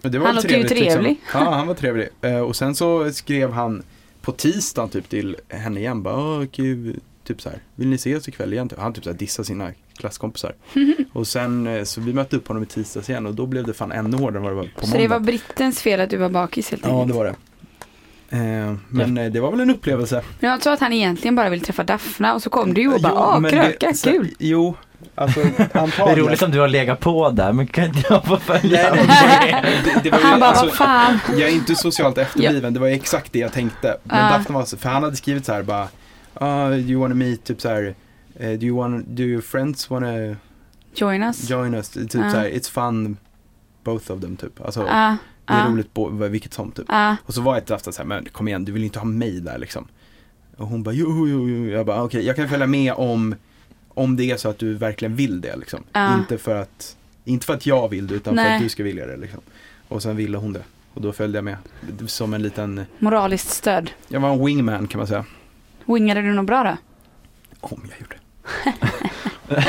[SPEAKER 1] och det var
[SPEAKER 2] Han
[SPEAKER 1] väl
[SPEAKER 2] låter ju
[SPEAKER 1] trevligt, liksom.
[SPEAKER 2] trevlig.
[SPEAKER 1] Ja, han var trevlig. Eh, och sen så skrev han på tisdagen typ till henne igen. Bara, "Åh, gud, typ så här, vill ni ses ikväll igen? Typ. Han typ så här dissade sina klasskompisar. och sen eh, så vi mötte upp honom i tisdags igen och då blev det fan ännu hårdare än vad det var på
[SPEAKER 2] Så det var
[SPEAKER 1] måndag.
[SPEAKER 2] brittens fel att du var bakis helt
[SPEAKER 1] Ja, det
[SPEAKER 2] enkelt.
[SPEAKER 1] var det. Eh, men eh, det var väl en upplevelse.
[SPEAKER 2] Men jag tror att han egentligen bara vill träffa Daphna och så kom du och bara,
[SPEAKER 1] Jo,
[SPEAKER 2] ah
[SPEAKER 1] men
[SPEAKER 2] kröka,
[SPEAKER 1] det- så-
[SPEAKER 2] kul.
[SPEAKER 1] Jo, alltså
[SPEAKER 3] Det är
[SPEAKER 1] antagligen.
[SPEAKER 3] roligt om du har legat på där men kan inte jag få följa
[SPEAKER 1] Nej, nej,
[SPEAKER 3] med?
[SPEAKER 1] det, det var ju,
[SPEAKER 2] Han bara,
[SPEAKER 1] alltså,
[SPEAKER 2] vad fan.
[SPEAKER 1] Jag är inte socialt efterbliven, det var exakt det jag tänkte. Men
[SPEAKER 2] Ah.
[SPEAKER 1] Daphne var så, för han hade skrivit så här bara, "Ah, do you wanna meet, typ så här, eh, do, you wanna, do your friends wanna
[SPEAKER 2] Join us.
[SPEAKER 1] join us? Typ
[SPEAKER 2] Ah.
[SPEAKER 1] så här, it's fun both of them typ. Alltså,
[SPEAKER 2] Ja,
[SPEAKER 1] det är
[SPEAKER 2] ja,
[SPEAKER 1] roligt på, vilket som typ.
[SPEAKER 2] ja.
[SPEAKER 1] Och så var jag till Daphne så här, men kom igen, du vill inte ha mig där liksom. Och hon bara, jo, jo, jo. Jag bara, okej, jag kan följa med om, om det är så att du verkligen vill det liksom.
[SPEAKER 2] Ah.
[SPEAKER 1] Inte, för att, inte för att jag vill det, utan för
[SPEAKER 2] Nej.
[SPEAKER 1] att du ska vilja det liksom. Och sen ville hon det. Och då följde jag med. Som en liten
[SPEAKER 2] Moraliskt stöd.
[SPEAKER 1] Jag var en wingman kan man säga.
[SPEAKER 2] Wingade du något bra då?
[SPEAKER 1] Om jag gjorde.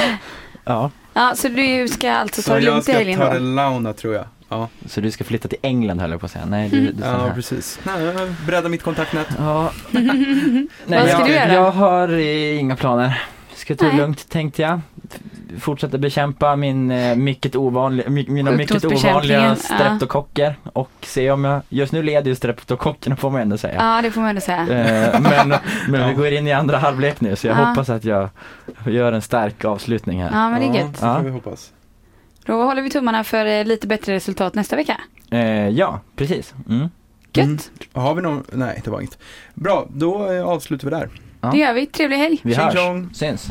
[SPEAKER 3] Ja,
[SPEAKER 2] Ja, så du ska alltså ta
[SPEAKER 1] Så
[SPEAKER 2] det
[SPEAKER 1] jag
[SPEAKER 2] lugnt i
[SPEAKER 1] ska
[SPEAKER 2] helgen
[SPEAKER 1] ta det
[SPEAKER 2] då?
[SPEAKER 1] launa tror jag. Ja,
[SPEAKER 3] så du ska flytta till England höll jag på att säga. Nej, du, du stannar
[SPEAKER 1] ja
[SPEAKER 3] här.
[SPEAKER 1] precis. Nej, jag breddar mitt kontaktnät.
[SPEAKER 3] Ja. Nej,
[SPEAKER 2] Vad ska
[SPEAKER 3] jag,
[SPEAKER 2] du göra?
[SPEAKER 3] Jag har eh, inga planer. Ska ta det
[SPEAKER 2] Nej.
[SPEAKER 3] lugnt tänkte jag. F- Fortsätta bekämpa min, eh, mycket ovanliga, mi, mina mycket
[SPEAKER 2] Sjukdomsbekämpningen,
[SPEAKER 3] ovanliga
[SPEAKER 2] ja.
[SPEAKER 3] streptokocker. Och se om jag, just nu leder ju streptokockerna får man ändå säga.
[SPEAKER 2] Ja, det får man ändå säga.
[SPEAKER 3] Eh, Men, men
[SPEAKER 1] Ja.
[SPEAKER 3] vi går in i andra halvlek nu så jag
[SPEAKER 2] Ja.
[SPEAKER 3] hoppas att jag gör en stark avslutning här.
[SPEAKER 2] Ja, men det är gött.
[SPEAKER 1] så
[SPEAKER 3] Ja.
[SPEAKER 1] får vi hoppas.
[SPEAKER 2] Då håller vi tummarna för eh, lite bättre resultat nästa vecka.
[SPEAKER 3] Eh, Ja, precis. Mm.
[SPEAKER 1] Mm.
[SPEAKER 2] Gött,
[SPEAKER 1] Har vi någon? Nej, det var inget. Bra, då eh, avslutar vi där.
[SPEAKER 3] Ja.
[SPEAKER 2] det gör vi. Trevlig helg.
[SPEAKER 3] Vi
[SPEAKER 1] Tjing
[SPEAKER 3] hörs.
[SPEAKER 1] tjong.
[SPEAKER 3] Syns.